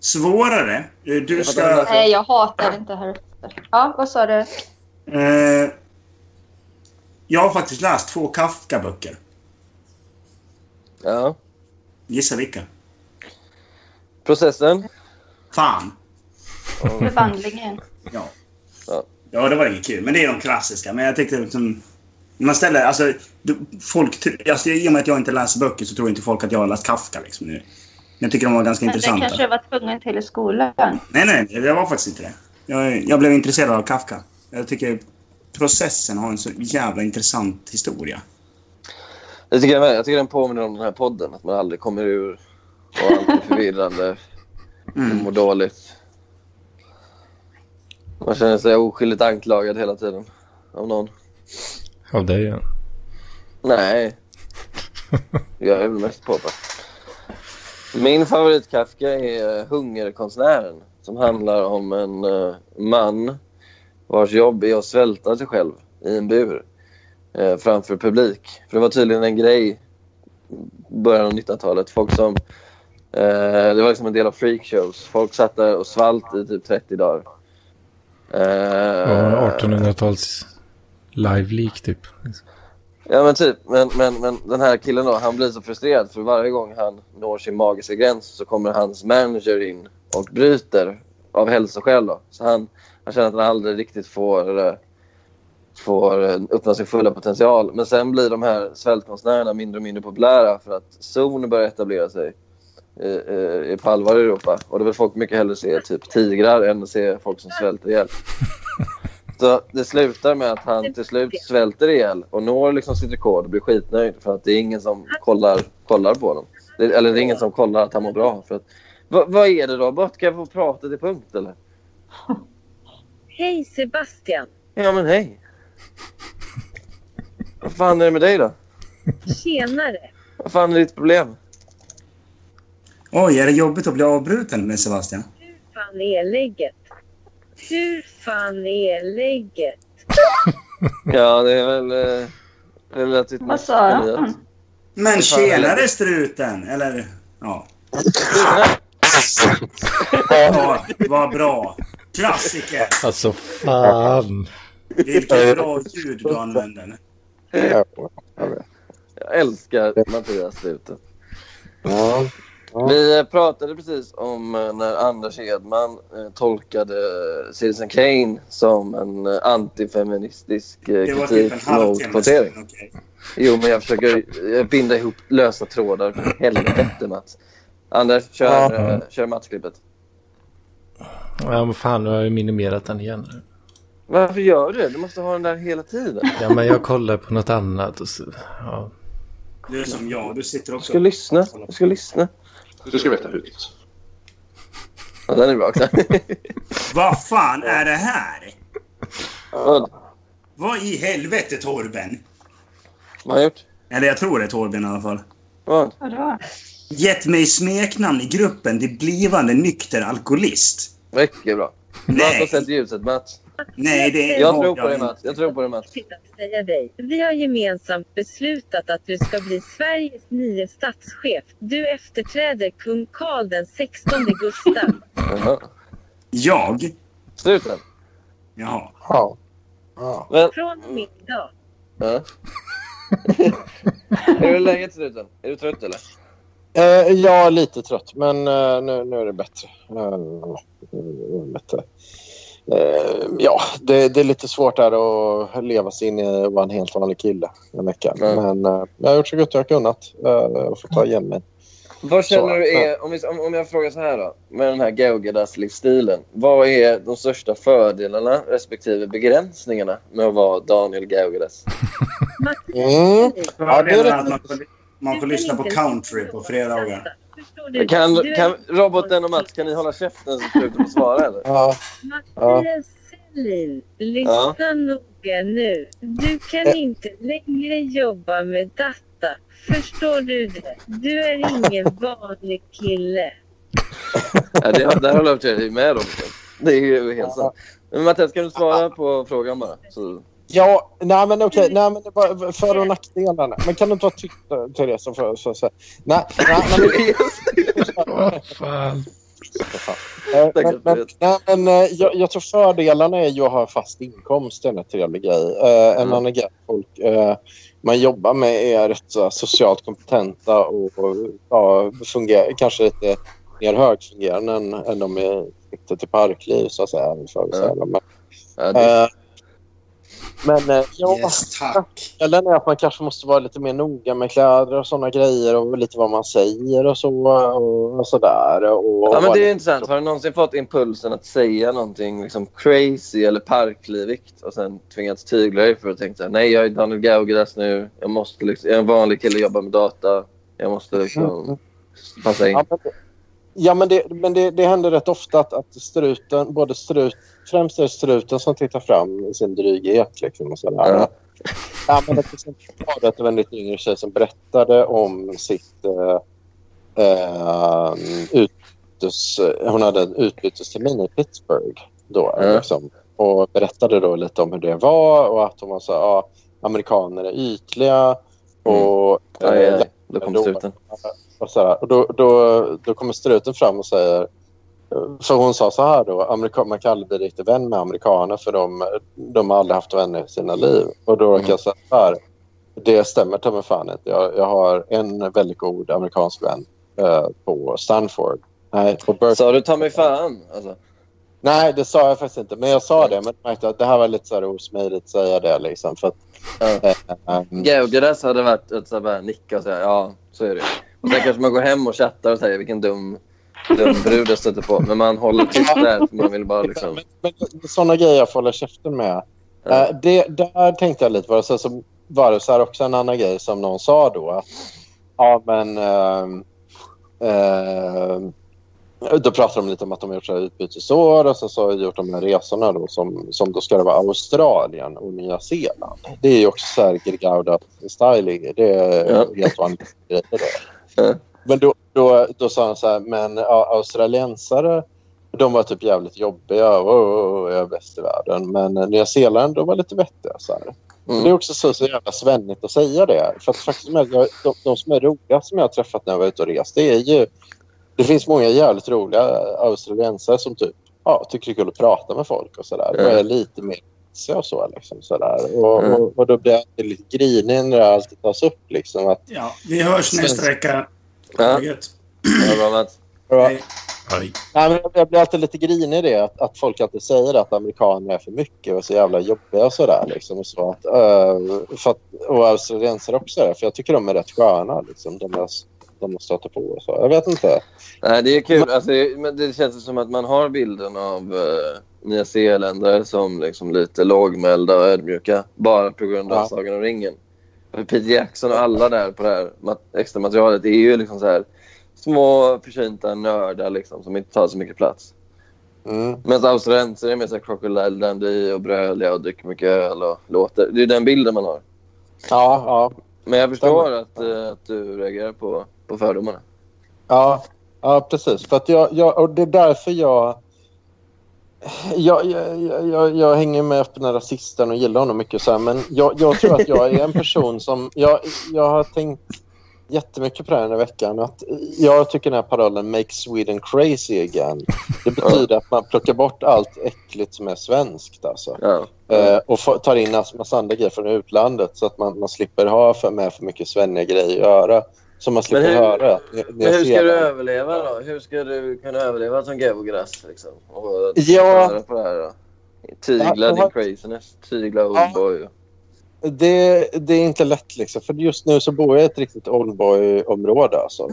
svårare. eh, Du, du ska... Nej, jag hatar inte Harry Potter. Ja, vad sa du? Eh, jag har faktiskt läst två Kafka-böcker. Ja. Gissa vilka? Processen? Fan. [laughs] Förvandlingen. Ja. Ja, det var inget kul. Men det är de klassiska. Men jag tyckte liksom... Man ställer... Alltså, du, folk, tr- alltså, I och med att jag inte läser böcker så tror inte folk att jag har läst Kafka. Liksom, nu. Men jag tycker de var ganska Men det intressanta. kanske jag var tvungen till i skolan. Nej, nej, det var faktiskt inte det. Jag, jag blev intresserad av Kafka. Jag tycker processen har en så jävla intressant historia. Jag tycker, jag tycker den påminner om den här podden. Att man aldrig kommer ur och allt är [laughs] förvirrande. Mm. Man mår dåligt. Man känner sig oskyldigt anklagad hela tiden. Av någon. Av dig ja. Nej. Jag är väl mest på det. Min favorit Kafka är eh, Hungerkonstnären. Som handlar om en eh, man vars jobb är att svälta sig själv i en bur eh, framför publik. För det var tydligen en grej i början av 1900-talet. Folk som... Eh, det var liksom en del av freakshows. Folk satt där och svalt i typ 30 dagar. Eh, Och 1800-tals live-leak typ. Ja men typ, men, men, men den här killen då, han blir så frustrerad för varje gång han når sin magiska gräns så kommer hans manager in och bryter av hälsoskäl då. Så han, han känner att han aldrig riktigt får eh, får eh, öppna sin fulla potential. Men sen blir de här svältkonstnärerna mindre och mindre populära för att zon börjar etablera sig i, eh, i, på allvar i Europa. Och då vill folk mycket hellre se typ tigrar än att se folk som svälter ihjäl. Så det slutar med att han till slut svälter ihjäl och når liksom sitt rekord och blir skitnöjd för att det är ingen som kollar, kollar på honom. Det, eller det är ingen som kollar att han mår bra. För att, Va- vad är det då? Bara ska jag få prata till punkt eller? Hej Sebastian! Ja men hej. Vad fan är det med dig då? Tjenare! Vad fan är ditt problem? Oj, är det jobbigt att bli avbruten med Sebastian? fan är läget? Hur fan är läget? Ja det är väl eh, relativt Vad sa jag? Elias. Men Hur fan är tjenare läget? struten! Eller, ja. ja vad bra! Klassiker! Alltså fan. Vilket bra ljud du använder. Jag älskar Mattias Struten. Vi eh, pratade precis om eh, när Anders Hedman eh, tolkade Citizen Kane som en eh, antifeministisk eh, Det var typ kritik en mot halvtimme kvotering. sedan. okej. Jo, men jag försöker eh, binda ihop lösa trådar. För Helvete, Mats. Anders, kör, Ja. eh, kör matchklippet. Ja, men fan, nu har jag ju minimerat den igen. Varför gör du det? Du måste ha den där hela tiden. Ja, men jag kollar på något annat och så... Ja. Du är som jag, du sitter också... Jag ska lyssna. Jag ska lyssna. Du ska veta hur. Ja, den är bra. Vad fan är det här? [laughs] Vad? Vad i helvete, Torben? Vad har jag gjort? Eller jag tror det är Torben i alla fall. Vad? Vadå? Gett mig smeknamn i gruppen till blivande nykter alkoholist. Mycket bra. Mats har sett ljuset, Mats. Nej, det är- Jag tror på dig, jag- Mats. Jag tror på dig, Mats. Till att säga dig. Vi har gemensamt beslutat att du ska bli Sveriges nya statschef. Du efterträder kung Karl den 16 Gustav. Jag? Struten. Jaha. Ja. Men, Från och med idag. ja. Hur [laughs] är läget, Struten? Är du trött, eller? Eh, jag är lite trött, men eh, nu, nu är det bättre. Eh, nu är det bättre. Eh, ja, det, det är lite svårt där att leva sig in i att vara en helt vanlig kille en vecka. Men eh, jag har gjort så gott jag har kunnat eh, och fått ta igen mig. Vad känner Så, du är, om, vi, om, om jag frågar så här då, med den här Gaugadas-livsstilen. Vad är de största fördelarna respektive begränsningarna med att vara Daniel Gaugadas? Mm. Ja, det är rätt. att man får, man får lyssna på country på fredagar. Kan, kan, roboten och Mats, kan ni hålla käften så slutar de svara eller? Ja. Mattias Selin, lyssna noga nu. Du kan Eh, inte längre jobba med data. Förstår du det? Du är ingen vanlig kille. ja det, där håller jag dig med roboten. Det är ju helt sant. Men Mattias, kan du svara på frågan bara? Så... Ja, nej men okej. Nej, men det var för och nackdelarna. Men kan du inte ha tyckt eh, Therese? För, så, så. Nej, [laughs] nej, nej, men... Fan. Eh, Men, men, nej, men, eh, jag, jag tror fördelarna är ju att ha en fast inkomst. Det är en trevlig grej. Eh, En Mm. annan grej att folk eh, man jobbar med är rätt så socialt kompetenta och, och ja, fungerar, kanske lite mer högfungerande än, än de är riktigt till parkliv, så att säga. För, Men, det- eh, men eh, ja, Yes, Eller är att man kanske måste vara lite mer noga med kläder och såna grejer och lite vad man säger och så och, och sådär. Och, Ja men och- det är intressant. Har du någonsin fått impulsen att säga någonting liksom crazy eller parklivigt och sen tvingats tygla dig för att tänka så här, nej jag är Daniel Gaugadas nu. Jag, måste liksom, jag är en vanlig kille, jobbar med data. Jag måste liksom passa in. Ja, men, det- ja, men, det, men det, det händer rätt ofta att, att struten, både strut, främst är det struten som tittar fram i sin dryghet. Liksom, och sådär. Ja. men det finns en att det var en lite yngre tjej som berättade om sitt eh, eh, utbytes... Hon hade en utbytestermin i Pittsburgh då. Liksom, och berättade då lite om hur det var och att hon var så här, ja, amerikaner är ytliga. Och, Mm. Aj, aj, aj. eh, Då kom då- struten. och så här, och då, då, då kommer struten fram och säger... För hon sa så här då, amerika- man kan aldrig bli riktigt vän med amerikaner för de, de har aldrig haft vänner i sina liv. Och då råkade jag säga så här, det stämmer ta mig fan inte. Jag, jag har en väldigt god amerikansk vän eh, på Stanford. Nej, på Berkeley. Sa du ta mig fan? Alltså. Nej, det sa jag faktiskt inte. Men jag sa det. Men jag märkte att det här var lite så här osmidigt att säga det. Liksom, för att, eh, Geogeres hade varit att så här, bara nicka och säga ja, så är det. Och sen kanske man går hem och chattar och säger vilken dum, dum brud jag stötte på. Men man håller tyst där för man vill bara liksom... sådana grejer jag får hålla käften med. Mm. Eh, det, där tänkte jag lite på det. Sen så var det så här också en annan grej som någon sa då. Att, ja, men... ehm, ehm, då pratar de lite om att de har gjort så här utbytesår och sen så har de gjort de här resorna då som, som då ska det vara Australien och Nya Zeeland. Det är ju också så här Gregauda styling. Det är Ja. helt vanliga grejer då. Men då, då, då sa han så här, men ja, australiensare de var typ jävligt jobbiga och oh, oh, jag är bäst i världen. Men eh, Nya Zeeland de var lite vettiga. Så här. Det är också så, så jävla svennigt att säga det. För att faktum är att jag, de, de som är roliga som jag har träffat när jag var ute och rest, det är ju det finns många jävligt roliga australiensare som typ, ja, tycker det är kul att prata med folk och sådär. Ja. Och är lite mer så och så. Liksom, sådär. Och, Ja. och, och då blir jag alltid lite grinig när det alltid tas upp. Liksom, att, Ja, vi hörs nästa vecka. Ja. bra Mats. Hej. Nej, men jag- jag blir alltid lite grinig i det att, att folk alltid säger att amerikaner är för mycket och så jävla jobbiga och sådär. Liksom, och, så att, eh, för att, och australiensare också är det, för jag tycker de är rätt sköna. Liksom, de jag de jag stöter på och så. Jag vet inte. Nej, det är kul. Alltså, det- men det känns som att man har bilden av uh, Nya Zeeländare som liksom lite lågmälda och ödmjuka bara på grund av Ja. Sagan om ringen. För Peter Jackson och alla där på det här mat- extra materialet är ju liksom så här små förtjänta nördar liksom, som inte tar så mycket plats. Mm. Medan australiensare är mer så här crocodile dandy och bröliga och dricker mycket öl och låter. Det är ju den bilden man har. Ja, ja. Men jag förstår att, eh, att du reagerar på, på fördomarna. Ja, ja precis. För att jag, jag, och det är därför jag jag, jag, jag- jag, jag hänger med öppna rasisten och gillar honom mycket. Så här, men jag, jag tror att jag är en person som... Jag, jag har tänkt jättemycket på det här den här veckan. Att jag tycker den här parollen “Make Sweden crazy again” det betyder att man plockar bort allt äckligt som är svenskt. Alltså. Eh, och få- tar in en massa andra grejer från utlandet så att man, man slipper ha för, med för mycket svenniga grejer att göra. Som man slipper hur- höra. Men hur ska du överleva då? Hur ska du kunna överleva som gävogräs? Liksom? Och Ja. köra på det här då? Tygla Ja, din och- craziness. Tygla oldboy. Det, det är inte lätt. Liksom. För just nu så bor jag i ett riktigt oldboy-område. Alltså.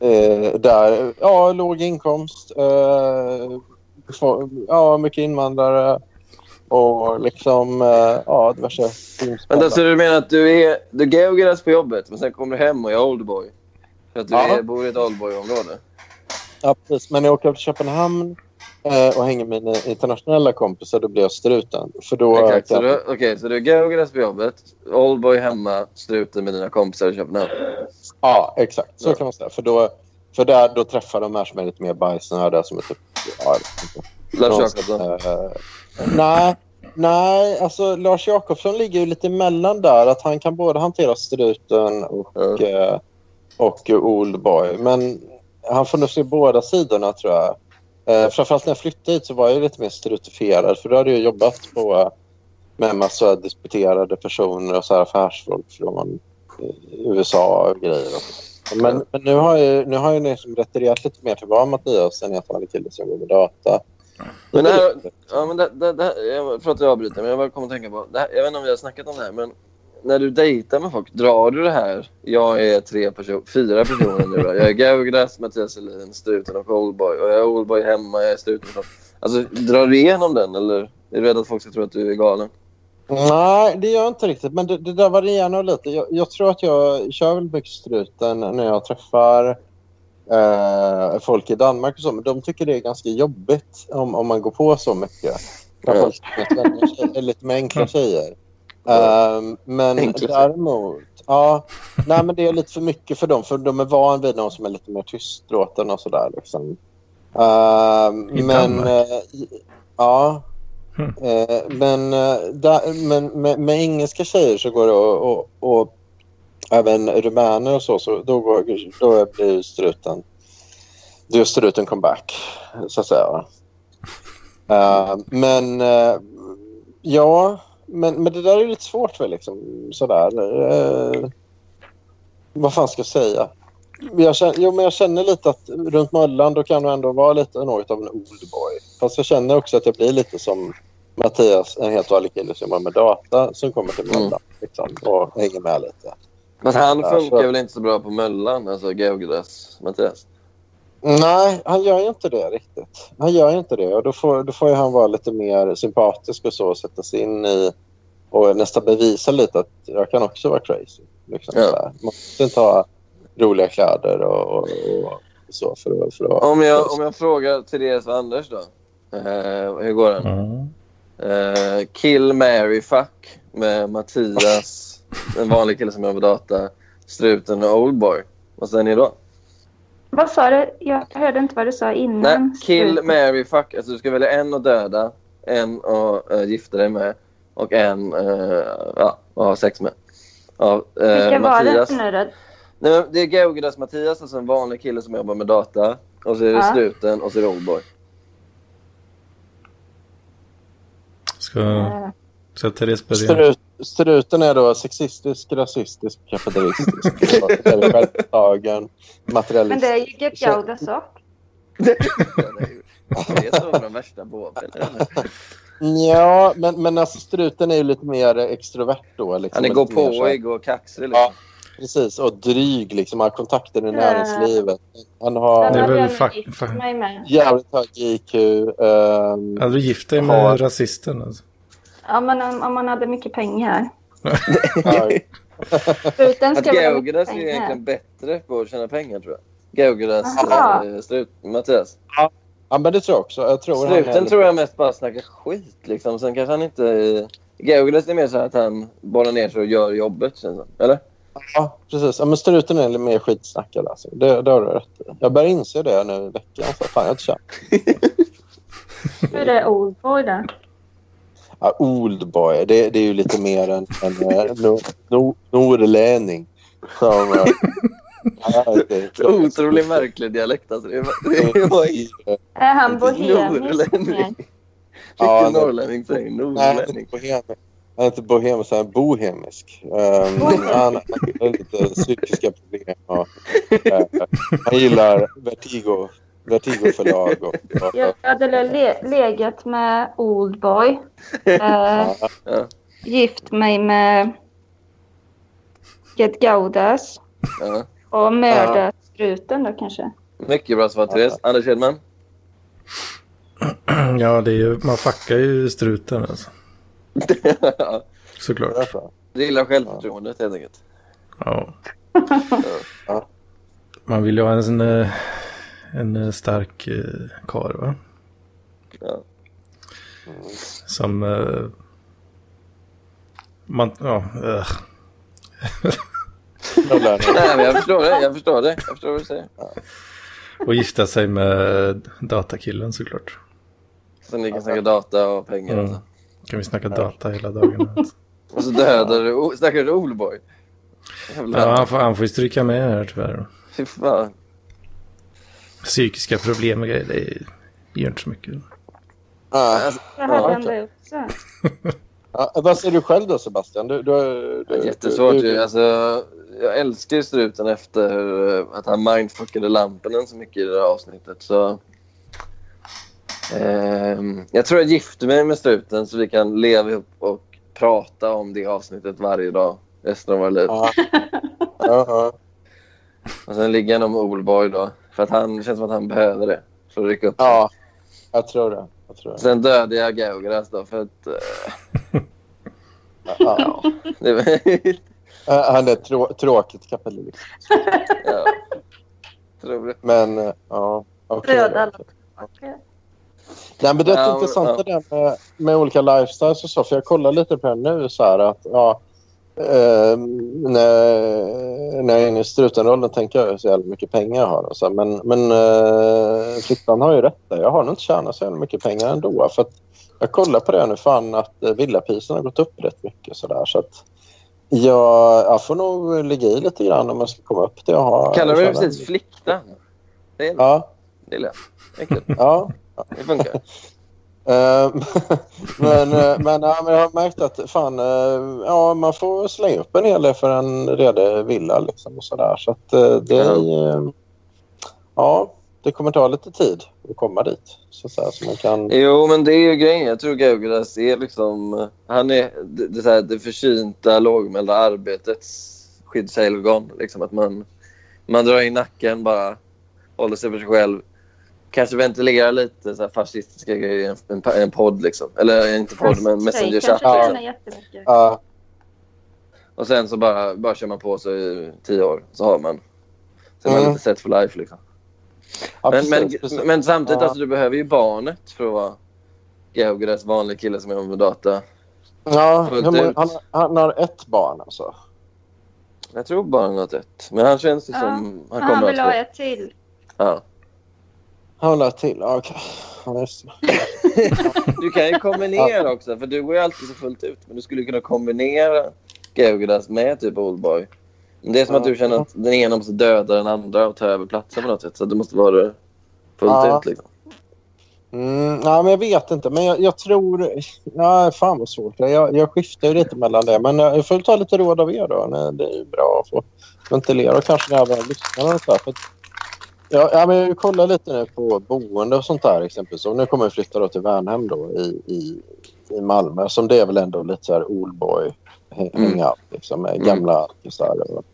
Eh, eh, där, ja, låg inkomst. Eh, få- ja, mycket invandrare. Och liksom, eh, ja, diverse Vänta, så du menar att du är, du är gävogräs på jobbet men sen kommer du hem och är oldboy? För att du Ja. är, bor i ett oldboy-område? Ja, precis. Men när jag åker till Köpenhamn eh, och hänger med mina internationella kompisar, då blir jag struten. För då... Exakt. Så du, okej, så du är gävogräs på jobbet, oldboy hemma, struten med dina kompisar i Köpenhamn. Ja, exakt. Så kan man säga. För, då, för där, då träffar de här som är lite mer bajsnödiga som är typ... Ja, jag vet inte. Lars Någon- Jacobsson. eh, nej, nej, alltså Lars Jakobsson ligger ju lite emellan där. Att han kan både hantera struten och, eh, och Oldboy. Men han får nog se båda sidorna tror jag. Eh, framförallt när jag flyttade hit så var jag ju lite mer strutifierad. För då hade jag jobbat på, eh, med en massa disputerade personer och så här affärsfolk från eh, USA och grejer. Och så. Men, men nu har jag, nu har jag liksom retirerat lite mer till vad Mattias än jag talade till det som går med data. Men det här, ja, men det, det, det här, jag, förlåt att jag avbryter, men jag bara kom att tänka på. Det här, jag vet inte om vi har snackat om det här, men när du dejtar med folk, drar du det här? Jag är tre person, fyra personer nu. Då. Jag är Gaugrass, Mattias Elin, Struten och Oldboy. Och jag är Oldboy hemma, jag är Struten. och- Alltså, drar du igenom den eller är du rädd att folk ska tro att du är galen? Nej, det gör jag inte riktigt. Men det, det där varierar nog lite. Jag, jag tror att jag kör väl mycket struten när jag träffar eh, folk i Danmark och så. Men de tycker det är ganska jobbigt om, om man går på så mycket. Framförallt med svenska tjejer, eller lite med enkla tjejer. Ehm, men Enkla tjejer. däremot... Ja, nej, men det är lite för mycket för dem. För de är van vid någon som är lite mer tystlåten och sådär. Liksom. Ehm, I men, Danmark? eh, i- Ja. Eh, men eh, där, men med, med engelska tjejer så går det och, och, och även rumäner och så, så då, går, då blir ju struten då är struten comeback, så att säga. va. Eh, men eh, ja, men, men det där är ju lite svårt väl liksom sådär. Eh, vad fan ska jag säga? jag känner, jo, men jag känner lite att runt Möllan då kan du ändå vara lite något av en oldboy. Fast jag känner också att jag blir lite som Mattias, en helt vanlig kille som jobbar med data som kommer till Mm. Möllan liksom, och hänger med lite. Men han Ja, funkar så- väl inte så bra på Möllan, alltså Geogräs, Mattias? Nej, han gör ju inte det riktigt. Han gör ju inte det. Och då, får, då får ju han vara lite mer sympatisk och så och sätta sig in i och nästan bevisa lite att jag kan också vara crazy. Liksom, Ja. så här. Man måste inte ha roliga kläder och, och, och så för att, för att vara Om jag, crazy. om jag frågar Therese och Anders då. Eh, hur går den? Eh, kill, Mary, fuck med Mattias, en vanlig kille som jobbar med data, struten och Oldboy. Vad säger ni då? Vad sa du? Jag hörde inte vad du sa Nej, innan. kill, Mary, fuck. Alltså, du ska välja en att döda, en att eh, gifta dig med och en eh, ja, att ha sex med. Ja, eh, Vilka var det Mattias. nu då? Nej, men det är Geogras Mattias, alltså en vanlig kille som jobbar med data. Och så är det Ja. struten och så är det Oldboy. Ska, Mm. ska Therese börja? Strut, struten är då sexistisk, rasistisk, [laughs] kapitalistisk, självtagen, Men det materialistisk. är ju Get Gaudas och. Det är så de värsta båven. Ja, men, men alltså, struten är ju lite mer extrovert då. Liksom, Han är Och lite mer så här- gåpåig och kaxig. Liksom. Precis, och dryg. Liksom. Han har kontakter i Ja. näringslivet. Han Det är har väl fuck- fuck. Mig med. jävligt hög IQ. ehm, Ja, du gifte dig har- med rasisten alltså. [clears throat] Ja, men om, om man hade mycket pengar. [laughs] Struten Att ska väl ha mycket Geogras är pengar. egentligen bättre på att tjäna pengar, tror jag. Geogras, Aha. eh, strut, Mattias. Ja, men det tror jag också. Jag tror han är Struten lite- tror jag mest bara snackar skit. Liksom. Sen kanske han inte... Geogras är mer så här att han bollar ner sig och gör jobbet, känns det som. Eller? Ja, precis. Ja, men struten är lite mer skitsnackad. Alltså. Det, det har du rätt i. Jag börjar inse det nu i veckan. Så fan, jag har inte känt. Hur är Oldboy då? Ja, Oldboy, det, det är ju lite mer en, en eh, no, no, norrlänning. [laughs] Som, eh, ja, det- [laughs] Otroligt märklig dialekt. Alltså. Det är- det var ju Är han bohemisk? norrlänning. Ja, Vilken nej. norrlänning säger Nej, han är norrlänning? inte bohem- han är inte bohemisk, han är bohemisk. Ehm, han har lite psykiska problem. Och, eh, han gillar Vertigo, Vertigo-förlag. Och, och, Jag hade le- legat med Oldboy. Eh, [laughs] Ja. gift mig med Get Gaudas. Ja. Och mördat struten då kanske. Mycket bra svar, Therese. Anders Hedman? Ja, det är ju, man fuckar ju struten [laughs] alltså. Såklart. Du gillar självförtroendet, helt enkelt. Ja. Man vill ju ha en, sån, eh, en eh, stark eh, karl va? Ja. Som... eh, man, ja, eh. Nej, men jag förstår det. Jag förstår det. Jag förstår vad du säger. Och gifta sig med datakillen såklart. Så ni kan snacka data och pengar. Mm. Kan vi snacka data hela dagen? [laughs] Och så dödar du... o- Snackar du Oldboy? Jävlar. Ja, han, får, han får ju stryka med här tyvärr. Fy fan. Psykiska problem och grejer, det gör inte så mycket. Ja. Jag hade Ja, han det också. ja, vad säger du själv då, Sebastian? Du, du, Det Eh, du, är jättesvårt du- ju. Alltså, jag älskar ju struten efter eh, att han mindfuckade lamporna så mycket i det här avsnittet. Så, ehm, jag tror jag gifter mig med struten så vi kan leva ihop och prata om det avsnittet varje dag resten av våra liv. Ja, ja. Och sen ligger han om Oldboy då. För att han det känns som att han behöver det. För att rycka upp Ja, jag tror det. Jag tror det. Sen dödade jag Geogras då för att... eh, Ja. det var, [laughs] Eh, Han är trå- tråkigt kapitalist. ja, tror det. liksom. Men, eh, ja. okej då. Döda alla tillbaka. Nej, men det är Ja, rätt men- intressant ja. det där med, med olika lifestyles och så. För jag kollar lite på det här nu så här att ja, eh, när, när jag är inne i strutenrollen tänker jag så jävla mycket pengar jag har. Och så här, men men eh, Frittan har ju rätt där. Jag har nog inte tjänat så jävla mycket pengar ändå. För att jag kollar på det här nu fan att eh, villapriserna har gått upp rätt mycket så där. Så att jag, jag får nog ligga i lite grann om jag ska komma upp till att ha... Kallar du det tjäna- precis flikta? Det är Ja, det. Är lätt. Enkelt. [laughs] ja. Det funkar. Eh, [laughs] men, eh, men, ja, men jag har märkt att fan, eh, ja, man får slänga upp en hel del för en redig villa. Liksom, och så där. så att, eh, det, eh, ja, det kommer ta lite tid att komma dit. Så, att säga, så man kan... Jo, men det är ju grejen. Jag tror Gaugaras är liksom... Han är det, det, så här, det försynta, lågmälda arbetets skyddshelgon. Liksom att man, man drar in nacken bara, håller sig för sig själv. Kanske ventilerar lite så här fascistiska grejer i en, en, en podd. Liksom. Eller inte podd, men Messenger-chatt. Liksom. jättemycket. Ja. Och sen så bara, bara kör man på sig i tio år. Så har man. Så är man Mm. lite set for life. Liksom. Ja, men, precis, men, precis. men samtidigt, Ja. alltså, du behöver ju barnet för att vara Geograts vanlig kille som jobbar med data. Ja, Fullt hur många, ut. han, han har ett barn alltså. Jag tror bara han har ett. Men han känns ju Ja. som... Han Han, han kommer vill ha att ha två. ett till. Ja. Han har ett till? Ja, Okej. Ja, just det. Du kan ju [laughs] kombinera också, för du går ju alltid så fullt ut. Men du skulle kunna kombinera Geograts med typ Oldboy. Men det är som att du känner att den ena måste döda den andra och ta över platsen på något sätt. Så du måste vara fullt Ja. ut liksom. Mm, nej, men jag vet inte. Men jag, jag tror... Nej, fan vad svårt. Jag, jag skiftar ju lite mellan det. Men jag får ta lite råd av er då. Nej, det är ju bra att få ventilera och kanske även lyssnarna och så här. För att, ja, ja, men jag kollar lite nu på boende och sånt där exempelvis. Och nu kommer jag flytta då till Värnhem då i, i, i Malmö. Som det är väl ändå lite så här Oldboy hänga liksom, med gamla artisar och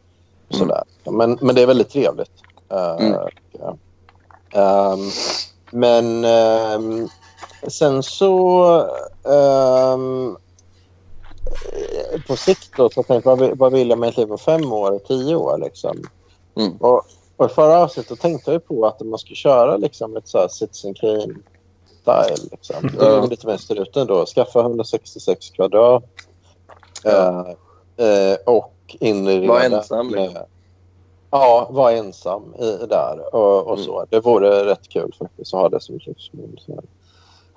sådär. Men, men det är väldigt trevligt. Eh, ja. Ehm, men ehm, sen så... ehm, eh, på sikt då, så tänkte jag, vad vill- vad vill jag med ett liv om fem år och tio år? Liksom? Och, och i förra avsnittet då tänkte jag ju på att man skulle köra liksom, ett så här citizen Kane-style. Liksom. Det är Ja. ju lite mer struten då. Skaffa 166 kvadrat. Eh, eh, och inreda... Var ensam, med- liksom. Ja, vara ensam i, där och, Mm. och så. Det vore rätt kul faktiskt att ha det som livsmål. så här.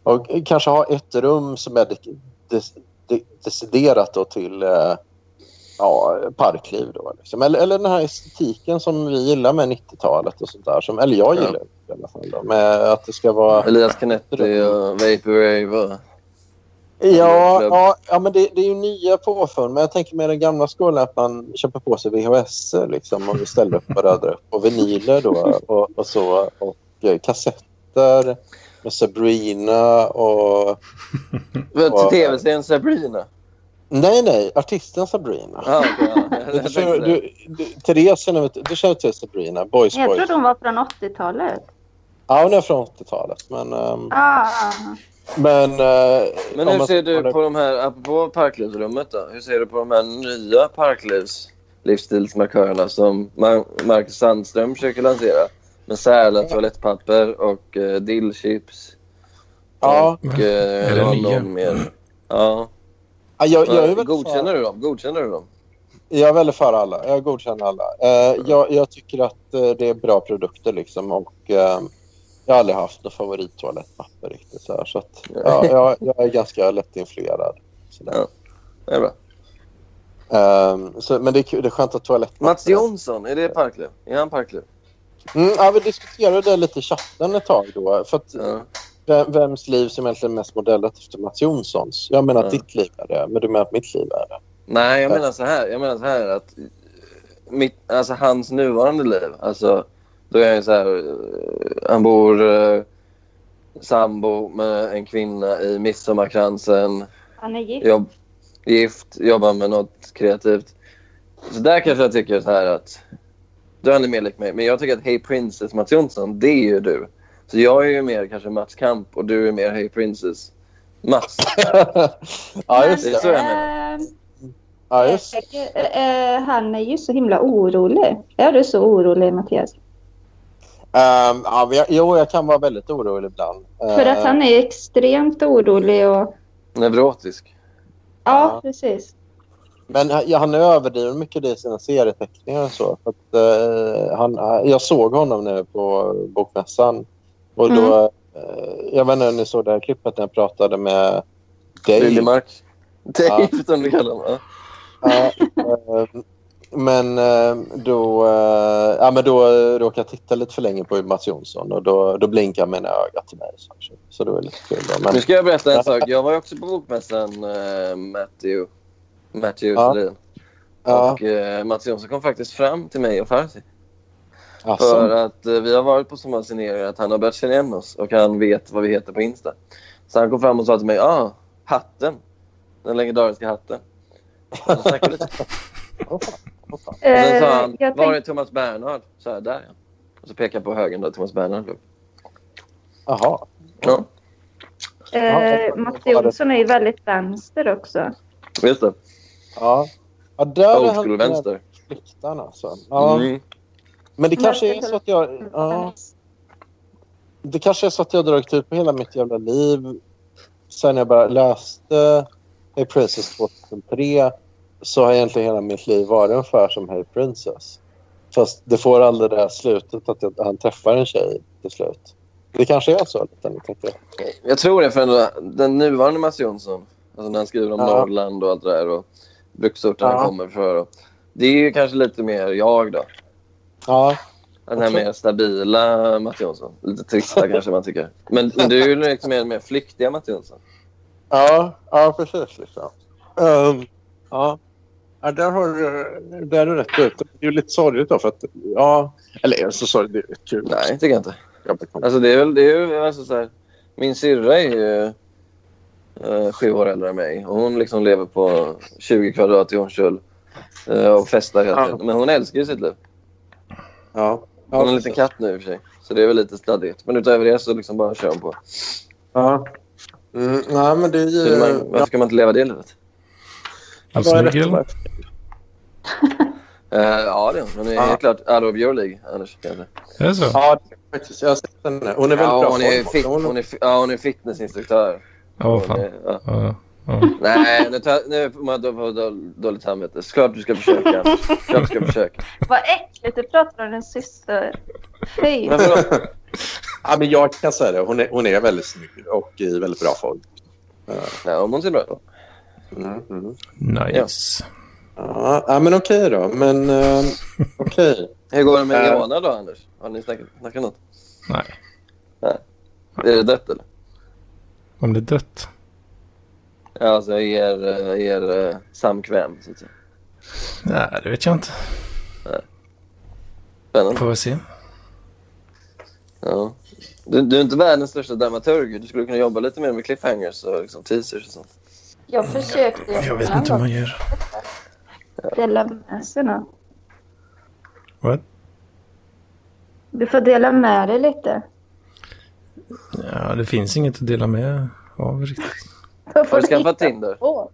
Och kanske ha ett rum som är de, de, de, deciderat då till eh, ja, parkliv. Då, liksom. eller, eller den här estetiken som vi gillar med 90-talet och sånt där. Som, eller jag Ja. gillar det i alla fall. Då, med att det ska vara... Elias Canetti och Vaporwave och... Ja, ja, ja men det, det är ju nya påfund. Men jag tänker med den gamla skolan att man köper på sig VHS liksom, och istället för att upp och vinyler då, och, och så. Och eh, kassetter med Sabrina och... Vad, Tv-serien Sabrina? Nej, nej. Artisten Sabrina. Ja, [laughs] okej, ja. Du, känner- du, du, Therese, känner du- du känner till Sabrina? Boys Jag Boys. trodde hon var från 80-talet. Ja, hon är från 80-talet. Men... ehm, Ah, ah. men, eh, Men om hur man- ser du på de här, apropå parklivsrummet då, hur ser du på de här nya parklivs livsstilsmarkörerna som Mar- Marcus Sandström försöker lansera? Med Sälen toalettpapper och eh, dillchips. Ja. Och eh, Är det det var nya? någon mer. Ja. Ja, jag- jag är Vad- väl Godkänner du dem? Godkänner du dem? Jag är väldigt för alla. Jag godkänner alla. Eh, jag, jag tycker att eh, det är bra produkter. Liksom, och, eh, jag har aldrig haft något favorittoalettpapper. Riktigt, så här, så att, ja, jag, jag är ganska lättinfluerad. Så där. Det är bra. Ehm, så, men det är, kul, det är skönt att toalettpapper... Mats Jonsson, är det parkliv? Är han parkliv? Mm, ja, vi diskuterade det lite i chatten ett tag. Då, för att, vem, vems liv som egentligen är mest modellat efter Mats Jonssons? Jag menar att Ja. ditt liv är det, men du menar att mitt liv är det. Nej, jag Ja. menar så här. Jag menar så här att eh, mitt, alltså hans nuvarande liv, alltså då är han ju så här, eh, han bor eh, sambo med en kvinna i Midsommarkransen, Han är gift. jobb, gift, jobbar med något kreativt. Så där kanske jag tycker så här att, då är han mer lik mig, men jag tycker att Hey Princess Mats Jonsson, det är ju du. Så jag är ju mer kanske Mats Kamp och du är mer Hey Princess [laughs] Mats. ja, just det. är så jag menar. Ehm, Ja, just eh, eh, han är ju så himla orolig. Är du så orolig, Mattias? Ehm, ja, men jag, jo, jag kan vara väldigt orolig ibland. För att Ehm, han är extremt orolig och... Neurotisk. Ja, precis. Men han, ja, han överdriver mycket det i sina serieteckningar och så. För att, eh, han, eh, jag såg honom nu på bokmässan. Och då, Mm. eh, jag vet inte om ni såg det här klippet när jag pratade med [laughs] Dave. Liljemark. Ja. Dave som du kallar honom. ja. Ja, eh, Men eh, då, eh, ja, men då eh, råkade jag titta lite för länge på Mats Jonsson och då, då blinkar mina ögon till mig. Så, så då är det lite kul. Då. Men, Nu ska jag berätta [laughs] en sak. Jag var ju också på bokmässan, eh, Matthew, Matthew Ja. Selin. Ja. Och eh, Mats Jonsson kom faktiskt fram till mig och Farsi. Asså. För att eh, vi har varit på så många signeringar att han har börjat känna igen oss och han vet vad vi heter på Insta. Så han kom fram och sa till mig, ja, ah, hatten. Den legendariska hatten. Och så snackade vi lite. Och sen sa han, Eh, jag var är tänk- Thomas Bernhard? Så här, där ja. Och så pekade jag på högen där Thomas Bernhard låg. Jaha. Ja, Eh, Mats Jonsson är ju väldigt vänster också. just det. Ja. ja där Old är han school vänster. Mm. fliktan alltså. Ja. Men det kanske är så att jag... Ja. Det kanske är så att jag har dragit ut på hela mitt jävla liv sen jag bara läste Hey Princess 2003 så har egentligen hela mitt liv varit ungefär som Hey Princess. Fast det får aldrig det där slutet att jag, han träffar en tjej till slut. Det kanske är så lite nu tänkte jag. Jag tror det för den, den nuvarande Mats Jonsson. Alltså när han skriver om Ja. Norrland och allt det där och bruksorten Ja. han kommer för. Det är ju kanske lite mer jag då. Ja. Den här Jag tror- mer stabila Mats Jonsson. Lite [laughs] trista kanske man tycker. Men, men du är ju liksom mer, mer flyktiga Mats Jonsson. Ja, ja precis. Liksom. Ehm, ja. ja, där har du, där är du rätt ute. Det är ju lite sorgligt då för att, ja. Eller är det så sorgligt? Det är rätt kul. Nej, tycker jag inte. Jag blir kom- Alltså det är väl det är ju alltså så här, Min syrra är ju eh, sju år äldre än mig. Och hon liksom lever på 20 kvadrat i Hornstull eh, och festar hela Ja. tiden. Men hon älskar ju sitt liv. Ja. Hon har en liten katt nu i och för sig. Så det är väl lite stadigt. Men utöver det så liksom bara kör hon på. Ja. Mm, nej, men det är Så ju... man, varför kan man inte leva det livet? Ja, Alltså, vad är rätt Snigel. svar? Eh, ja, det är hon. Hon är Ja. helt klart out of your league annars kanske. Är det så? Ja, det är faktiskt. Jag har sett henne. Hon är väldigt ja, bra hon form är, också. fit, hon är, fi- ja, hon är fitnessinstruktör. Ja, vad fan. Hon är- ja. Ja, ja. Nej, nu, tar, nu får man då får då, dåligt samvete. Såklart du ska försöka. Såklart du ska [laughs] försöka. Vad äckligt, du pratar om din syster. Fy. Men vadå? ja, men jag kan säga det. Hon är, hon är väldigt snygg och i väldigt bra form. Ja, hon ser bra ut. Mm, mm. Nice. Ja, ja, men okej då. Men eh, okej. Hur går det med Eh. Ilona då, Anders? Har ni snackat, snackat något? Nej. Nej. Är det dött eller? Om det är dött. Ja, alltså er, eh, er eh, samkväm, så att säga. Nej, det vet jag inte. Spännande. Får vi se. Ja. Du, du är inte världens största dramaturg. Du skulle kunna jobba lite mer med cliffhangers och liksom teasers och sånt. Jag försökte ju. Jag vet inte hur man gör. Dela med sig nu. What? Du får dela med dig lite. Ja, det finns inget att dela med av riktigt. Då får Har du hitta skaffat Tinder? på.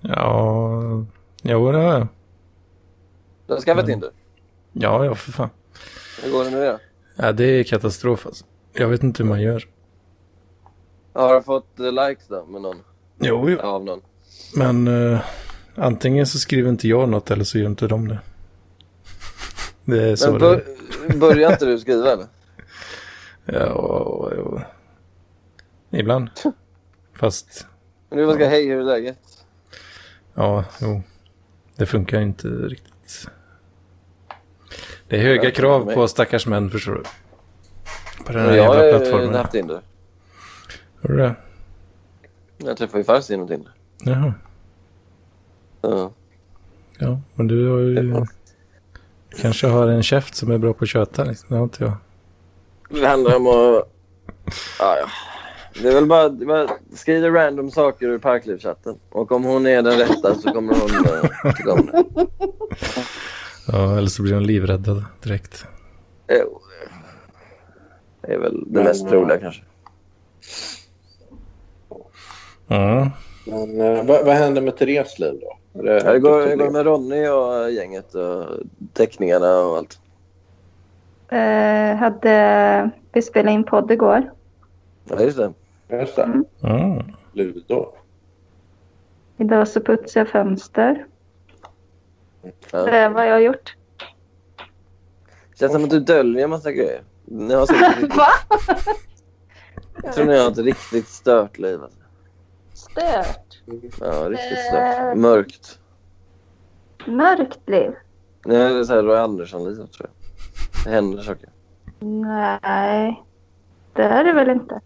Ja, jo det har jag. Du har skaffat Mm. Tinder? Ja, ja för fan. Hur går det med det då? Ja, det är katastrof alltså. Jag vet inte hur man gör. Har du fått eh, likes då med någon? Jo, jo. Av någon? Men eh, antingen så skriver inte jag något eller så gör inte de det. [laughs] Det är så Men det är. bör, börjar inte du skriva eller? Ja, jo. Ibland. Fast, Men du bara ska hej hur är läget? ja, jo. Det funkar inte riktigt. Det är höga krav på stackars män, förstår du. På den här jag jävla har ju plattformen. haft Tinder. Hör du det? Jag träffade ju Farsi genom Tinder. Jaha. Ja. Ja, men du har ju... Kanske har en käft som är bra på att köta. Liksom. Det har inte jag. Det handlar om att... Ja, ja. Det är väl bara, det är bara skriva random saker ur Parklivschatten. Och om hon är den rätta så kommer hon eh, tycka om det. Ja, eller så blir de livräddad direkt. Jo. Det är väl det mest troliga kanske. Ja. Men, eh, vad, vad händer med Therese liv då? Är Ja, Eh, det går, det går med Ronny och eh, gänget och teckningarna och allt. Eh, hade, vi spelade in podd igår. Ja, just det. Just det. Mm. Ludo. Idag så putsade jag fönster. Ja. Det är vad jag har gjort. [laughs] Känns som att du döljer en massa grejer. Ni har säkert riktigt, Va? jag tror ni har ett riktigt stört liv. Alltså. Stört. Ja, riktigt stört. Mörkt. Mörkt liv? Nej, det är så här Roy Andersson-livet tror jag. Det händer saker. Nej, det är det väl inte.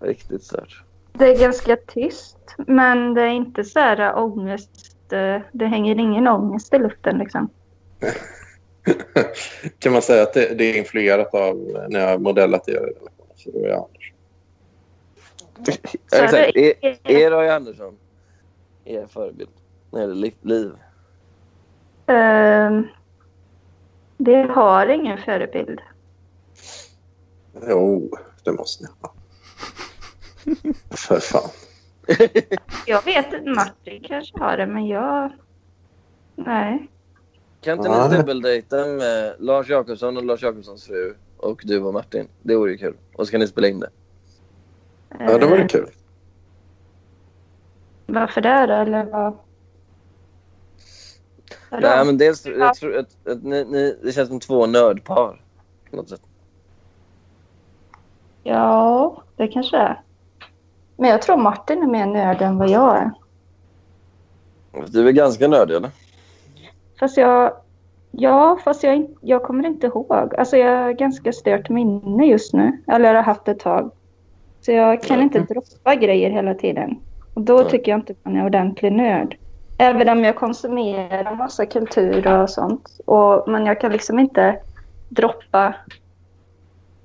Riktigt stört. Det är ganska tyst, men det är inte så här ångest. Det, det hänger ingen ångest i luften liksom. Kan man säga att det, det är influerat av när jag har modellat era relationer? Så då är jag Så Exakt. det Är, är- är Roy Andersson er förebild när det gäller li- liv? Ehm, vi har ingen förebild. Jo, det måste jag. För fan. Jag vet att Martin kanske har det, men jag... Nej. Kan inte Ja. ni dubbeldejta med Lars Jakobsson och Lars Jakobssons fru och du och Martin? Det vore ju kul. Och så kan ni spela in det. Ja, det vore kul. Ehm, Varför det då? Eller vad? Vadå? Nej, men dels, jag tror att, att ni, ni, det känns som två nördpar. På något sätt. Ja, det kanske det är. Men jag tror Martin är mer nörd än vad jag är. Du är ganska nördig, eller? Fast jag... Ja, fast jag, in- jag kommer inte ihåg. Alltså jag har ganska stört minne just nu. Eller har haft ett tag. Så jag kan inte droppa grejer hela tiden. Och då Nej. tycker jag inte att man är ordentlig nörd. Även om jag konsumerar massa kultur och sånt. Och, men jag kan liksom inte droppa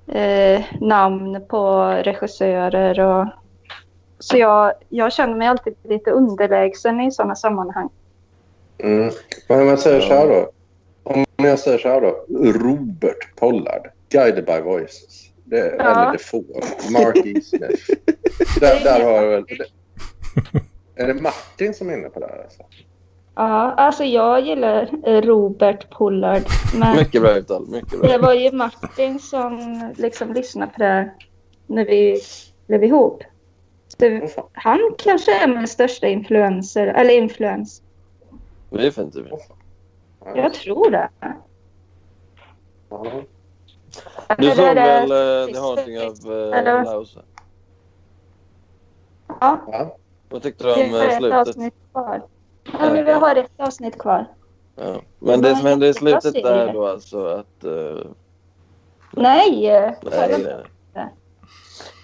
eh, namn på regissörer och... Så jag, jag känner mig alltid lite underlägsen i sådana sammanhang. Mm. Men om jag säger så här då. Om jag säger så här då. Robert Pollard, Guided by Voices. Det, Ja. Eller The Four. Mark E. [laughs] Smith. där, där har jag väl... Är det Martin som är inne på det här? Alltså? Ja, alltså jag gillar eh, Robert Pollard. Men Mycket bra uttal. Mycket det bra. var ju Martin som liksom lyssnade på det här när vi blev ihop. Så han kanske är min största influencer, eller influens. Det är fint. Typ. Jag tror det. Du Eller såg är det- väl eh, The Haunting of Eller- uh, House? Ja, Vad tyckte vi du om har eh, ett slutet? avsnitt kvar. Ja, men vi har ett avsnitt kvar. Ja. Men det som hände i slutet ser där det. då alltså att... eh, Nej! eh, nej, kolla. nej.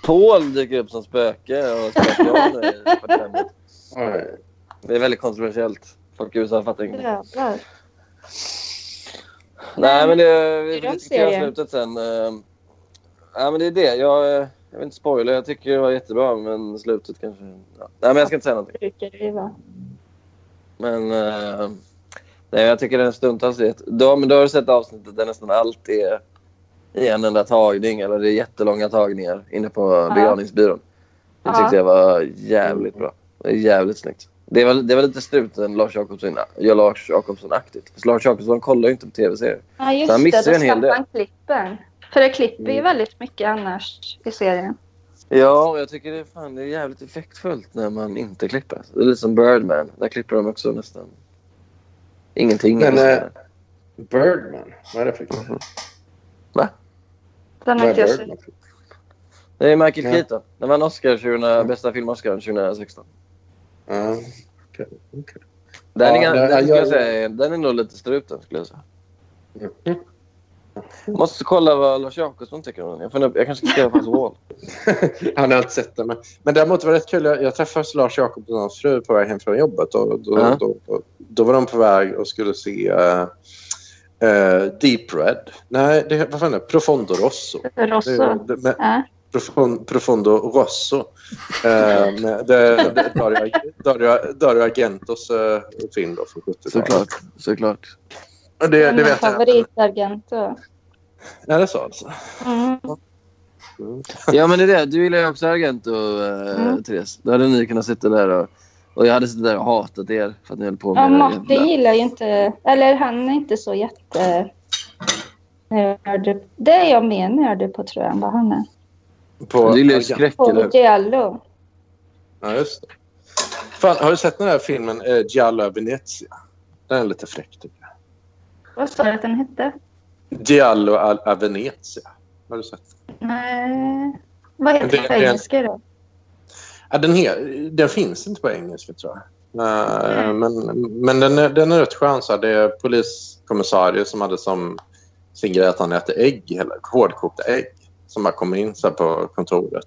Paul dyker upp som spöke och spökar om dig [laughs] i 45. Det är väldigt kontroversiellt. Folk i USA fattar ingenting. Jävlar. Nej, men det, det är vi de får diskutera serier. slutet sen. Eh, Nej, men det är det. Jag, eh, jag vill inte spoila. Jag tycker det var jättebra, men slutet kanske... Ja. Nej, men jag ska inte säga någonting. Brukar det vara. Men eh, nej, jag tycker den stundtals är... ett- Då, men då har du sett avsnittet där nästan allt är i en enda tagning eller det är jättelånga tagningar inne på begravningsbyrån. Det tyckte Ja. jag var jävligt bra. Det är jävligt snyggt. Det var, det var lite struten Lars Jakobsson- ja, Lars Jakobsson-aktigt. För Lars Jakobsson kollar ju inte på tv-serier. Ja, just Så han missar det. ju Då en hel slapp del. Mm. han klippen. För det klipper ju väldigt mycket annars i serien. Ja, och jag tycker det är, fan, det är jävligt effektfullt när man inte klipper. Det är lite som Birdman. Där klipper de också nästan ingenting. Alltså, Men, Eller eh, så där. Birdman? Vad är det för grej? Den har Vad inte är jag Birdman? sett. Det är Michael Ja. Mm. Keaton. Den vann Oscar 2000, bästa film-Oscar 2016. Ja. okej, okej. Den, Ja, är, det- den, jag- skulle jag säga, är- den är nog lite struten skulle jag säga. Måste kolla vad Lars Jakobsson tycker om den. Jag, funderar, jag kanske ska skriva på hans [laughs] wall. Han har inte sett det. Men, men däremot var det rätt kul. Jag, jag träffade Lars Jakobsson och hans fru på väg hem från jobbet. Och då, Ja. då, då, då var de på väg och skulle se eh, eh, Deep Red. Nej, det, vad fan är det? Profondo Rosso. Rosso. Det är- det- med- Ja. Profon, profondo Rosso. Eh, med, det, det, Dario, Dario, Dario Argentos eh, film då från 70-talet. Såklart. Såklart. Och Det, det Min vet jag. favoritagent. då. Är det så? Alltså? Mm. [laughs] Ja men det är det. Du gillar ju också Argento, eh, Mm. Therese. Då hade ni kunnat sitta där och, och jag hade suttit där och hatat er för att ni höll på med Ja, det där Martin gillar ju inte... Eller han är inte så jätte... Nörd. Det är jag mer nördig på tror jag än vad han är. På Du gillar ju Argento. skräck På eller? Giallo. Ja, just det. Fan, har du sett den här filmen eh, Giallo a Venezia? Den är lite fräck. tycker jag. Vad sa du att den hette? Giallo a, a Venezia. Har du sett? Nej. Vad heter Det- den på det- engelska då? Ja, den, he- den finns inte på engelska, tror jag. Eh, Men, men den, är, den är rätt skön. Så här. Det är poliskommissarie som hade som sin grej att han äter ägg, eller hårdkokta ägg, som bara kommer in så här på kontoret.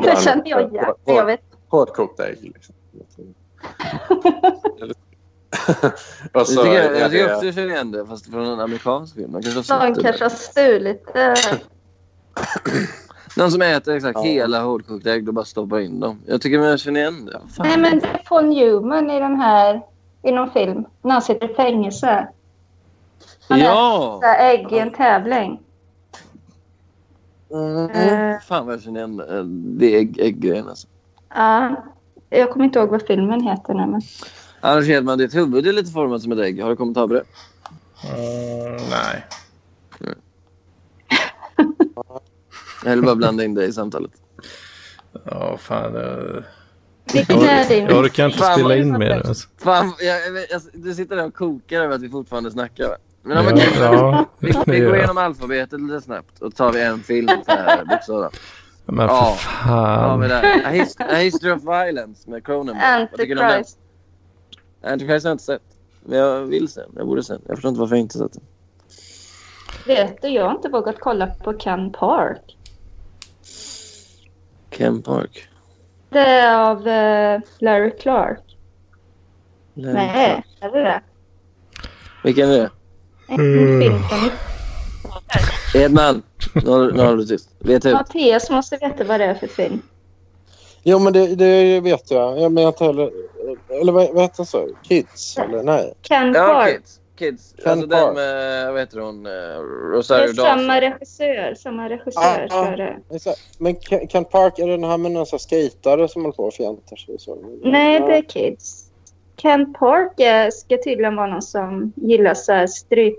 [laughs] eh, Det känner jag igen. Jag vet. Hårdkokta ägg. [laughs] Liksom. Och Jag så tycker, är jag tycker det- också jag känner igen det, fast från en amerikansk film. Man kanske har sett Någon det. kanske har stulit det. Någon som äter exakt hela hårdkokta ägg och bara stoppar in dem. Jag tycker jag känner igen det. Fan. Nej, men det är Paul Newman i den här, i någon film, när han sitter i fängelse. Han Ja! äter ägg i en tävling. Mm. Eh, Fan vad jag känner igen det. Det är ägg- ägggrejen alltså. ja. Jag kommer inte ihåg vad filmen heter nu, men Annars vet man, ditt huvud är lite format som ett ägg. Har du kommentarer på det? nej. Jag vill bara blanda in dig i samtalet. Ja, fan. Jag, Vilken är jag, din- jag orkar inte Fan, spela vad- in mer. Alltså. Fan, jag, jag, jag, du sitter där och kokar över att vi fortfarande snackar. va? Men om Ja, okej. ja, [laughs] vi, det vi gör går jag. igenom alfabetet lite snabbt och tar vi en film så här. bokstavligt. Men för Ja. fan. Ja, men där. A, his A History of Violence med Cronenberg. Vad tycker du om den? Antichrist. Antichrist har jag inte sett. Men jag vill se den. Jag borde se den. Jag förstår inte varför jag inte sett den. vet du, jag har inte vågat kolla på Ken Park. Ken Park. Det är av eh, Larry Clark. Larry Mm. Nej, är det det? Vilken är det? Edman, nu har du- nu har du tyst. Vet ut. Mattias måste veta vad det är för film. Jo, men det, det vet jag. Jag menar inte heller... Eller vad, vad heter den så? Kids? Eller nej? Ken Ja, Park. Kids. Kids. Ken alltså Park. den med, vad heter hon, eh, Det är Rosario Dawson. samma regissör. Samma regissör Ja, ja. tror jag det är. Exakt. Men Ken Ken Park, är det den här med någon sån här skejtare som håller på och fjantar sig? Så? Nej, det är Kids. Ken Park eh, ska tydligen vara någon som gillar så här stryp,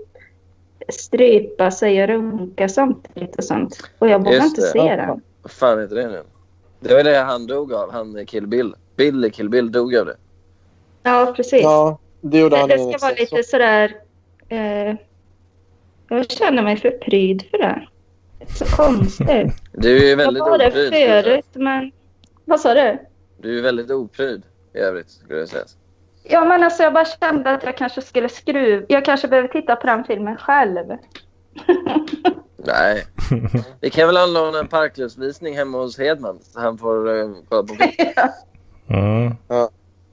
strypa sig och runka samtidigt och sånt. Och jag vågar Just inte det. se Ja. den. Vad fan heter det nu? Det var det han dog av, han i Kill Bill. Bill i Kill Bill dog av det. Ja, precis. Ja, det gjorde han det i en ska vara extra- lite sådär... Eh, jag känner mig för pryd för det. Så konstigt. [laughs] Du är ju väldigt jag var det opryd. skulle jag säga. förut, men... Vad sa du? Du är väldigt opryd i övrigt, skulle jag säga. Ja, men alltså jag bara kände att jag kanske skulle skruva. Jag kanske behöver titta på den filmen själv. [laughs] [laughs] Nej. Vi kan väl anordna en parklivsvisning hemma hos Hedman så han får eh, kolla på film. Mm. Ja.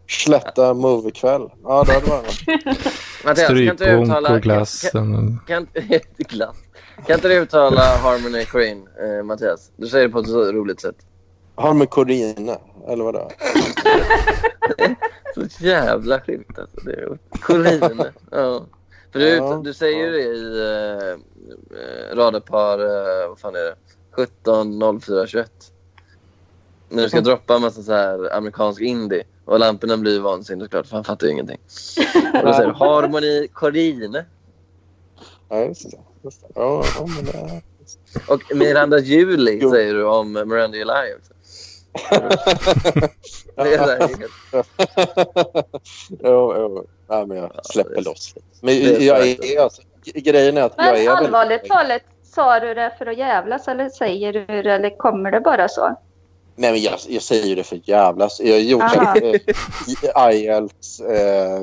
Slätta moviekväll. Ja, det hade varit något. Mattias, kan inte du Strypbonk uttala... och glass. Kan, kan, [laughs] inte- glass. kan inte du uttala Harmony Queen, eh, Mattias? Du säger det på ett så roligt sätt. Har med Corina, eller vadå? Så jävla sjukt alltså. Det är [laughs] Corine. ja. För du, Ja, du säger ju det i eh, radarpar, eh, vad fan är det? 17.04.21. När du ska droppa en massa så här amerikansk indie och lamporna blir vansinniga såklart för han fattar ju ingenting. Och då säger du harmoni Corine. Ja, just det. Just det. Ja, ja, men det... Och Miranda Juli säger du om Miranda July [laughs] också. Det är så här, jo, jo. Nej, men jag släpper loss lite. Men Det är så jag här. är, alltså, grejen är att Men jag är väldigt- allvarligt talat, sa du det för att jävlas eller säger du det eller kommer det bara så? Nej, men jag, jag säger ju det för jävlas. Jag har gjort Aha. eh, IELTS eh,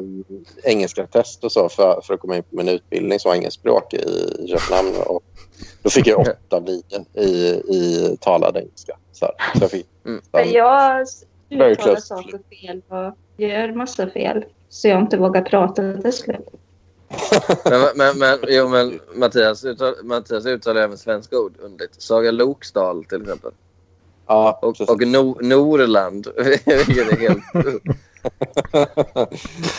engelska test och så för, för att komma in på min utbildning som var engelskspråk i Köpenhamn. Och då fick jag åtta vin i, i talad engelska. Så, här. så jag fick... [laughs] För jag Very uttalar close. saker fel och gör massa fel. Så jag inte vågar prata till slut. Men, men, men, jo, men Mattias, uttal, Mattias uttalar även svenska ord underligt. Saga Loksdal till exempel. Ja, och och no, Norland. [laughs] Vilket är helt...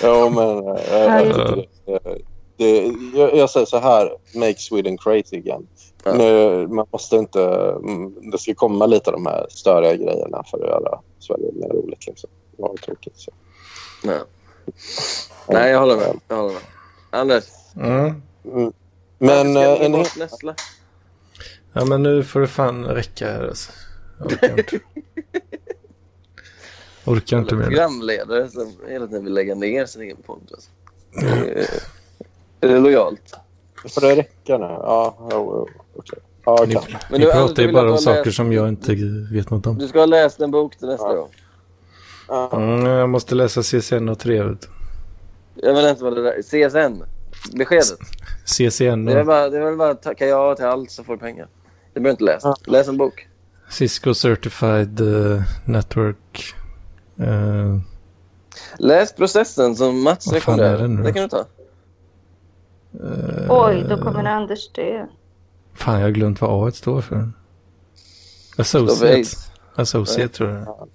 ja, men... eh, jag- jag tycker det- det, jag, jag säger så här, make Sweden crazy again. Nu, man måste inte, mm, det ska komma lite av de här störiga grejerna för att göra Sverige mer roligt. Liksom. Det var tråkigt. Så. Nej. Nej, jag håller med. Jag håller med. Anders. Mm. Mm. Men Ska eh, vi en, bort Nessla? Ja, men nu får det fan räcka här alltså. Jag orkar [laughs] inte. Orkar inte Eller mer. programledare som hela tiden vill lägga ner sin egen podd. Alltså. Mm. Är det lojalt? får det räcka nu? Ja, jo, jo, okej. Ja, Ni, kanske. Men ni du, pratar Anders, du ju vill bara om att jag saker läser- som jag inte vet något om. Du ska ha läst en bok till nästa gång. Mm, jag måste läsa CCN och 3. vet du. Jag vet inte vad det där CSN? Beskedet? CCN Det är väl och bara, det är väl bara att tacka ja till allt så får du pengar. Det behöver inte läsa. Läs en bok. Cisco Certified eh, Network. Eh, Läs processen som Mats Vad fan är rekommenderar. den nu då? Det kan du ta. Eh, Oj, då kommer Anders dö. fan, jag har glömt vad A står för. Står för Associate. AIDS. Associate Nej. tror jag.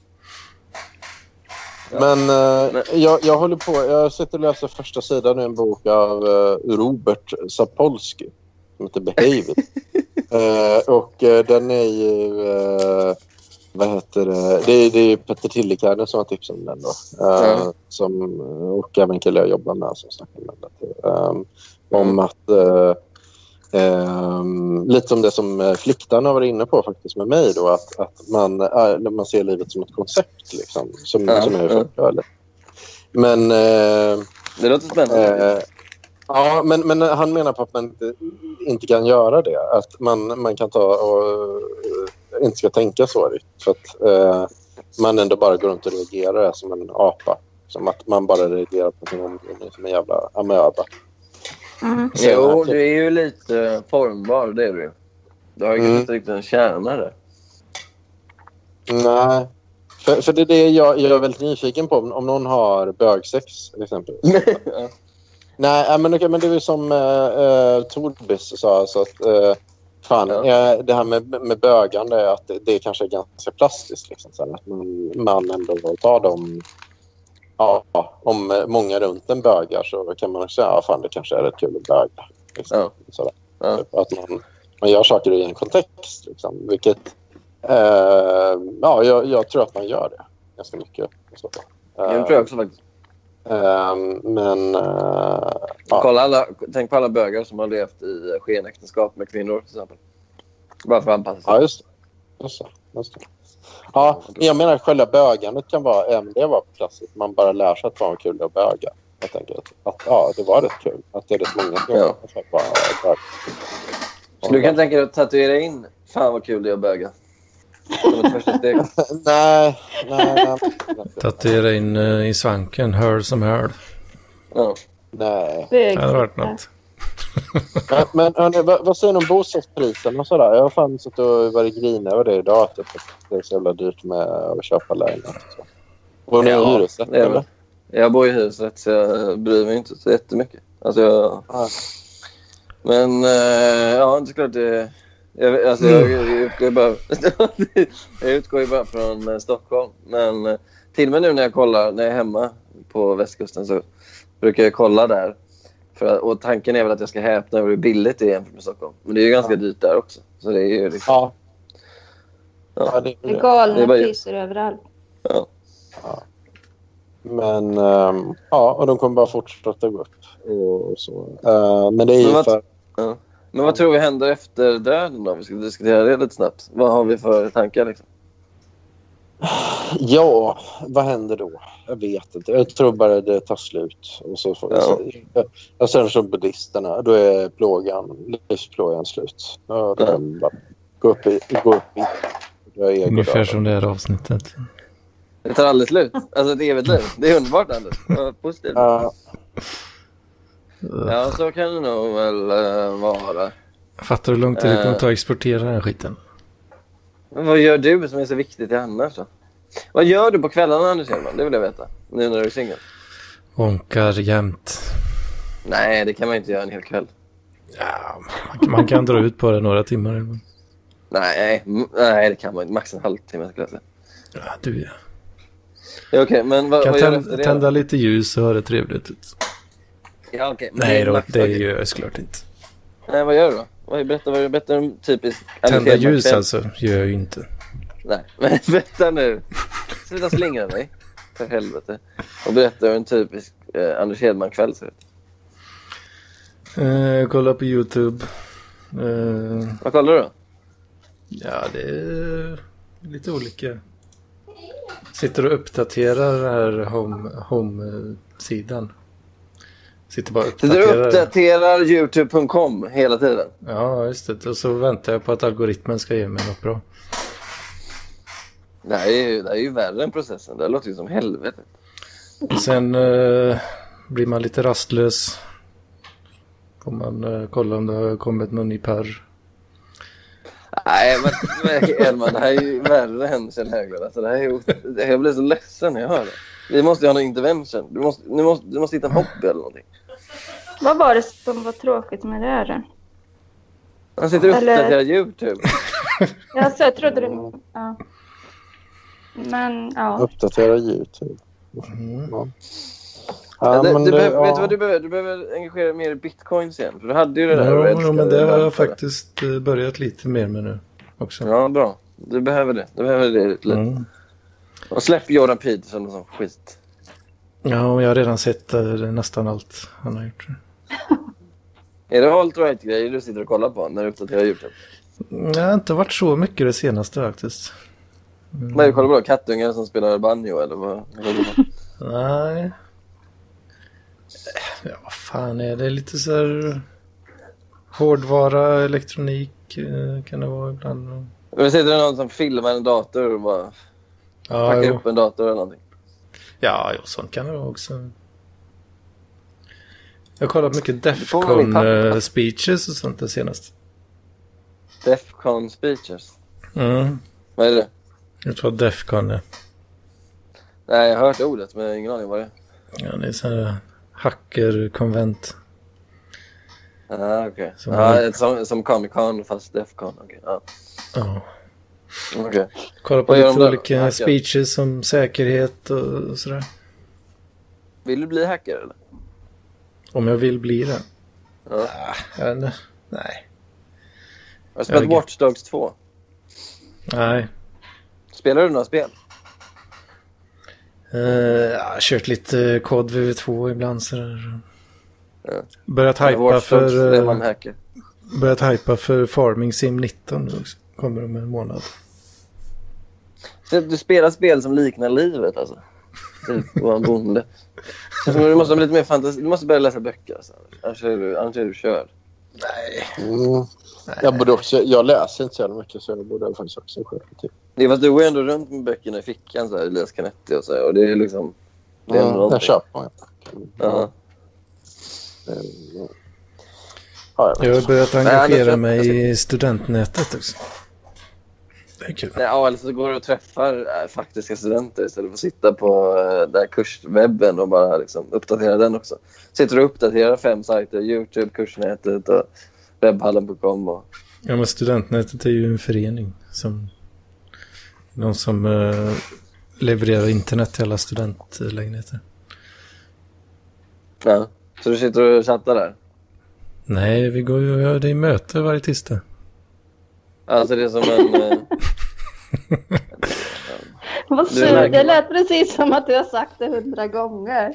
Men eh, jag, jag håller på. Jag sitter och läser första sidan i en bok av eh, Robert Sapolsky som heter Behave. It. Eh, och eh, den är ju... eh, vad heter det? Det är, det är ju Petter Tillikainen som har tips om den. Då. Eh, Ja. som, och även en kille jag jobbar med som snackar med den. Um, om att... eh, Ehm, lite som det som eh, fliktarna var inne på faktiskt med mig. Då, att, att man, är, man ser livet som ett koncept. Liksom, som, Ja, som är ja. förklarligt. Men... eh, Det låter spännande. eh, ja, men, men han menar på att man inte, inte kan göra det. Att man, man kan ta och eh, inte ska tänka så. riktigt, För att eh, man ändå bara går runt och reagerar som en apa. Som att man bara reagerar på sin omgivning som en jävla amöba. eh, Jo, du är ju lite formbar, det är du ju. Du har ju Mm. Eh. inte riktigt en kärna där. Nej. För, för det är det jag, jag är väldigt nyfiken på. Om- Om någon har bögsex, till exempel. Nej, äh, men, okej, men det är ju som äh, äh, Torbis sa. Alltså att, äh, fan, eh, det här med, med bögande, att det, det kanske är ganska plastiskt. Liksom, så här, att man, man ändå tar dem... Ja, om eh, många runt en bögar så kan man också säga ja, fan det kanske är rätt kul att böga. Liksom, sådär. Att man, man gör saker i en kontext. Liksom, vilket Eh, ja, jag, jag tror att man gör det ganska mycket. i så fall. Eh, Jag tror också faktiskt. eh, men... eh, ja. Kolla alla, tänk på alla bögar som har levt i skenäktenskap med kvinnor till exempel. Bara för att anpassa sig. Ja, just det. Just det. Just det. Ja, men jag menar själva bögandet kan vara, även det var klassiskt. Man bara lär sig att det var kul att böga. Helt enkelt. Att, ja, det var rätt kul. Att det är rätt många som Ja. som bara bögar. Så du kan tänka dig att tatuera in “Fan vad kul det är att böga”? Som ett första [laughs] steg. nej, nej, nej. Tatuera in eh, i svanken. Hör som hör. Nej. Det hade varit något. Men, men hörni, vad, vad säger ni om bostadspriserna och sådär? Jag har fan suttit och varit grinig över det idag. Att det det är så jävla dyrt med att köpa lägenhet. och så. Bor ni i Ja, hyresrätt det är eller? väl- Jag bor i hyresrätt så jag bryr mig inte så jättemycket. Alltså jag... Men eh, ja, det är klart det... Jag, alltså, jag, jag, utgår ju bara... [laughs] jag utgår ju bara från eh, Stockholm. Men eh, till och med nu när jag kollar, när jag är hemma på västkusten så brukar jag kolla där. För, att- och tanken är väl att jag ska häpna över hur billigt det är jämfört med Stockholm. Men det är ju ganska dyrt där också. Så det är ju liksom... Ja. ja det, Det är galna är bara- priser överallt. Men ehm, ja, och de kommer bara fortsätta gå upp. Och, och så. Eh, men det är ju Men vad- för... Ja. Men vad tror vi händer efter döden då? Vi ska diskutera det lite snabbt. Vad har vi för tankar liksom? Ja, vad händer då? Jag vet inte. Jag tror bara det tar slut. Och så får Ja. Och sen som buddhisterna, då är plågan, livsplågan slut. Då kan de bara gå upp i... Gå upp i då är Ungefär jag som det här avsnittet. Det tar aldrig slut. Alltså ett evigt liv. Det är underbart Anders. Vad positivt. Ja. ja, så kan det nog väl eh, vara. Fattar du hur lång tid det kommer Eh. ta att exportera den här skiten? Men vad gör du som är så viktigt i annars då? Vad gör du på kvällarna Anders Hedman? Det vill jag veta. Nu när du är singel. Onkar jämt. Nej, det kan man inte göra en hel kväll. Man kan dra ut på det några timmar. men Nej, m- nej det kan man inte. Max en halvtimme skulle jag säga. Ja, du ja. Ja, Okej, men vad, Kan vad gör du tän- efter det? tända då? lite ljus och ha det trevligt ut. Ja, okej. men Nej är då, max- det okej. gör jag såklart inte. Nej, vad gör du då? Vad, berätta, vad berätta om typiskt... Tända Anders Hedman ljus kväll. alltså gör jag ju inte. Nej, [laughs] men vänta nu. Sluta slingra dig. För helvete. Och berätta hur en typisk eh, Anders Hedman-kväll ser ut. Eh, kolla på YouTube. Eh, Vad kollar du då? Ja, det är lite olika. Sitter och uppdaterar den här home- home-sidan. Sitter bara och Sitter du och uppdaterar. uppdaterar youtube.com hela tiden? Ja, just det. Och så väntar jag på att algoritmen ska ge mig något bra. Det här är ju, det här är ju värre än processen. Det här låter ju som helvete. Sen eh, blir man lite rastlös. Får man eh, kolla om det har kommit någon ny perr. Nej, men men Elman, det här är ju värre än Kjell Höglund. Alltså, det här är ju, det- jag blir så ledsen när jag hör det. Vi måste ju ha någon intervention. Du måste, du måste, du måste hitta en hobby eller någonting. Vad var det som var tråkigt med det här? då? Han sitter och Eller- uppdaterar YouTube. Ja, så jag trodde du... Mm. Ja. Men ja. Uppdatera YouTube. Ja. Ja, Ja, det, men du det- behöver, ja. Vet du vad du behöver? Du behöver engagera dig mer i bitcoins igen. För du hade ju det där. och Jo, älskade jo, men det har väldigt. jag faktiskt eh, börjat lite mer med nu också. Ja, bra. Du behöver det. Du behöver det lite. Mm. Och släpp Jordan Peterson och sån skit. Ja, och jag har redan sett eh, nästan allt han har gjort. Är det alt-right-grejer du sitter och kollar på när du uppdaterar YouTube? Det har inte varit så mycket det senaste faktiskt. Mm. Vad är det du kollar på då? Kattungar som spelar banjo eller vad? [laughs] vad- Nej. Eh, Ja, vad fan är det? Lite så här eh, hårdvara, elektronik eh, kan det vara ibland. Men sitter det någon som filmar en dator och bara Ja, packar jo. upp en dator eller någonting? Ja, jo, sånt kan det vara också. Jag har kollat mycket får vara min pappa. Defcon-speeches och sånt det senaste. Defcon speeches. Mm. Vad är det? Jag tror att Defcon är. Nej, jag har hört ordet men jag har ingen aning vad det är. Ja, det är så här eh, hackerkonvent. Ah, okay. Som- ah, ett- som, som Comic Con fast Defcon. Okej. ja. Ja. Okej. Kollar på Vad gör de lite där? olika Hackar? speeches om säkerhet och, och sådär. Vill du bli hacker eller? Om jag vill bli det. Ah, Ja. Jag vet inte. Nej. Har du spelat Jag- Watch Dogs 2? Nej. Spelar du några spel? Eh, jag har kört lite kod VV2 ibland sådär. Börjat hypa Watch Dogs, för... det är eh, man hacker. Börjat hypa för Farming Sim 19 nu också. Kommer om en månad. Så du spelar spel som liknar livet alltså? Typ att vara en bonde. Men Du måste, ha lite mer fantasi. du måste börja läsa böcker. Alltså. Annars, är du, annars är du körd. Mm. Jag, borde också, jag läser inte så jävla mycket så jag borde faktiskt också skärpa till. Det är för att du går ändå runt med böckerna i fickan, så här, Elias Canetti och så. Här, och det är liksom... Det är Mm, ändå någonting. jag köper dem. Ja. Jag har börjat Nej, jag engagera köper- mig i studentnätet också. Det är kul. Nej, ja, eller så går du och träffar äh, faktiska studenter istället för att sitta på äh, där kurswebben och bara liksom, uppdatera den också. Sitter och uppdaterar fem sajter, Youtube, kursnätet och webbhallen.com. Och... Ja, men studentnätet är ju en förening som... De som eh, levererar internet till alla studentlägenheter. Ja. Så du sitter och chattar där? Nej, vi går ju... Ja, det är möte varje tisdag. Alltså det är som en... [laughs] eh, Vad Du är sur. Det verkligen- lät precis som att du har sagt det hundra [laughs] gånger.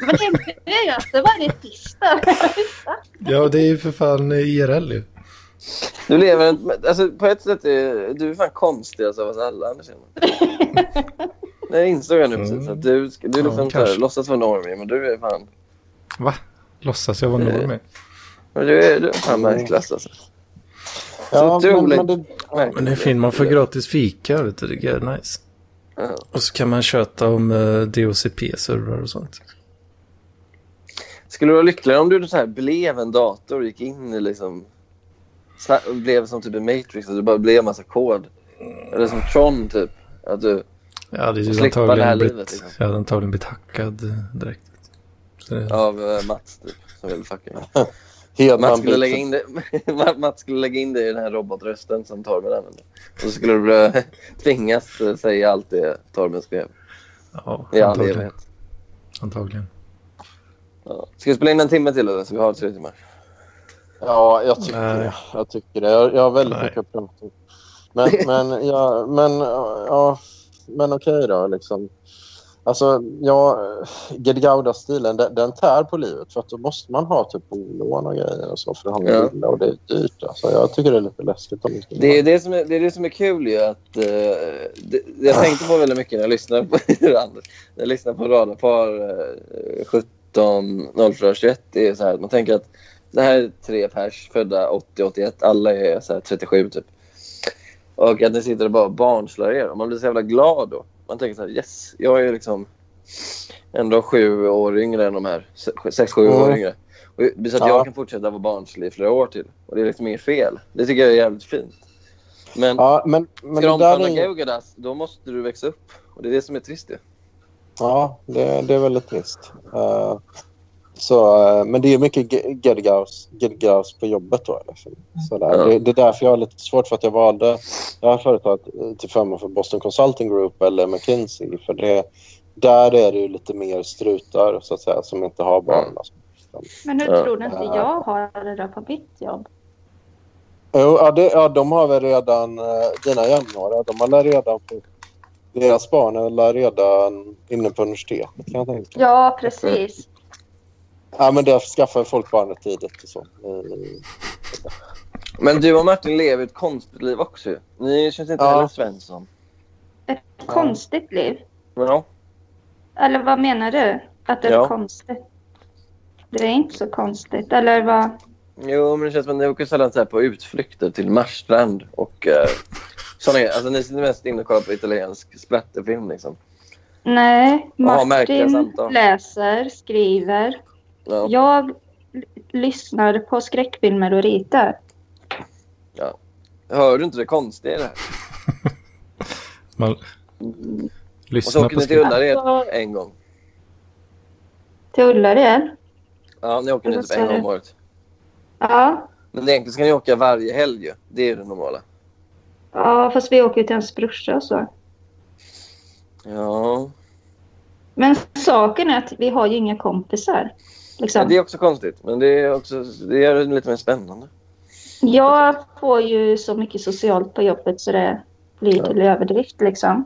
Men det är ju att det varje tisdag. Ja, det är ju för fan eh, IRL ju. Du lever en, men, alltså, på ett sätt är du är fan konstigast av oss alla, Anders [laughs] Hedman. Nej, jag insåg jag nu Mm. precis. Att du, ska- du är Ja, liksom så här, kanske. låtsas vara normie, men du är fan... Va? Låtsas jag vara Eh. normig? Men du är, du är fan märkklass alltså. Mm. Ja, Så otroligt men, men det, Men det är fint, man får gratis fika, vet du. Det är nice. Och så kan man köta om eh, DOCP-servrar och sånt. Skulle du vara lyckligare om du så här, blev en dator och gick in i liksom... sna- och Blev som typ en Matrix, att du bara blev en massa kod. Eller som Tron, typ. Att du... Ja, det är ju slippa antagligen det här blivit, livet, liksom. jag hade antagligen blivit hackad eh, direkt. Så det, Av eh, Mats, typ. Som [laughs] ville fucka mig. Hedman Mats skulle, blir- lägga in det, Ma- [laughs] Mats skulle lägga in det i den här robotrösten som Torben använde. Och så skulle du bli- [laughs] tvingas eh, säga allt det Torben skrev. Ja, I all antagligen. evighet. Antagligen. Ja. Ska vi spela in en timme till eller? Så vi har tre timmar. Ja, jag tycker det. Jag, tycker det. jag, jag har väldigt mycket att prata om. [laughs] Men, men, ja, men, ja, men okej då. Liksom. Alltså, ja, Gedgauda-stilen, den, den tär på livet. För att då måste man ha typ bolån och grejer och så för att hamna Ja. illa och det är dyrt. Alltså, jag tycker det är lite läskigt. Om det skulle Det är det som är, det är, det som är kul ju att... eh, det, jag tänkte på väldigt mycket när jag lyssnade på [laughs] Anders. När jag lyssnade på Radarpar eh, 17 0421 det är så här att man tänker att det här är tre pers födda 80-81. Alla är så här 37 typ. Och att ni sitter och bara barnslar er. Och man blir så jävla glad då. Man tänker så här, yes, jag är liksom ändå sju år yngre än de här. Se- Sex, sju år Mm. yngre. Och det blir så att Ja. jag kan fortsätta vara barnslig i flera år till. Och det är liksom inget fel. Det tycker jag är jävligt fint. Men, ja, men, men Ska de det där omfamna är... ju- Gaugadas, då måste du växa upp. Och det är det som är trist ju. Ja, det, det är väldigt trist. Eh, så, eh, men det är mycket ge- Gedgaus Gedgaus på jobbet. Då, liksom. Sådär. Ja. Det, det är därför jag har lite svårt för att jag valde det här företaget eh, till förmån för Boston Consulting Group eller McKinsey. För det, där är det ju lite mer strutar så att säga, som inte har barn. Mm. Alltså. Men hur Ja. tror du inte jag har det där på mitt jobb? Jo, ja, det, ja, de har väl redan, eh, dina jämnåriga, de har väl redan på, deras barn är väl redan inne på universitetet kan jag tänka Ja, precis. Ja, men det skaffar folk barnet tidigt och så. Eh, Men du och Martin lever ett konstigt liv också ju. Ni känns inte Ja. heller Svensson. Konstigt liv. Men ja. Eller vad menar du? Att det Ja. är konstigt? Det är inte så konstigt. Eller vad? Jo, men det känns som att ni åker sällan så här på utflykter till Marstrand och eh, såna grejer. Alltså ni sitter mest inne och kollar på italiensk splatterfilm liksom. Nej, Ja, märkliga Martin samtal. läser, skriver. Ja. Jag l- lyssnar på skräckfilmer och ritar. Ja. Hör du inte det konstiga i det här? Man... och så Lyssna åker på ni till skräck. Ullared en gång. Till Ullared? Ja, ni åker Vad dit sa typ en gång du? om året. Ja. Men egentligen ska ni åka varje helg ju. Det är ju det normala. ja, fast vi åker ju till hans brorsa och så. Ja. Men saken är att vi har ju inga kompisar. Ja, Liksom. det är också konstigt, men det, är också, det gör det lite mer spännande. Jag får ju så mycket socialt på jobbet så det blir till överdrift. Liksom.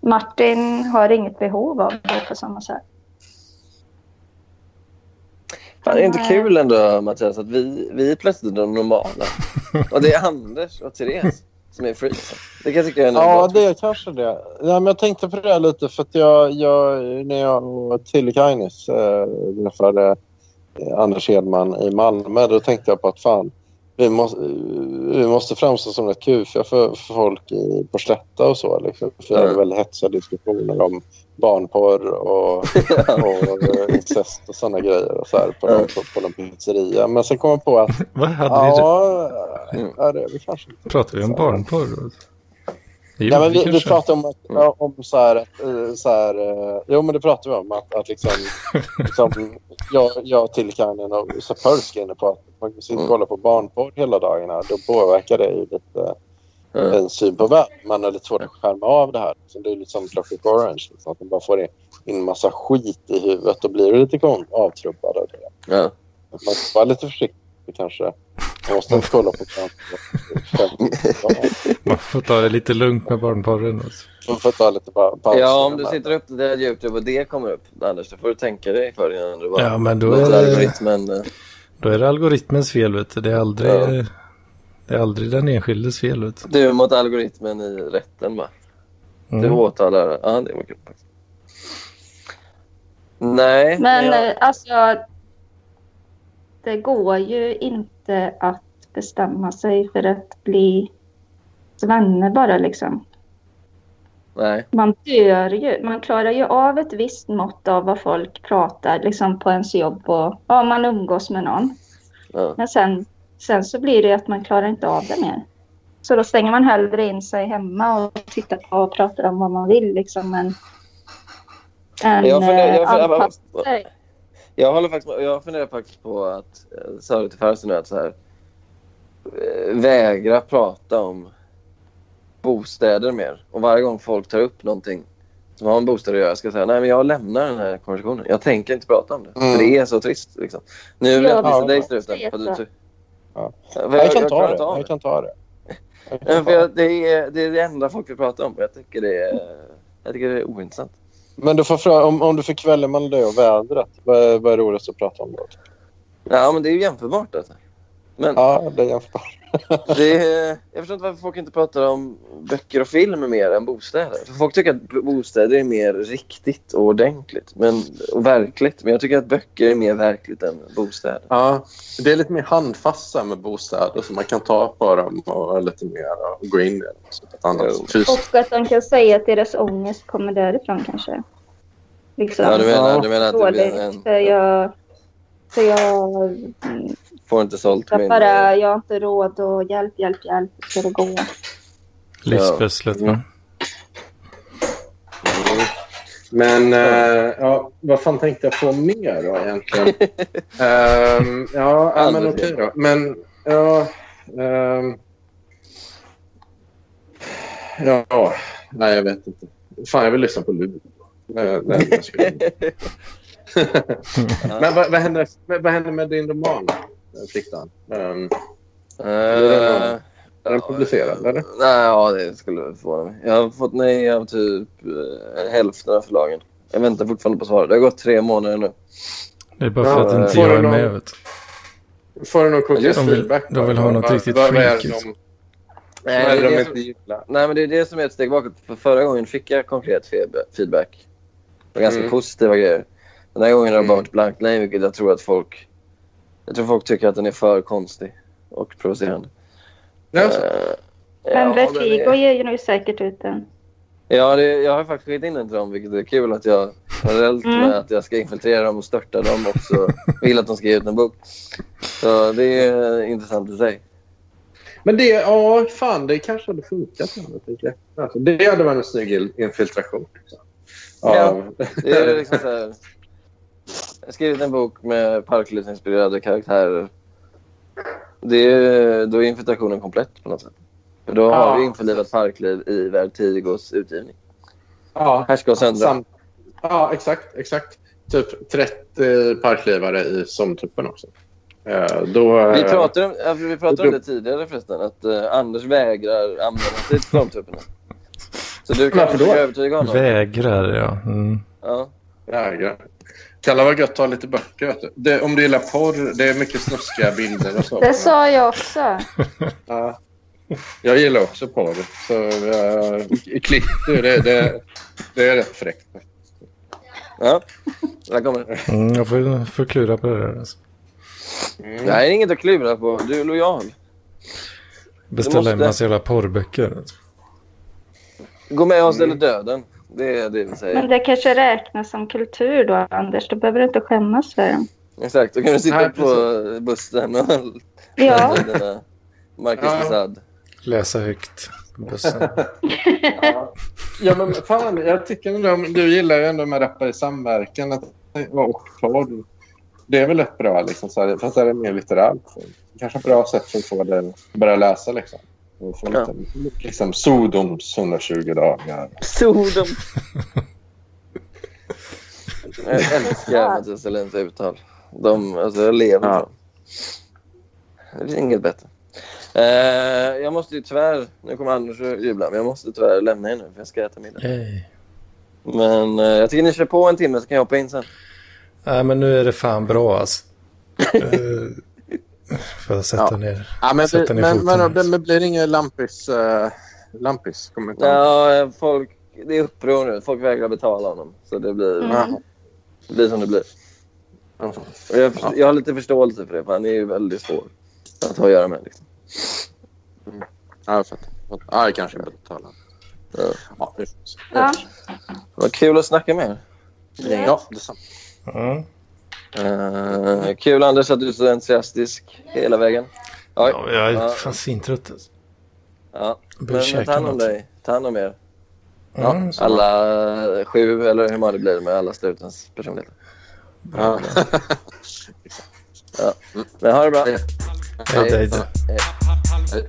Martin har inget behov av det på samma sätt. Fan, det är inte Nej. kul ändå, Mattias, att vi, vi är plötsligt de normala. Och det är Anders och Therese som är freaks. Det kan jag tycka är en Ja, det är kanske det. Ja, men jag tänkte på det här lite för att jag, jag när jag och Tillikainus eh, träffade eh, Anders Hedman i Malmö, då tänkte jag på att fan, vi måste, vi måste framstå som rätt kufiga för, för folk i Porsletta och så. Liksom. För jag hade väldigt hetsiga diskussioner om barnporr och, och eh, incest och sådana grejer och så här, på, någon, på, på någon pizzeria. Men sen kom jag på att... Vad hade vi det? ja, ja, det är väl kanske Pratar vi om barnporr? då? Det Nej, gjorde men vi, vi kanske. Mm. pratade om, att, ja, om så här, att, eh, så här, eh, jo men det pratade vi om att, [laughs] att liksom, liksom jag, jag till Kanin och Sapolsky är inne på att man kan sitta och kolla på barnporr hela dagarna. Då påverkar det ju lite Mm. en syn på världen. Man har lite svårt att skärma av det här. Så det är lite som Clockwork Orange. Liksom, att man bara får in en massa skit i huvudet och blir lite kon- avtrubbad av det. Ja. Man får vara lite försiktig kanske. Man måste inte [laughs] kolla på barnporr. Man får ta det lite lugnt med barnporren. Alltså. Man får ta lite pa- paus. Ja, om du sitter upp det där YouTube och det kommer upp, Anders, då får du tänka dig för innan du bara Ja, men då låter är det- algoritmen... eh, Då är det algoritmens fel, vet du. Det är aldrig, Ja. det är aldrig den enskildes fel, vet du. Du mot algoritmen i rätten, va? Du Mm. åtalar... Ja, det var kul faktiskt. Nej. Men jag- eh, alltså, det går ju inte att bestämma sig för att bli vänner bara liksom. Nej. Man dör ju. Man klarar ju av ett visst mått av vad folk pratar liksom på ens jobb och ja, man umgås med någon. Ja. Men sen, sen så blir det ju att man klarar inte av det mer. Så då stänger man hellre in sig hemma och tittar på och pratar om vad man vill liksom. Men, än, Jag funderar- jag eh, funderar- anpassa sig. Jag håller faktiskt med- jag funderar faktiskt på att, eh, sa det till Farsi nu, att så här, eh, vägra prata om bostäder mer. Och varje gång folk tar upp någonting som har med bostad att göra ska jag säga nej men jag lämnar den här konversationen. Jag tänker inte prata om det. Mm. För det är så trist. Liksom. Nu vill jag Ja, prata till dig ja. struten. för att du- Ja. För Jag klarar kan ta det. inte av Jag kan ta det. Jag Ja, för kan ta det. jag, det, är, det är det enda folk vill prata om. Jag tycker det är, jag tycker det är ointressant. Men du får fråga, om, om du får kvällen mellan dig och vädret, vad är, vad är roligast att prata om då? Ja, men det är ju jämförbart. Alltså. Men, Ja, det är jämförbart. Det är, jag förstår inte varför folk inte pratar om böcker och film mer än bostäder. För folk tycker att bostäder är mer riktigt och ordentligt men, och verkligt. Men jag tycker att böcker är mer verkligt än bostäder. Ja, det är lite mer handfasta med bostäder så man kan ta på dem och lite mer och gå in i dem. Så att annars, fysiskt. Och att de kan säga att deras ångest kommer därifrån kanske. Liksom. Ja, du menar- du menar att det blir Dåligt, en- För jag... För jag... mm, Får inte sålt Jag, min... eh, bara, jag har inte råd och hjälp, hjälp, hjälp. hur Ska det gå? Livspusslet, va? Mm. Men eh, ja, vad fan tänkte jag på mer då egentligen? Ehm, ja, ja, men okej då. Men ja... ehm, ja, nej jag vet inte. Fan, jag vill lyssna på Luleå. Nej, nej, jag ska [laughs] inte. men vad, vad, händer, vad vad händer med din roman, eh, Flickan? Ehm, är den- är den publicerad, eller? Eh, Nej, ja, det skulle förvåna mig. Jag har fått nej av typ eh, hälften av förlagen. Jag väntar fortfarande på svar. Det har gått tre månader nu. Det är bara för att inte jag är med. Vet. Får du någon konkret De vill- feedback? de vill ha något Vad- riktigt liksom. vad- vad är det freaky. de- Nej, vad är det det är de det inte som- gillar? Nej, men det är det som är ett steg bakåt. För förra gången fick jag konkret feb- feedback. Och ganska Mm. positiva grejer. Den här gången har det bara varit blankt nej, vilket jag tror att folk... Jag tror folk tycker att den är för konstig och provocerande. Eh, Ja, Men den Vertigo är- ger ju nu säkert ut den. Ja, det, jag har faktiskt skickat in den till dem, vilket är kul att jag parallellt Mm. med att jag ska infiltrera dem och störta dem också vill att de ska ge ut en bok. Så det är eh, intressant i sig. Men det, ja, fan, det kanske hade funkat. med något lite. Alltså, det hade varit en snygg il- infiltration. liksom. Av- Det är liksom så här, jag har skrivit en bok med parklivsinspirerade karaktärer. Det är, då är infiltrationen komplett på något sätt. För då Ja. har vi införlivat parkliv i Vertigos utgivning. ja, Härska och söndra. Sam- ja, exakt. exakt. Typ 30 parklivare i somtruppen också. Eh, då, Vi pratade, om, ja, vi pratade om du- det tidigare förresten, att eh, Anders vägrar använda sig till de typerna. Så du kan Varför då? försöka övertyga honom. Vägrar, ja. Mm. ja. Jägare. eh, Kalla vad gött att ha lite böcker. Vet du. Det, om du gillar porr, det är mycket snuskiga bilder och så. Det sa jag också. Ja. Jag gillar också porr. Så, uh, klipp du, det, det, det är rätt fräckt. Ja, där kommer det. Mm, jag får, får klura på det där. Alltså. Det här är inget att klura på. Du är lojal. Beställa Du en måste- massa jävla porrböcker. Alltså. Gå med oss Mm. eller döden. Det är det vi säger. Men det kanske räknas som kultur då, Anders. Då behöver du inte skämmas för den. Exakt, då kan du sitta Nej, på bussen och [laughs] Ja. dina Marcus Ja. ja. Besad. Läsa högt på bussen. Ja, men fan, jag tycker ändå, om- du gillar ju ändå med Rappare i samverkan att vara oklar. Det är väl ett bra, liksom, så här, fast det är mer litterärt. Kanske ett bra sätt för att få det att börja läsa. Liksom. Och få lite, liksom Sodoms 120 dagar. Sodom. Jag älskar Mattias Selins uttal. De, alltså, jag lever för dem. Det finns inget bättre. Eh, jag måste ju tyvärr, nu kommer Anders att jubla, men jag måste tyvärr lämna er nu för jag ska äta middag. Nej. Men eh, jag tycker ni kör på en timme så kan jag hoppa in sen. Nej, men nu är det fan bra alltså. Eh, Får jag sätta ner, Ja, men, sätta ner men, foten? men, men, blir det ingen lampis, eh, lampis kommentar? Ja, eh, folk, det är uppror nu. Folk vägrar betala honom. Så det blir, Mm. det blir som det blir. Och jag, jag har lite förståelse för det, för han är ju väldigt svår att ha att göra med. Liksom. Ja, jag fattar. Ja, jag kanske borde betala. Ja. Ja, det Ja. Vad kul att snacka med er. ja, detsamma. Mm. Eh, kul Anders att du är så entusiastisk hela vägen. Oj. Ja, jag är Ja. fan svintrött. alltså. Ja. börjar Men käka ta hand om något. Mm, dig. Ta hand om er. Ja, samma. Ja, alla eh, sju, eller hur många det blir med alla strutens personligheter. Ja. [laughs] ja. Men ha det bra. Hej, hej. Hej.